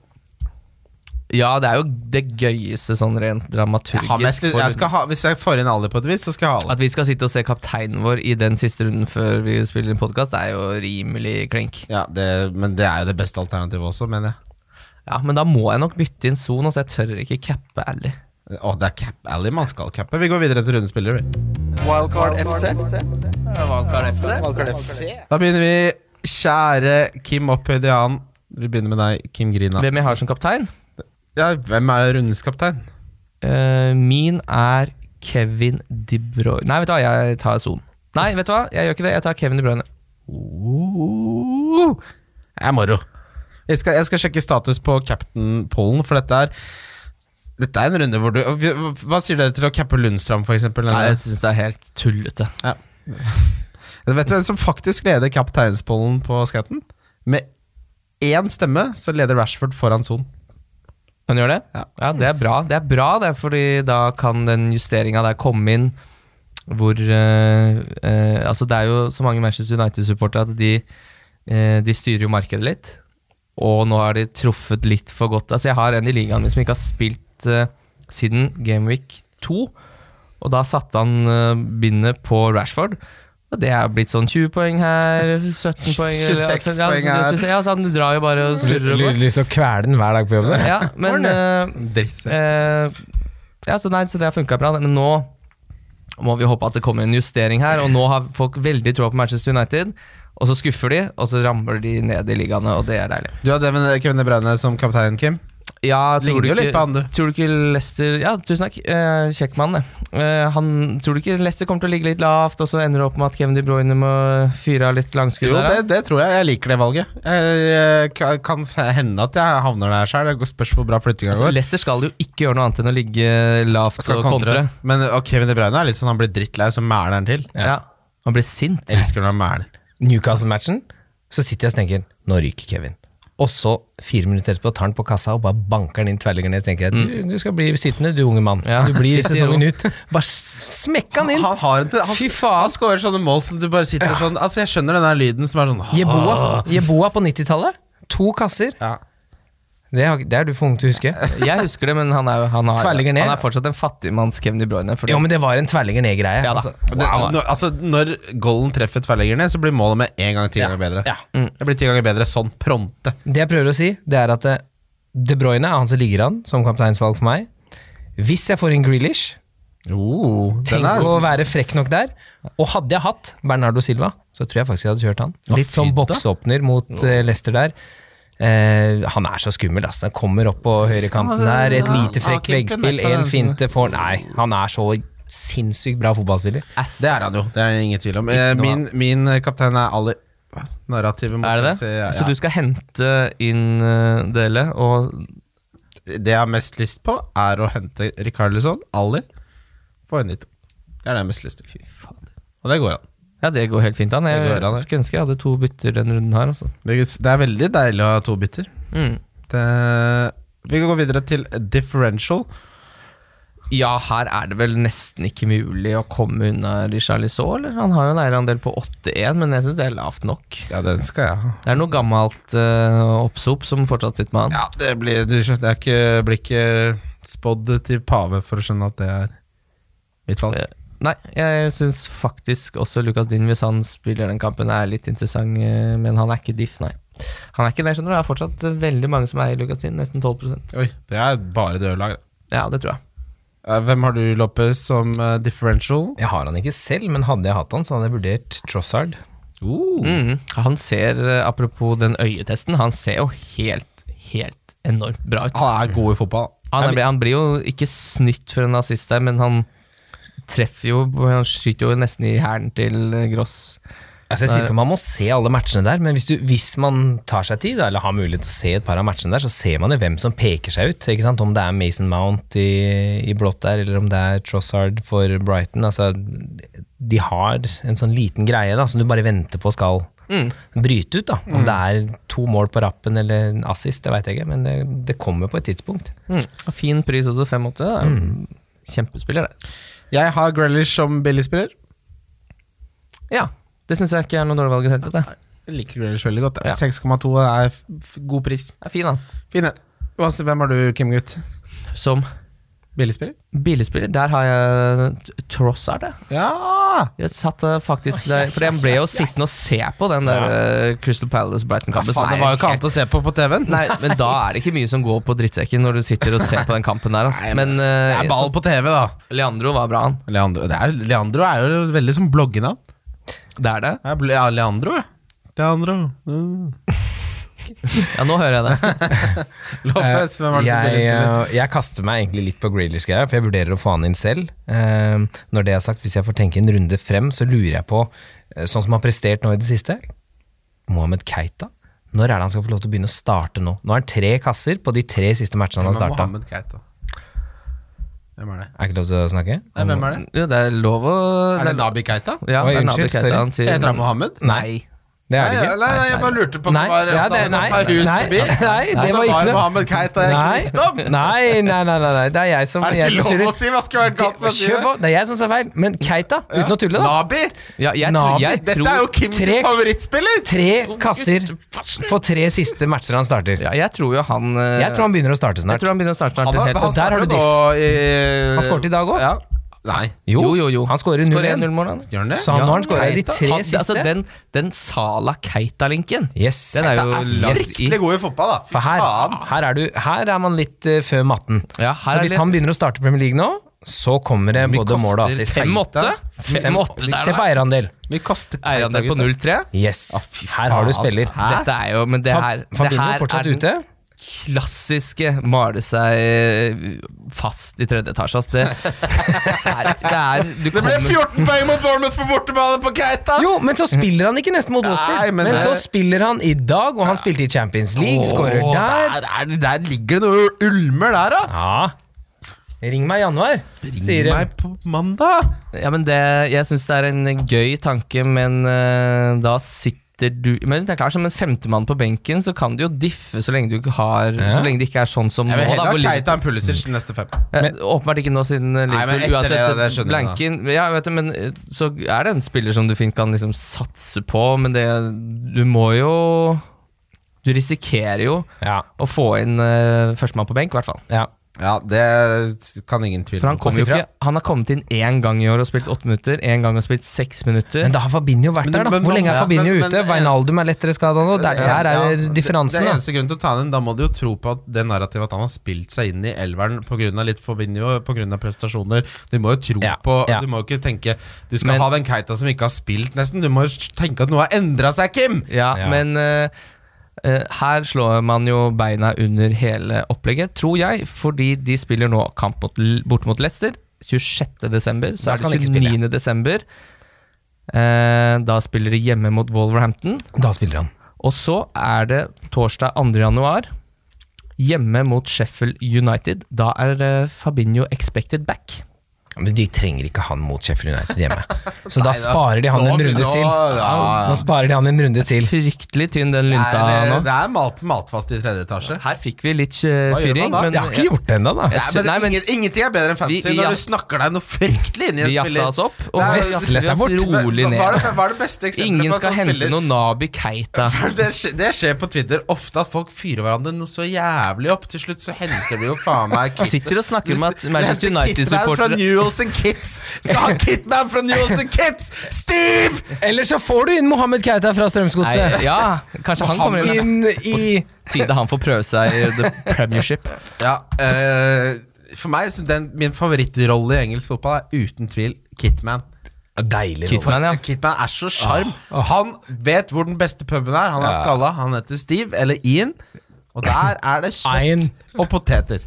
Speaker 2: Ja, det er jo det gøyeste sånn rent
Speaker 3: Jeg har mest,
Speaker 2: dramaturgisk.
Speaker 3: lyst-
Speaker 2: for-
Speaker 3: jeg skal ha, hvis jeg får inn Ali på et vis, så skal jeg ha Ali.
Speaker 2: At vi skal sitte og se kapteinen vår i den siste runden før vi spiller en podkast, er jo rimelig klink.
Speaker 3: Ja, det, men det er jo det beste alternativet også, mener jeg.
Speaker 2: Ja, Men da må jeg nok bytte inn Son, så jeg tør ikke cappe Ally.
Speaker 3: Åh, det er cap Ali man skal cappe. Vi går videre til rundens spillere, vi.
Speaker 1: Wildcard FC.
Speaker 2: Valgkart FC.
Speaker 3: Da begynner vi. Kjære Kim Oppøydian. Vi begynner med deg, Kim Grina.
Speaker 2: Hvem jeg har som kaptein?
Speaker 3: Ja, hvem er rundens kaptein?
Speaker 2: Eh, min er Kevin De Bruyne Nei, vet du hva, jeg tar Son. Nei, vet du hva, jeg gjør ikke det. Jeg tar Kevin De Bruyne.
Speaker 3: Uh, jeg er moro. Jeg skal, jeg skal sjekke status på Captain Pollen, for dette er Dette er en runde hvor du Hva hva sier dere til å cappe Lundstrand, for eksempel?
Speaker 2: Nei, jeg syns det er helt tullete.
Speaker 3: Vet du hvem som faktisk leder kapteinspollen på skatten? Med én stemme så leder Rashford foran Son.
Speaker 2: Han gjør det?
Speaker 3: Ja.
Speaker 2: Ja. det er bra. Det er bra, det, fordi da kan den justeringa der komme inn hvor eh, eh, Altså, det er jo så mange Manchester United-supportere at de, eh, de styrer jo markedet litt. Og nå har de truffet litt for godt. Altså, jeg har en i ligaen min som ikke har spilt eh, siden Gameweek 2. Og da satte han eh, bindet på Rashford. Og det er blitt sånn 20 poeng her, 17 poeng eller-
Speaker 3: 26 poeng her.
Speaker 2: Ja, så han drar jo bare og surrer og går.
Speaker 4: Lyst til å kvele den hver dag på jobben.
Speaker 2: Ja, men eh,
Speaker 3: Drittsekk.
Speaker 2: Eh, ja, så nei, så det har funka bra, det. men nå må vi håpe at det kommer en justering her. Og nå har folk veldig troa på Manchester United, og så skuffer de, og så ramler de ned i ligaene, og det er deilig.
Speaker 3: Du har Devin eh, Kevin De Bruyne som kaptein, Kim.
Speaker 2: Ja, tror
Speaker 3: Ligner
Speaker 2: du
Speaker 3: jo litt på
Speaker 2: ikke,
Speaker 3: han, du.
Speaker 2: tror du ikke Leicester Ja, tusen takk. Eh, kjekk mann, det. Eh, han, tror du ikke Leicester kommer til å ligge litt lavt, og så ender det opp med at Kevin De Bruyne må fyre av litt langskudd?
Speaker 3: Jo,
Speaker 2: der, da?
Speaker 3: det, det tror jeg. Jeg liker det valget. Jeg, jeg kan hende at jeg havner der sjøl. Det spørs hvor bra flyttinga
Speaker 2: altså,
Speaker 3: går.
Speaker 2: Leicester skal jo ikke gjøre noe annet enn å ligge lavt
Speaker 3: skal
Speaker 2: og
Speaker 3: kontre.
Speaker 2: kontre.
Speaker 3: Men og Kevin De Bruyne er litt sånn han blir drittlei, så mæler han til.
Speaker 2: Ja. Han blir sint.
Speaker 3: Elsker når han mæler.
Speaker 4: Newcastle-matchen, så sitter jeg og tenker Nå ryker Kevin. og så fire minutter etterpå tar han på kassa og bare banker den inn tverrliggeren ned. Så tenker jeg du, du skal bli sittende, du unge mann.
Speaker 2: Mm. Ja.
Speaker 4: Du blir
Speaker 2: Sitter i
Speaker 4: sesongen ut. Bare smekk han inn!
Speaker 3: Han har en til Han,
Speaker 4: Fy faen.
Speaker 3: han scorer sånne mål som du bare sitter sånn Altså, jeg skjønner den der lyden som er sånn
Speaker 4: Jeboa, Jeboa på 90-tallet. To kasser.
Speaker 3: Ja.
Speaker 4: Det, har, det er du for ung til å huske.
Speaker 2: Jeg husker det, men han er, jo- han har,
Speaker 4: Tverrligger
Speaker 2: han
Speaker 4: ned.
Speaker 2: er fortsatt en fattigmanns Kevin De Bruyne. Fordi,
Speaker 4: Jo, men det var en tverrligger ned-greie.
Speaker 2: Ja da.
Speaker 3: Det, når, altså, når golden treffer tverrleggerne, så blir målet med en gang ti ganger bedre.
Speaker 4: ja.
Speaker 3: Det blir ti ganger bedre sånn pronte.
Speaker 4: Det jeg prøver å si, det er at eh, De Bruyne er han som ligger an som kapteinsvalg for meg. Hvis jeg får inn Grealish, Mm. tenk å være frekk nok der. Og hadde jeg hatt Bernardo Silva, så tror jeg faktisk jeg hadde kjørt han.
Speaker 3: Ja,
Speaker 4: Litt som
Speaker 3: fint da.
Speaker 4: boksåpner mot eh, Leicester der. Eh, han er så skummel, altså. Han kommer opp på høyrekanten der, et lite frekk
Speaker 3: Ja, keeper altså.
Speaker 4: veggspill,
Speaker 3: møtte
Speaker 4: en
Speaker 3: den, så-
Speaker 4: finte får Nei, han er så sinnssykt bra fotballspiller.
Speaker 2: ass.
Speaker 3: Det er han jo, det er ingen tvil om. Eh,
Speaker 4: noe
Speaker 3: Min, min kaptein er Ali. Hva? Narrativet mot
Speaker 2: Er det det?
Speaker 3: Chelsea, ja,
Speaker 2: Så du skal hente inn eh, Dele og
Speaker 3: ja. det jeg har mest lyst på, er å hente Rikarlisson, Ali, få inn de to. Det er det jeg har mest lyst til. Og det går an.
Speaker 2: Ja, det går helt fint an. Jeg
Speaker 3: Det går an, det.
Speaker 2: skulle ønske jeg hadde to bytter denne runden her, altså.
Speaker 3: Det, det er veldig deilig å ha to bytter.
Speaker 2: Mm.
Speaker 3: Det, vi kan gå videre til differential.
Speaker 2: Ja, her er det vel nesten ikke mulig å komme unna Richarlison, eller? Han har jo en eierandel på 8-1, men jeg syns det er lavt nok.
Speaker 3: Ja, den skal jeg ha.
Speaker 2: Det er noe gammelt uh, oppsop som fortsatt sitter med han.
Speaker 3: Ja, det blir, du, skjønner, det er ikke, blir ikke spådd til pave for å skjønne at det er mitt valg.
Speaker 2: Eh, Nei, jeg syns faktisk også Lucas Din, hvis han spiller den kampen, er litt interessant, eh, men han er ikke diff, nei. Han er ikke det, skjønner du. Det er fortsatt eh, veldig mange som eier Lucas Din, nesten 12
Speaker 3: Oi, det er bare døde lag. da.
Speaker 2: Ja, det tror jeg.
Speaker 3: Eh, Hvem har du, Lopez, som eh, differential?
Speaker 4: Jeg har han ikke selv, men hadde jeg hatt han, så hadde jeg vurdert Trossard.
Speaker 3: Uh.
Speaker 2: Mm. Han ser, eh, apropos den øyetesten, han ser jo helt, helt enormt bra ut.
Speaker 3: Han er god i fotball.
Speaker 2: Han, er, han blir jo ikke snytt for en nazist der, men han treffer jo Han skyter jo nesten i hælen til eh, Gross.
Speaker 4: Altså jeg sier ikke om Man må se alle matchene der, men hvis, du, hvis man tar seg tid, da, eller har mulighet til å se et par av matchene der, så ser man jo hvem som peker seg ut. Ikke sant? Om det er Mason Mount i, i blått der, eller om det er Trossard for Brighton. Altså, de har en sånn liten greie da, som du bare venter på skal
Speaker 2: Mm.
Speaker 4: bryte ut. Da. Om det er to mål på rappen eller en assist, det veit jeg ikke, men det, det kommer på et tidspunkt.
Speaker 2: Mm. Fin pris også, 5-8. Det er jo en Kjempespiller, det.
Speaker 3: Jeg har Grealish som billigspiller.
Speaker 2: Ja. Det syns jeg ikke er noe dårlig valg i det hele tatt. det.
Speaker 3: Jeg liker Grealish veldig godt.
Speaker 2: Ja.
Speaker 3: jeg. 6,2 er f f god pris.
Speaker 2: Det er fin, han.
Speaker 3: Fin en. Uansett, hvem har du, Kim Gutt?
Speaker 2: Som
Speaker 3: Billigspiller?
Speaker 2: billigspiller, der har jeg t- Trossard, det.
Speaker 3: Ja!
Speaker 2: Jeg satt eh, faktisk der, for jeg ble jo sittende og se på den der eh, Crystal
Speaker 3: Ja,
Speaker 2: Palace-Brighton-kampen.
Speaker 3: faen, det var jo ikke annet å se på på TV-en.
Speaker 2: [LAUGHS] Nei, men da er det ikke mye som går på drittsekken når du sitter og ser på den kampen der. Altså. Men
Speaker 3: Det
Speaker 2: eh,
Speaker 3: er ball på TV, da.
Speaker 2: så- Leandro var bra, han.
Speaker 3: Leandro, det er, Leandro er jo veldig som bloggenavn.
Speaker 2: Det er det.
Speaker 3: Ja, ble- ja, Leandro, ja. Leandro. Mm.
Speaker 2: Ja, nå hører jeg det.
Speaker 3: [LAUGHS] Lopez, hvem er det som
Speaker 4: Eh, jeg,
Speaker 3: billigspiller?
Speaker 4: eh, jeg kaster meg egentlig litt på Grealish-greia, for jeg vurderer å få han inn selv. Eh, når det er sagt, hvis jeg får tenke en runde frem, så lurer jeg på, eh, sånn som han har prestert nå i det siste, Mohammed Keita. Når er det han skal få lov til å begynne å starte nå? Nå har han tre kasser på de tre siste matchene han har
Speaker 3: Hvem er
Speaker 4: starta.
Speaker 3: Mohammed Keita? Hvem er det?
Speaker 4: Er ikke lov til å snakke?
Speaker 3: Nei, hvem er det?
Speaker 2: Jo, det er lov å
Speaker 3: Er det Nabi Keita?
Speaker 2: Ja,
Speaker 4: Oi,
Speaker 2: det er Nabil
Speaker 4: unnskyld,
Speaker 2: Keita,
Speaker 4: sorry.
Speaker 2: han sier-
Speaker 3: Heter han Mohammed?
Speaker 2: Nei.
Speaker 4: Det er
Speaker 3: Nei,
Speaker 4: det
Speaker 3: nei,
Speaker 4: ikke.
Speaker 3: nei, jeg bare lurte på om
Speaker 4: Nei,
Speaker 3: det var
Speaker 4: ja, det, nei,
Speaker 3: var hus
Speaker 4: nei,
Speaker 3: forbi.
Speaker 4: nei,
Speaker 3: Om
Speaker 4: det var ikke noe.
Speaker 3: Mohammed Keita jeg ikke visste om.
Speaker 4: Nei, nei, nei, nei, nei, det er jeg som
Speaker 3: Er det
Speaker 4: jeg
Speaker 3: ikke
Speaker 4: som
Speaker 3: lov å
Speaker 4: sier-
Speaker 3: si? Hva skulle være galt med å si
Speaker 4: Kjør
Speaker 3: det?
Speaker 4: på! Det er jeg som sa feil. Men Keita, uten å tulle, da.
Speaker 3: Nabi!
Speaker 2: Ja, jeg, tror,
Speaker 4: Nabi,
Speaker 2: jeg,
Speaker 3: Dette er
Speaker 2: tror,
Speaker 3: jo Kims
Speaker 4: tre-
Speaker 3: favorittspiller!
Speaker 4: Tre kasser på tre siste matcher han starter.
Speaker 2: ja, jeg tror jo han eh,
Speaker 4: Jeg tror han begynner å starte
Speaker 2: jeg
Speaker 4: snart.
Speaker 2: tror han begynner å starte snart.
Speaker 3: Han, har-
Speaker 2: helt-
Speaker 3: han
Speaker 4: der har
Speaker 3: starter
Speaker 4: du
Speaker 3: nå i
Speaker 4: Han skårte i dag også.
Speaker 3: Ja. Nei,
Speaker 4: Jo,
Speaker 2: jo, jo, jo.
Speaker 4: Han skårer 0-1.
Speaker 2: 0-mål, han.
Speaker 3: gjør han det?
Speaker 4: Så han,
Speaker 2: Ja.
Speaker 4: nå har han skåra de
Speaker 3: Keita.
Speaker 4: tre
Speaker 2: Han-
Speaker 4: siste.
Speaker 2: Altså, den, den Sala Keita-linken,
Speaker 4: yes.
Speaker 2: den er
Speaker 3: Det
Speaker 2: jo
Speaker 3: er
Speaker 2: lagt i.
Speaker 3: fryktelig god i fotball, da.
Speaker 4: For
Speaker 3: Fy
Speaker 4: her,
Speaker 3: faen.
Speaker 4: her, er du, her er man litt eh, før matten.
Speaker 2: Ja, her
Speaker 4: så
Speaker 2: er
Speaker 4: hvis
Speaker 2: det-
Speaker 4: han begynner å starte Premier League nå, så kommer det
Speaker 3: Mye
Speaker 4: både mål og
Speaker 3: koster
Speaker 4: assist.
Speaker 2: 5-8?
Speaker 3: Keita.
Speaker 4: Fem-
Speaker 2: 5-8
Speaker 4: Se
Speaker 2: der,
Speaker 4: på
Speaker 2: da.
Speaker 4: eierandel.
Speaker 3: Mye koster Keita,
Speaker 2: Eierandel på
Speaker 3: gutta.
Speaker 2: 0-3.
Speaker 4: Yes.
Speaker 3: fy
Speaker 4: Her har du
Speaker 3: faen.
Speaker 4: spiller.
Speaker 3: Hæ?
Speaker 2: Dette er jo Men det
Speaker 4: Fa-
Speaker 2: her, det
Speaker 4: Fabinho
Speaker 2: her er
Speaker 4: fortsatt
Speaker 2: den
Speaker 4: ute.
Speaker 2: klassiske male seg eh, fast i tredje etasje. ass.
Speaker 4: [LAUGHS]
Speaker 2: det, det er, det er du
Speaker 3: Det ble
Speaker 2: kommer-
Speaker 3: 14 poeng mot Bournemouth på bortebane på Keita!
Speaker 4: Jo, men så spiller han ikke neste mot
Speaker 3: Nei,
Speaker 4: Watford.
Speaker 3: men
Speaker 4: Men
Speaker 3: det-
Speaker 4: så spiller han i dag, og han spilte i Champions League, skårer
Speaker 3: Åh,
Speaker 4: der.
Speaker 3: er det- der ligger det noe ulmer der, da!
Speaker 4: Ja. Ring meg i januar, sier de.
Speaker 3: meg på mandag!
Speaker 2: Ja, men det, jeg syns det er en gøy tanke, men eh, da sitter bytter du Men det er klart, som en femtemann på benken, så kan du jo diffe så lenge du ikke har
Speaker 4: Ja.
Speaker 2: Så lenge det ikke er sånn som nå,
Speaker 3: Jeg vil
Speaker 2: da.
Speaker 3: heller
Speaker 2: hvor
Speaker 3: ha
Speaker 2: Liverpool-
Speaker 3: Keita enn Pulisic de neste fem.
Speaker 2: Ja, åpenbart ikke nå, siden eh,
Speaker 3: men
Speaker 2: Liverpool
Speaker 3: etter det,
Speaker 2: uansett
Speaker 3: det skjønner du da.
Speaker 2: blanken ja, jeg vet det, men eh, Så er det en spiller som du fint kan liksom satse på, men det Du må jo Du risikerer jo
Speaker 4: Ja,
Speaker 2: å få inn eh, førstemann på benk, i hvert fall.
Speaker 4: ja.
Speaker 3: Ja, det kan ingen tvile
Speaker 2: For han, kom jo ikke, han har kommet inn én gang i år og spilt åtte minutter, én gang og spilt seks minutter.
Speaker 4: Men da har Fabinho vært
Speaker 3: Men-
Speaker 4: der, da.
Speaker 3: men-
Speaker 4: Hvor lenge er
Speaker 3: ja,
Speaker 4: Fabinho
Speaker 3: men-
Speaker 4: ute?
Speaker 3: men-
Speaker 4: Wijnaldum er lettere skada nå. Der, der
Speaker 3: Ja,
Speaker 4: er
Speaker 3: det-
Speaker 4: differansen,
Speaker 3: Det er
Speaker 4: da.
Speaker 3: eneste grunnen til å ta den Da må du jo tro på at det narrativet at han har spilt seg inn i elveren pga. litt Fabinho, pga. prestasjoner Du må jo tro
Speaker 4: Ja,
Speaker 3: på
Speaker 4: ja.
Speaker 3: Du må jo ikke tenke Du skal
Speaker 2: Men-
Speaker 3: ha den Keita som ikke har spilt, nesten. Du må jo tenke at noe har endra seg, Kim!
Speaker 2: Ja,
Speaker 4: Ja.
Speaker 2: men eh, eh, her slår man jo beina under hele opplegget, tror jeg, fordi de spiller nå kamp mot, L- bort mot Leicester 26. desember,
Speaker 4: Da
Speaker 2: så
Speaker 4: skal
Speaker 2: er
Speaker 4: han
Speaker 2: det
Speaker 4: ikke spille.
Speaker 2: 29. desember. Eh, da spiller de hjemme mot Wolverhampton,
Speaker 4: Da spiller han.
Speaker 2: og så er det torsdag 2. januar. Hjemme mot Sheffield United. Da er eh, Fabinho expected back.
Speaker 4: Men de trenger ikke han mot Sheffield United hjemme. Så
Speaker 3: Nei,
Speaker 4: da
Speaker 3: da-
Speaker 4: sparer de han
Speaker 3: nå
Speaker 4: en runde
Speaker 3: begynner-
Speaker 4: til.
Speaker 3: Å, ja, ja.
Speaker 4: Da sparer de han en runde til.
Speaker 2: Fryktelig tynn den
Speaker 3: Det
Speaker 2: lunta
Speaker 3: er, eh,
Speaker 2: nå.
Speaker 3: det er mat, matfast i tredje etasje.
Speaker 2: Her fikk vi litt eh,
Speaker 3: Hva gjør man
Speaker 2: fyring,
Speaker 3: da?
Speaker 2: men
Speaker 4: Jeg har ikke gjort det ennå, da.
Speaker 2: Jeg
Speaker 3: Nei, men,
Speaker 2: Nei, men-
Speaker 3: ingen, ingenting er bedre enn fantasy
Speaker 2: Vi- vi
Speaker 3: når
Speaker 2: jas-
Speaker 3: du snakker deg noe fryktelig inn i en
Speaker 2: Vi jassa
Speaker 3: spiller.
Speaker 2: oss opp og
Speaker 3: Nei,
Speaker 2: vesle
Speaker 4: seg
Speaker 2: oss
Speaker 4: bort.
Speaker 2: rolig
Speaker 3: Hva- Hva er
Speaker 2: ned.
Speaker 3: det, hva er det beste eksempelet
Speaker 2: Ingen
Speaker 3: på en
Speaker 2: skal
Speaker 3: sånn
Speaker 2: hente
Speaker 3: spiller?
Speaker 2: noe Nabi Keita.
Speaker 3: For [LAUGHS] det, skje- det skjer på Twitter ofte at folk fyrer hverandre noe så jævlig opp. Til slutt så henter de jo faen meg Kit-
Speaker 2: [LAUGHS] Sitter og snakker om at
Speaker 3: Du
Speaker 2: Manchester
Speaker 3: henter Kitman fra
Speaker 2: United-supportere
Speaker 3: Newells and Kids! Skal ha Kitman fra Newells and Kids! Steve!
Speaker 4: Eller så får du inn Mohammed Keita fra
Speaker 2: Nei,
Speaker 4: Strømsgodset.
Speaker 2: Ja, kanskje han kommer inn.
Speaker 4: Inn i
Speaker 2: Tide han får prøve seg i the
Speaker 4: [LAUGHS]
Speaker 2: premiership.
Speaker 3: Ja, eh, for meg, så den, min favorittrolle i engelsk fotball er uten tvil Kitman.
Speaker 4: Deilig
Speaker 2: Keith
Speaker 4: rolle.
Speaker 2: Mann, ja. Ah,
Speaker 3: Kitman er så sjarm. Han vet hvor den beste puben er. Han er skalla, han heter Steve, eller Ian. Og der er det
Speaker 4: Ian.
Speaker 3: kjøtt og poteter.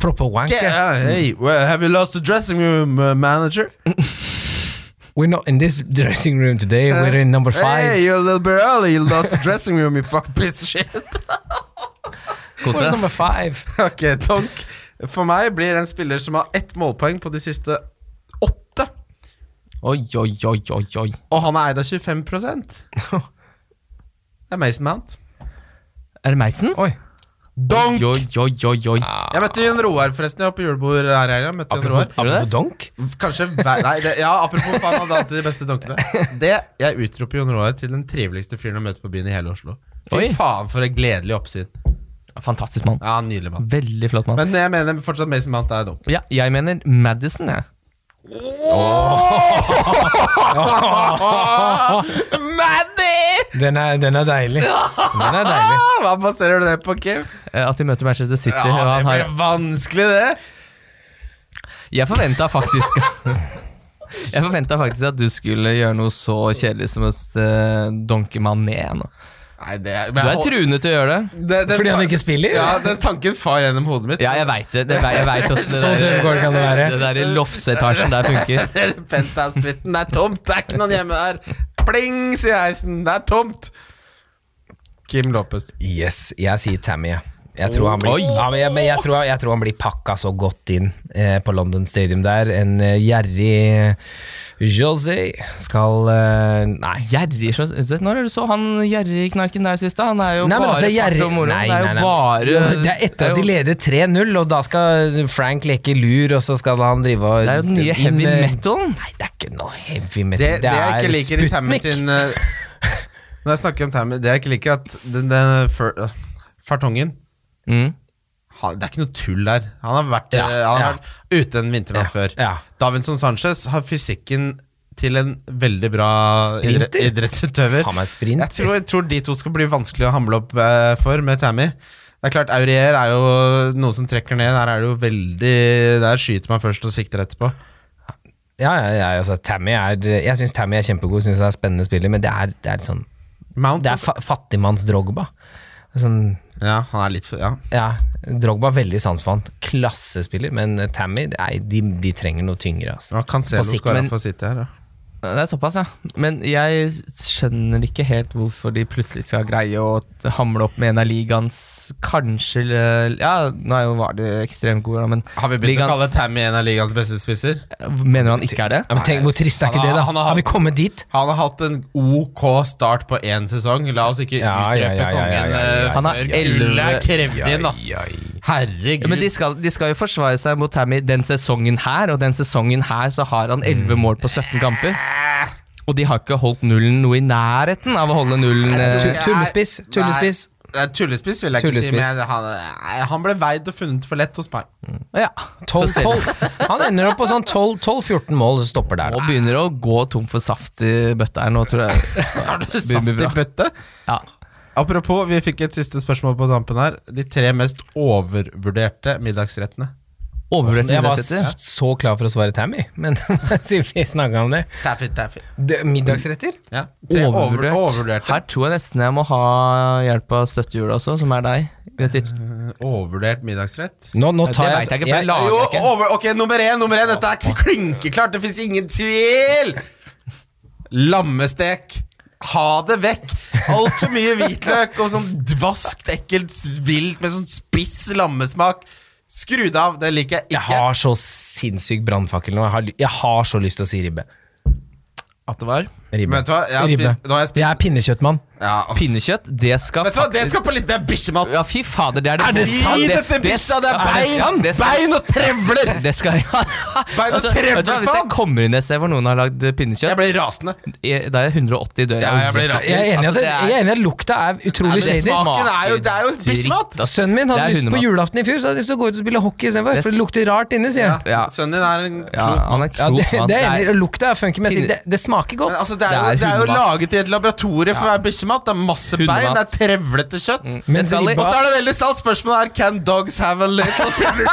Speaker 4: Proper wank.
Speaker 3: Okay,
Speaker 4: yeah.
Speaker 3: uh, hey, well, have you lost the dressing room uh, manager?
Speaker 4: We're not in this dressing room today, we're in number
Speaker 3: Hey,
Speaker 4: five.
Speaker 3: you're a little bit early. You lost the dressing room, you fuck piece of [LAUGHS] shit.
Speaker 2: Koser
Speaker 4: We're
Speaker 2: deg.
Speaker 4: number five.
Speaker 3: ok, Tonk. For meg blir en spiller som har ett målpoeng på de siste åtte,
Speaker 2: Oi, oi, oi, oi, oi.
Speaker 3: og han er eid av 25 [LAUGHS] Det er Mason Mount.
Speaker 2: Er det Meisen?
Speaker 4: Oi.
Speaker 2: Oi,
Speaker 3: Donk!
Speaker 2: oi, oi, oi.
Speaker 3: Jeg møtte Jon Roar, forresten. Jeg var på julebord her i helga. Møtte Jon
Speaker 2: Gjør
Speaker 3: Roar.
Speaker 2: du det?
Speaker 4: Apropos donk.
Speaker 3: Kanskje hver, Nei, det, ja, apropos faen, han hadde alltid de beste donkene. Det, Jeg utroper Jon Roar til den triveligste fyren å møte på byen i hele Oslo. Fy
Speaker 2: Oi.
Speaker 3: faen, for et gledelig oppsyn.
Speaker 2: Fantastisk mann.
Speaker 3: Ja, Nydelig mann.
Speaker 2: Veldig flott mann.
Speaker 3: Men jeg mener fortsatt Mason Mount er dum.
Speaker 2: Ja, jeg mener Madison, jeg.
Speaker 3: Maddy! Ah,
Speaker 4: Den er, den er deilig. Den er deilig.
Speaker 3: Hva baserer du det på, Kim?
Speaker 2: Eh, At de møter Manchester City.
Speaker 3: Ja,
Speaker 2: og
Speaker 3: det
Speaker 2: han har
Speaker 3: blir vanskelig, det.
Speaker 2: Jeg forventa faktisk [LAUGHS] Jeg forventet faktisk at du skulle gjøre noe så kjedelig som å eh, donke Mané nå.
Speaker 3: Nei, det
Speaker 2: Du er truende til å gjøre det.
Speaker 3: Det- den
Speaker 4: Fordi han
Speaker 3: ta-
Speaker 4: ikke spiller?
Speaker 3: Ja, den tanken far gjennom hodet mitt.
Speaker 2: Ja, jeg veit det. det jeg vet hvordan
Speaker 4: [LAUGHS] Så
Speaker 2: det
Speaker 4: døv går det ikke an å være.
Speaker 2: der, [LAUGHS] det der lofsetasjen der funker.
Speaker 3: [LAUGHS] Penthouse-suiten, det er tomt! Det er ikke noen hjemme der! Pling, sier heisen. Det er tomt! Kim Lopez.
Speaker 4: Yes, jeg sier Tammy. jeg. Jeg tror, han blir,
Speaker 2: Oi.
Speaker 4: ja, men jeg, men jeg, tror, jeg tror han blir pakka så godt inn eh, på London Stadium der. En eh, gjerrig José skal eh, Nei.
Speaker 2: Gjerrig så- så- Når er det du så han gjerrigknarken der sist, da? Han er jo
Speaker 4: Nei, men
Speaker 2: bare
Speaker 4: altså,
Speaker 2: fart
Speaker 4: gjerrig
Speaker 2: og moro.
Speaker 4: Nei,
Speaker 2: det er
Speaker 4: nei, nei.
Speaker 2: jo bare
Speaker 4: Det er etter at
Speaker 2: jo-
Speaker 4: de leder 3-0, og da skal Frank leke lur, og så skal han drive og
Speaker 2: Det er jo den nye
Speaker 4: inn,
Speaker 2: heavy
Speaker 4: eh,
Speaker 2: metal.
Speaker 4: Nei, det er ikke noe heavy metal.
Speaker 3: Det, det jeg ikke liker i Tammy
Speaker 4: Sputnik.
Speaker 3: sin eh, Når jeg snakker om Tammy, det jeg ikke liker, at den, den fer, eh, fartongen
Speaker 2: Mm.
Speaker 3: han, Det er ikke noe tull der. Han har vært,
Speaker 4: Ja,
Speaker 3: eh, han
Speaker 4: ja.
Speaker 3: har vært ute en vinternatt før.
Speaker 4: ja.
Speaker 3: Davinson Sanchez har fysikken til en veldig bra
Speaker 4: Sprinter?
Speaker 3: idre, idrettsutøver.
Speaker 4: Faen meg sprint.
Speaker 3: Jeg tror, jeg tror de to skal bli vanskelig å hamle opp eh, for med Tammy. Det er klart, Aurier er jo noe som trekker ned. Der er det jo veldig Der skyter man først og sikter etterpå.
Speaker 4: Ja, ja, ja, altså, Tammy er Jeg syns Tammy er kjempegod, synes han er spennende spiller, men det er, det er litt sånn
Speaker 3: Mount
Speaker 4: Det er fa fattigmanns-Drogba. Sånn,
Speaker 3: Ja, han er litt for Ja.
Speaker 4: ja, Drogba er veldig sans for han. Klassespiller, men Tammy nei, de, de trenger noe tyngre. Altså.
Speaker 3: Og Cancelo
Speaker 4: På sikt,
Speaker 3: skåra
Speaker 4: men-
Speaker 3: for City her, ja.
Speaker 2: Det er såpass, ja. Men jeg skjønner ikke helt hvorfor de plutselig skal greie å hamle opp med en av ligaens kanskje eh, Ja, nå er jo- var det ekstremt god, da, men
Speaker 3: Har vi begynt
Speaker 2: Ligaens-
Speaker 3: å kalle Tammy en av ligaens beste spisser?
Speaker 2: mener han ikke er det?
Speaker 4: Ja, men tenk, Hvor trist er ikke
Speaker 3: Han har-
Speaker 4: det, da?
Speaker 3: han har-
Speaker 4: Har vi kommet dit?
Speaker 3: Han har hatt en OK start på én sesong. La oss ikke
Speaker 4: Ja, ja,
Speaker 3: utdrepe
Speaker 4: ja, ja, ja, ja,
Speaker 3: kongen
Speaker 4: ja.
Speaker 3: eh,
Speaker 2: Han har
Speaker 3: før
Speaker 2: elleve-
Speaker 3: gullet er krevd inn, ass.
Speaker 4: Ai, ai.
Speaker 2: Ja, men
Speaker 3: Herregud.
Speaker 2: de skal, de skal jo forsvare seg mot Tammy den sesongen her, og den sesongen her så har han 11 mål på 17 kamper. Og de har ikke holdt nullen noe i nærheten av å holde nullen.
Speaker 4: Tu-
Speaker 2: eh,
Speaker 3: ikke-
Speaker 4: Tullespiss. Tullespiss.
Speaker 3: Nei, tullespiss vil jeg
Speaker 4: Tullespiss.
Speaker 3: ikke si, men han, nei, han ble veid og funnet for lett hos
Speaker 4: [LAUGHS]
Speaker 3: meg.
Speaker 2: Ja.
Speaker 4: 12-12. Han ender opp på sånn 12-14 mål og stopper der.
Speaker 2: Og
Speaker 4: da.
Speaker 2: begynner å gå tom for saft i bøtta her nå, tror jeg.
Speaker 3: [LAUGHS] Har du saft
Speaker 2: Begynner
Speaker 3: i
Speaker 2: bra.
Speaker 3: bøtte?
Speaker 2: Ja.
Speaker 3: Apropos, vi fikk et siste spørsmål på tampen her. De tre mest overvurderte middagsrettene.
Speaker 2: Overvurdert
Speaker 4: Jeg var
Speaker 2: muligheter.
Speaker 4: s- så klar for å svare Tammy, men [LAUGHS] siden vi snakka om det
Speaker 3: Taffy, taffy.
Speaker 4: Dø- Middagsretter?
Speaker 3: Ja, tre over,
Speaker 2: Overvurdert.
Speaker 3: overvurderte.
Speaker 2: Her tror jeg nesten jeg må ha hjelp av støttehjulet også, som er deg. Vet du.
Speaker 3: Overvurdert middagsrett?
Speaker 4: Nå,
Speaker 2: Ja,
Speaker 4: nå
Speaker 2: det
Speaker 4: tar
Speaker 2: vet jeg ikke, for jeg la-
Speaker 4: jeg,
Speaker 2: Aner
Speaker 4: altså,
Speaker 3: Jo,
Speaker 2: ikke.
Speaker 3: over, ok, nummer én, nummer én. Dette er klinkeklart, det fins ingen tvil! Lammestek. Ha det vekk! Altfor mye hvitløk og sånn dvaskt, ekkelt vilt med sånn spiss lammesmak. Skru det av, det liker jeg
Speaker 4: jeg
Speaker 3: ikke.
Speaker 4: har så sinnssyk brannfakkel nå. Jeg har, ly- jeg har så lyst til å si ribbe.
Speaker 2: At det var.
Speaker 4: Ribbe.
Speaker 3: Men vet du hva, jeg har
Speaker 4: Ribbe.
Speaker 3: spist, nå har jeg spist
Speaker 4: Jeg er pinnekjøttmann.
Speaker 3: ja, ok.
Speaker 2: Pinnekjøtt, det skal
Speaker 3: Vet du hva, det skal på listen, det er bikkjemat!
Speaker 2: Ja, fy fader, det er det
Speaker 4: Er det
Speaker 2: Ja,
Speaker 4: sant?
Speaker 3: Gi dette bikkja, det er bein!
Speaker 2: Det skal,
Speaker 3: Bein og trevler!
Speaker 2: det skal ja.
Speaker 3: Bein og
Speaker 2: Altså, vet du hva, Hvis jeg
Speaker 3: trevler, faen!
Speaker 2: kommer inn et sted hvor noen har lagd
Speaker 3: Jeg
Speaker 2: pinnekjøtt,
Speaker 3: ble rasende.
Speaker 2: jeg- da er jeg 180 i døra.
Speaker 3: Ja, jeg ble rasende.
Speaker 4: Jeg er enig i at,
Speaker 2: Altså, det er-
Speaker 4: jeg er enig i at lukta er utrolig
Speaker 2: Nei, men
Speaker 4: shady.
Speaker 2: det
Speaker 3: Smaken er jo, det er jo
Speaker 2: Dritt,
Speaker 3: bikkjemat!
Speaker 4: Sønnen min hadde
Speaker 2: Det er
Speaker 4: lyst på
Speaker 2: hundemat.
Speaker 4: julaften i fjor, så hadde han lyst til å gå ut og spille hockey istedenfor.
Speaker 2: Det-
Speaker 4: For det lukter rart inne, sier han.
Speaker 2: Ja.
Speaker 3: Ja, sønnen din er en klok
Speaker 2: Ja, han er
Speaker 4: Ja,
Speaker 2: klok
Speaker 4: det,
Speaker 2: mann.
Speaker 4: det er
Speaker 2: Det
Speaker 4: enig.
Speaker 2: er-
Speaker 4: Lukta er funky, men jeg sier det, det smaker
Speaker 3: Men
Speaker 4: godt.
Speaker 3: altså, det
Speaker 2: Det
Speaker 3: er,
Speaker 2: er
Speaker 3: jo, det er jo
Speaker 2: hundemat.
Speaker 3: laget i et laboratorium for hver bikkjemat. Det er masse bein, det
Speaker 2: Hundemat.
Speaker 3: er trevlete kjøtt.
Speaker 4: Mens
Speaker 2: Mm. Sally-
Speaker 3: Og
Speaker 4: ribba,
Speaker 3: så er det veldig sant spørsmålet er Can dogs have
Speaker 2: [LAUGHS]
Speaker 3: a little penis?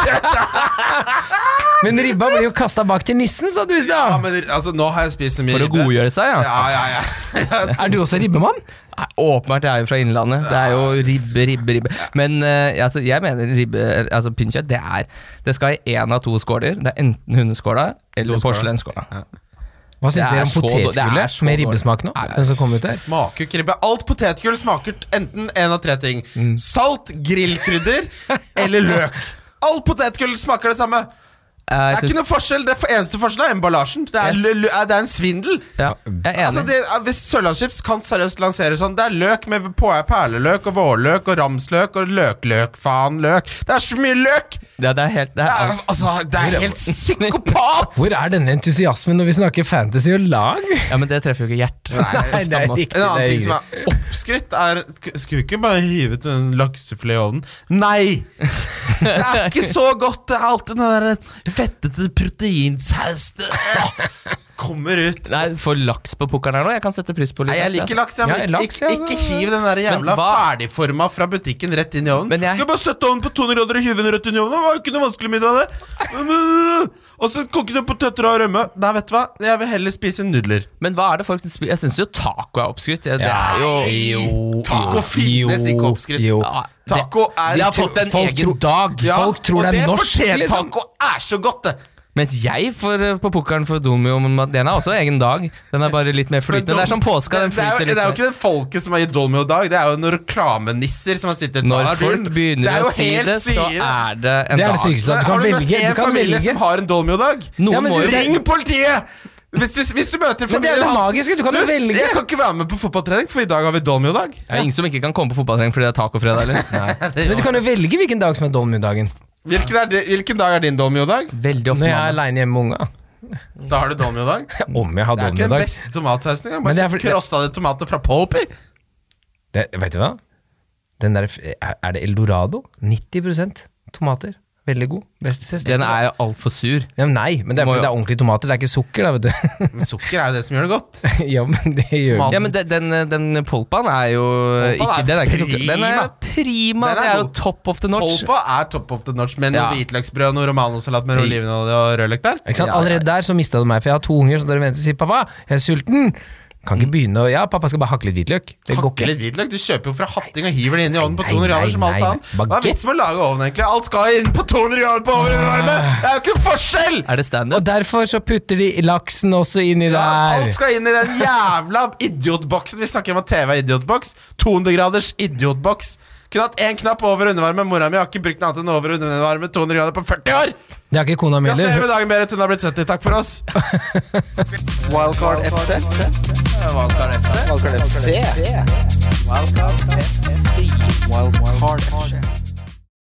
Speaker 4: men ribba blir jo kasta bak til nissen, sa du i
Speaker 3: ja,
Speaker 4: stad.
Speaker 3: men altså, nå har jeg spist så mye
Speaker 2: For å
Speaker 3: ribbe.
Speaker 2: godgjøre seg, ja.
Speaker 3: Ja, ja, [LAUGHS] ja. Jeg har spist-
Speaker 4: Er du også ribbemann?
Speaker 2: Nei, Åpenbart, jeg er jo fra Innlandet. Det er jo ribbe, ribbe, ribbe. Men eh, altså, jeg mener ribbe, altså pinnekjøtt, det er Det skal i én av to skåler. Det er enten hundeskåla eller porselensskåla.
Speaker 4: Hva syns
Speaker 2: Det er
Speaker 4: dere om
Speaker 2: så dår- det er
Speaker 4: potetgullet
Speaker 2: så
Speaker 4: med
Speaker 2: dårlig.
Speaker 4: ribbesmak nå? Den som kom ut der?
Speaker 3: Smaker jo ikke ribbe. Alt potetgull smaker enten en av tre ting.
Speaker 2: Mm.
Speaker 3: Salt, grillkrydder eller løk. Alt potetgull smaker det samme. Det er ikke noe forskjell. Det eneste forskjellen er emballasjen. Det er,
Speaker 2: Yes.
Speaker 3: lø- lø- det er en svindel.
Speaker 2: ja, Jeg er
Speaker 3: Altså
Speaker 2: enig.
Speaker 3: det, hvis Sørlandschips kan seriøst lansere sånn Det er løk med på- perleløk og vårløk og ramsløk og løkløk, faen løk Det er så mye løk! Det
Speaker 2: Ja, det er helt det er,
Speaker 3: er,
Speaker 2: alt.
Speaker 3: altså, det er helt psykopat!
Speaker 4: Hvor er denne entusiasmen når vi snakker fantasy og lag?
Speaker 2: ja, men det treffer jo ikke hjertet.
Speaker 4: Nei, det er
Speaker 2: skammat.
Speaker 4: riktig.
Speaker 3: En annen ting
Speaker 4: det
Speaker 3: som
Speaker 4: er
Speaker 3: er oppskrytt, er sk- Skulle vi ikke bare hive ut en laksefilet i ovnen? Nei! Det er ikke så godt. Det er alltid den der fettete proteinsausen eh, Kommer ut.
Speaker 2: Nei, Får laks på pukkelen her nå? Jeg kan sette pris på litt.
Speaker 3: Nei, jeg
Speaker 2: laks,
Speaker 3: liker laks, ja, men
Speaker 4: Ja,
Speaker 3: ikke,
Speaker 4: laks, ja,
Speaker 3: ikke,
Speaker 4: men-
Speaker 3: ikke hiv den der jævla
Speaker 2: Men hva-
Speaker 3: ferdigforma fra butikken rett inn i ovnen.
Speaker 2: Men jeg-
Speaker 3: Du kan bare sette ovnen på 200 grader og hive den rett inn i ovnen. Det var jo ikke noe vanskelig middag, det. Og så koke det poteter og rømme. Nei, vet du hva, jeg vil heller spise nudler.
Speaker 2: Men hva er det folk spiser? Jeg syns jo taco er oppskrytt. Det, det
Speaker 4: Ja.
Speaker 2: er jo
Speaker 4: jo-
Speaker 3: Taco
Speaker 4: jo-
Speaker 3: finnes ikke oppskritt.
Speaker 4: jo.
Speaker 2: Ja, det-
Speaker 3: Taco er
Speaker 2: De har fått en
Speaker 4: Folk
Speaker 2: egen
Speaker 4: tror-
Speaker 2: dag.
Speaker 3: Ja,
Speaker 4: folk tror
Speaker 3: og
Speaker 4: det er norsk,
Speaker 3: er fordi
Speaker 4: liksom.
Speaker 3: taco er så godt, det.
Speaker 2: Mens jeg får eh, på pukkelen for Domio, men den er også egen dag. Den er bare litt mer flytende. Det er som påska, den
Speaker 3: det, det, er
Speaker 2: flyter
Speaker 3: jo,
Speaker 2: litt.
Speaker 3: det er jo
Speaker 2: mer.
Speaker 3: ikke det folket som har gitt Dolmio dag, det er jo noen reklamenisser som har sittet
Speaker 2: Når
Speaker 3: der.
Speaker 2: folk
Speaker 3: Det er
Speaker 2: begynner å
Speaker 3: jo
Speaker 2: si
Speaker 3: helt
Speaker 2: det, så
Speaker 3: syre.
Speaker 2: er det en
Speaker 4: Det er
Speaker 2: dag.
Speaker 4: det sykeste.
Speaker 3: Har
Speaker 4: at Du kan
Speaker 3: du møtt
Speaker 4: velge. Du
Speaker 3: en
Speaker 4: kan
Speaker 3: familie
Speaker 4: velge.
Speaker 3: som har en dolmiodag?
Speaker 2: Noen
Speaker 4: Ja, men
Speaker 2: må
Speaker 4: du-
Speaker 2: jo
Speaker 3: Ring politiet! Hvis du, hvis du møter
Speaker 4: Men det er jo
Speaker 3: familien
Speaker 4: det
Speaker 3: hans-
Speaker 4: magiske, du kan jo velge.
Speaker 3: Jeg kan ikke være med på fotballtrening, for i dag har vi dolmiodag.
Speaker 2: Det er ingen som ikke kan komme på fotballtrening fordi det er tacofredag,
Speaker 3: [LAUGHS]
Speaker 2: eller?
Speaker 3: liksom-
Speaker 4: Men du kan jo velge hvilken dag som er dolmudagen.
Speaker 3: Hvilken, er di- hvilken dag er din dolmiodag?
Speaker 2: Veldig ofte.
Speaker 4: Når jeg er
Speaker 2: mandag.
Speaker 4: aleine hjemme med unga. [LAUGHS]
Speaker 3: Da har du dolmiodag. Det
Speaker 4: Om jeg har
Speaker 3: er ikke den
Speaker 4: dolmudag.
Speaker 3: beste tomatsausen engang.
Speaker 4: Men
Speaker 3: Bare
Speaker 4: det er fordi-
Speaker 3: krossa de tomatene fra Polpi.
Speaker 4: Det, vet du hva? Den der, er er det Eldorado? 90 tomater. Veldig god. Beste test.
Speaker 2: Den er jo altfor sur.
Speaker 4: ja, men nei, men det er,
Speaker 2: Må
Speaker 4: fordi
Speaker 2: jo-
Speaker 4: det er ordentlige tomater. Det er ikke sukker, da, vet du. [LAUGHS]
Speaker 3: Men sukker er jo det som gjør det godt.
Speaker 4: ja, men det gjør
Speaker 3: Tomat-
Speaker 2: Ja, men de- den, den polpaen er jo
Speaker 3: Polpaen
Speaker 2: ikke,
Speaker 3: er
Speaker 2: Den er ikke så Den er
Speaker 3: prima.
Speaker 2: prima!
Speaker 3: Den er
Speaker 2: Det er jo
Speaker 3: god.
Speaker 2: top of the notch.
Speaker 3: Polpa er top of the notch med noe
Speaker 2: Ja.
Speaker 3: hvitløksbrød og noe romanosalat med noe olivenolje og rødløk der.
Speaker 4: ikke sant?
Speaker 2: Ja, ja, ja.
Speaker 4: Allerede der så mista du meg, for jeg har to unger, så dere venter og sier 'pappa, jeg er sulten'. Kan
Speaker 2: Mm.
Speaker 4: ikke begynne å Ja, pappa skal bare hakke litt hvitløk. Det går
Speaker 3: Hakke
Speaker 4: ikke.
Speaker 3: litt hvitløk. Du kjøper jo fra hatting og hiver det inn i ovnen på
Speaker 4: Nei,
Speaker 3: 200
Speaker 4: nei,
Speaker 3: grader som alt
Speaker 4: nei,
Speaker 3: annet.
Speaker 4: nei.
Speaker 3: Hva er vitsen med å lage ovn, egentlig? Alt skal inn på 200 grader på ovnen! varme.
Speaker 4: Ah.
Speaker 3: Det er jo ikke noe forskjell!
Speaker 2: Er det
Speaker 4: Og
Speaker 2: standup?
Speaker 4: derfor så putter de laksen også inni
Speaker 3: Ja,
Speaker 4: der.
Speaker 3: alt skal inn i den jævla idiotboksen. Vi snakker om at TV er idiotboks. 200 graders idiotboks. Kunne hatt én knapp over og undervarme. Mora mi har ikke brukt noe annet enn over og undervarme 200 grader på 40 år!
Speaker 4: Det har ikke kona mi
Speaker 3: Gratulerer
Speaker 4: heller.
Speaker 3: med dagen, Berit. Hun har blitt 70. Takk for oss.
Speaker 1: Wildcard FC. Wildcard FC. Wildcard FC. Wildcard FC. Wildcard FC.